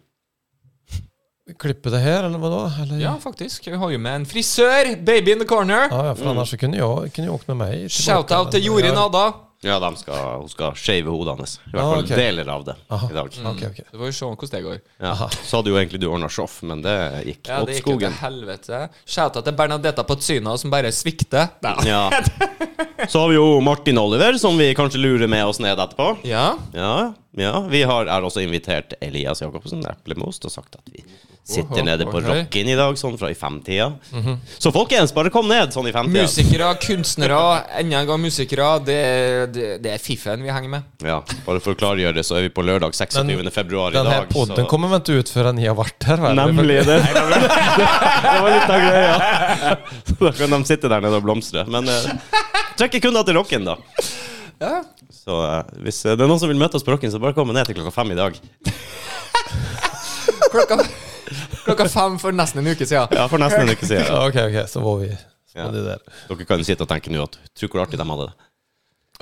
S3: Klippe det her, eller hva da? Eller?
S2: Ja, faktisk. Vi har jo med en frisør! Baby in the corner!
S3: Ah, Ja, ja, for annars så kunne jeg kunne jeg åkt med meg. tilbake,
S2: Shout-out til
S3: men
S2: Jorin
S3: jeg-
S2: Ada.
S1: Ja, de skal, hun skal shave hodet hans. I hvert
S3: Ah,
S1: fall
S3: ok.
S1: deler av det
S3: Aha.
S1: i dag.
S2: Mm.
S3: Ok, ok.
S2: Så får vi se hvordan det går.
S1: Ja. Så hadde jo egentlig du ordna sjoff, men det gikk
S2: Ja,
S1: mot
S2: det gikk jo til
S1: skogen.
S2: helvete. Shout-out til Bernadetta Pazzina, som bare svikter. *laughs*
S1: Ja. Så har vi jo Martin Oliver, som vi kanskje lurer med oss ned etterpå.
S2: Ja.
S1: Ja, ja. Vi har, er også invitert Elias Jacobsen, Eplemost, og sagt at vi sitter
S2: Oho,
S1: nede på
S2: ok.
S1: Rocken i dag, sånn fra i femtida. Så folkens, bare kom ned sånn i femtida.
S2: Musikere, kunstnere, enda en gang musikere. Det, det, det er fiffen vi henger med.
S1: Ja, bare for å klargjøre det, så er vi på lørdag 26. februar i
S3: Den her
S1: dag.
S3: podden
S1: så-
S3: kommer vel ikke ut før ni har vært her? vel?
S1: det. det *laughs* var litt av greia. Så da kan de sitte der nede og blomstre. Men eh, trekker kunder til Rocken, da.
S2: Ja.
S1: Så eh, hvis eh, det er noen som vil møte oss på Rocken, så bare kom ned til klokka fem i dag.
S2: Klokka, *laughs* klokka fem for nesten en uke siden.
S1: Ja, for nesten en uke siden.
S3: Ja, ok, ok, så var vi så
S1: Ja.
S3: var det der.
S1: Dere kan sitte og tenke nå at Tror hvor artig de hadde det.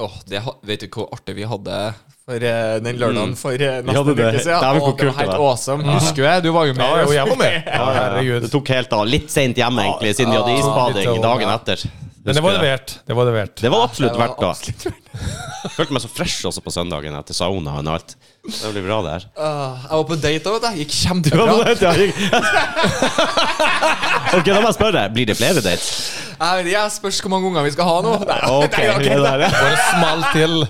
S2: Åh, det, ha- vet du hvor artig vi hadde for eh, den lørdagen for eh,
S1: Mm. Vi hadde
S2: nesten en
S1: det.
S2: uke siden?
S1: Dæven, hvor
S2: Åh, det
S1: kult
S2: var helt
S1: det var.
S2: awesome. Husker jeg, du var jo med.
S3: Ja, jo, jeg var med. Ja,
S1: Det
S3: herregud. Ah,
S1: tok helt av. Litt seint hjemme, egentlig, siden de hadde
S3: litt
S1: isbading
S3: over,
S1: dagen
S3: ja.
S1: etter.
S3: Men det var levert. Det var levert.
S1: Det var absolutt
S2: Det var
S1: verdt det. *laughs* Følte meg så fresh også på søndagen etter saunaen og alt. Det blir bra, det her.
S2: Åh, jeg var på date òg, vet du. Gikk kjempebra.
S1: *laughs* Ok, da må jeg spørre deg. Blir det flere dates?
S2: Jeg vet ikke, jeg spørs hvor mange unger vi skal ha nå. *laughs* Nei,
S1: Ok,
S2: nei, ok.
S1: det der, ja. *laughs*
S3: Bare smalt til.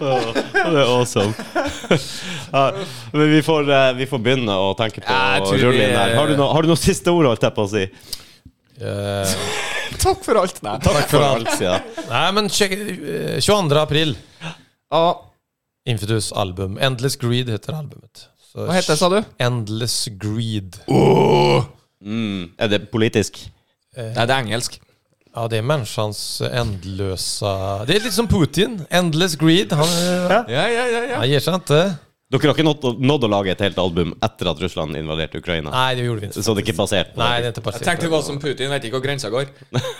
S1: Det er awesome. *laughs* Ja, men vi får, eh, vi får begynne å tenke på
S2: Ja, jeg
S1: å
S2: tror
S1: rulle
S2: vi-
S1: inn her. Har du noe, har du noe siste ord, holdt jeg på å si?
S3: Eh,
S2: *laughs* Takk for alt. Nei.
S1: Takk for alt. Ja.
S3: nei, men sjekk eh, 22. april.
S2: Åh,
S3: Infidus album. Endless Greed heter albumet. Så
S2: hva heter det, sa du?
S3: Endless Greed.
S1: Mm. Er det politisk?
S2: Nei, det er engelsk.
S3: Ja, det är människans ändlösa... Det är lite som Putin. Endless greed. Han, eh,
S2: Ja, ja, ja, ja.
S3: han ger sig inte.
S1: Dere har ikke nådd, å- nådd å lage et helt album etter at Russland invaderte Ukraina?
S3: Nej, det gjorde vi inte.
S1: Så det er ikke basert på
S3: Nej, det är inte
S2: Jeg
S3: baserat på
S2: tenkte
S3: det.
S2: det var som Putin, vet ikke hvor grensa går.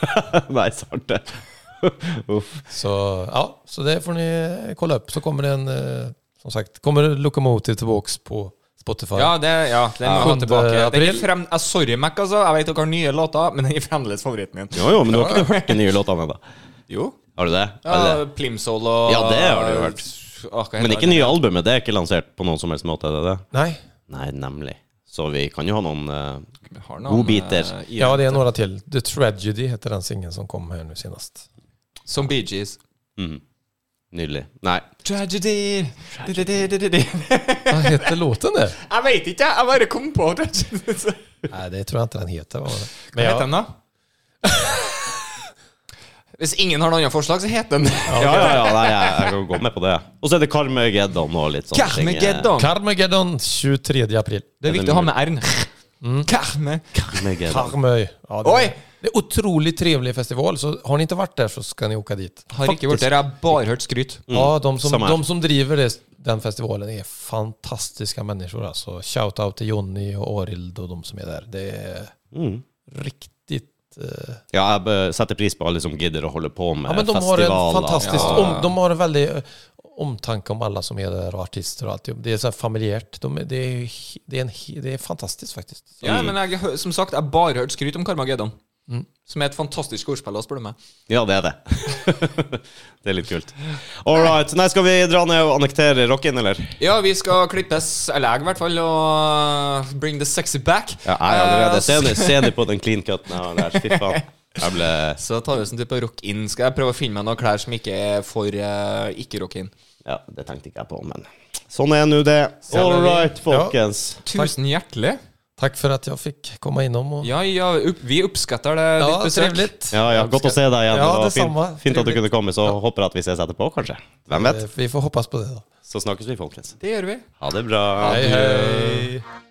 S1: *laughs* Nei, sant det. *laughs* Uff.
S3: Så, ja, så det får ni kolla upp. Så kommer det en... eh, Som sagt, kommer Locomotive tillbaks på Spotify.
S2: Ja, det, ja, den må jeg ha
S3: Sjunde
S2: tilbake. Den er
S3: april.
S2: frem, ah, sorry, Mac, altså. Jeg vet dere har nye låter, men den er fremdeles favoritten min.
S1: Jo, jo, men du har ikke hørt de nye låtene ennå?
S2: Jo.
S1: Har du det? Eller?
S2: Ja, Plimsoll og
S1: Ja, det har du hørt.
S2: Ah, hva heter
S1: Men ikke
S2: den?
S1: nye albumet. Det er ikke lansert på noen som helst måte? Er det det?
S3: Nej.
S1: Nei, nemlig. Så vi kan jo ha noen eh,
S2: Vi har noen,
S1: godbiter.
S2: eh, i-
S3: Ja, det är några till. The Tragedy heter den singeln som kom här nu senast.
S2: Som Bee Gees.
S1: mm, Nydelig. Nei.
S2: Tragedy Di-di-di-di-di-di.
S3: Vad heter låten det?
S2: Jeg vet ikke, jeg bare kom på Tragedy.
S3: Nej, det tror jag inte den heter. Vad var det?
S2: Hva heter den, da? Hvis ingen har noen andre forslag, så heter *laughs* den
S1: Ja, ja, ja. Nei, jeg, jeg kan gå med på det. Og så er det Karmøygeddon og litt sånne ting. eh.
S2: Carmageddon.
S3: Carmageddon 23 april.
S2: Det er viktig å ha med R-en. Mm. Carme.
S1: Karmøygeddon.
S3: Karmøy. Ja, det,
S2: Oi!
S3: det er otroligt trevlig festival, så har ni inte varit där så ska ni åka dit.
S2: Har ikke vært der, jeg har bare hørt skryt.
S3: Ja, de som,
S1: samma här.
S3: de som driver det, den festivalen är fantastiska människor. Alltså. Shout out till Jonny och Arild och de som är där. Det är
S1: Mm.
S3: riktigt... eh,
S1: Ja, jeg bø- setter pris på alle som gidder å holde på med
S3: ja, men de har en
S1: festivaler.
S3: fantastisk...
S2: Ja.
S3: Om, de har en väldig eh, omtanke om alla som är där och artister och alltihop. Det är så här familjärt. De, är- det, är, he- det, är en, he- det är fantastiskt faktiskt.
S2: Ja, men jeg, hø- som sagt, jeg har bare hørt skryt om Carmageddon. Som er et fantastisk ordspill, da, spør du meg.
S1: Ja, det er det. det *laughs* er litt kult. All right. Nei, skal vi dra ned og annektere rocken, eller?
S2: Ja, vi skal klippes, eller jeg i hvert fall, og bring the sexy back.
S1: Ja, jeg er allerede
S2: Eh, så-
S1: senig, senig på den clean cutten jeg har der. Fy faen. Jeg ble
S2: Så tar vi oss en tur på rock-in. Skal jeg prøve å finne meg noen klær som ikke er for eh, ikke rock-in?
S1: Ja, det tenkte ikke jeg på, men sånn er nå det. All right, folkens.
S2: Tusen hjertelig.
S3: Tack för att jag fick komma inom och...
S2: Ja, ja, opp, vi oppskatter det.
S3: Ja,
S2: ditt besøk.
S3: trevligt.
S1: Ja, ja, godt å se deg igjen.
S3: Ja,
S1: det var
S3: det
S1: fint,
S3: samme.
S1: fint at du
S3: Trivelig.
S1: kunne komme, så håper jeg at vi ses etterpå, kanskje. Hvem vet?
S3: Eh, Vi får hoppas på det då.
S1: Så snakkes vi, folkens.
S2: Det gjør vi.
S3: eh,
S1: Ha det bra.
S3: hej.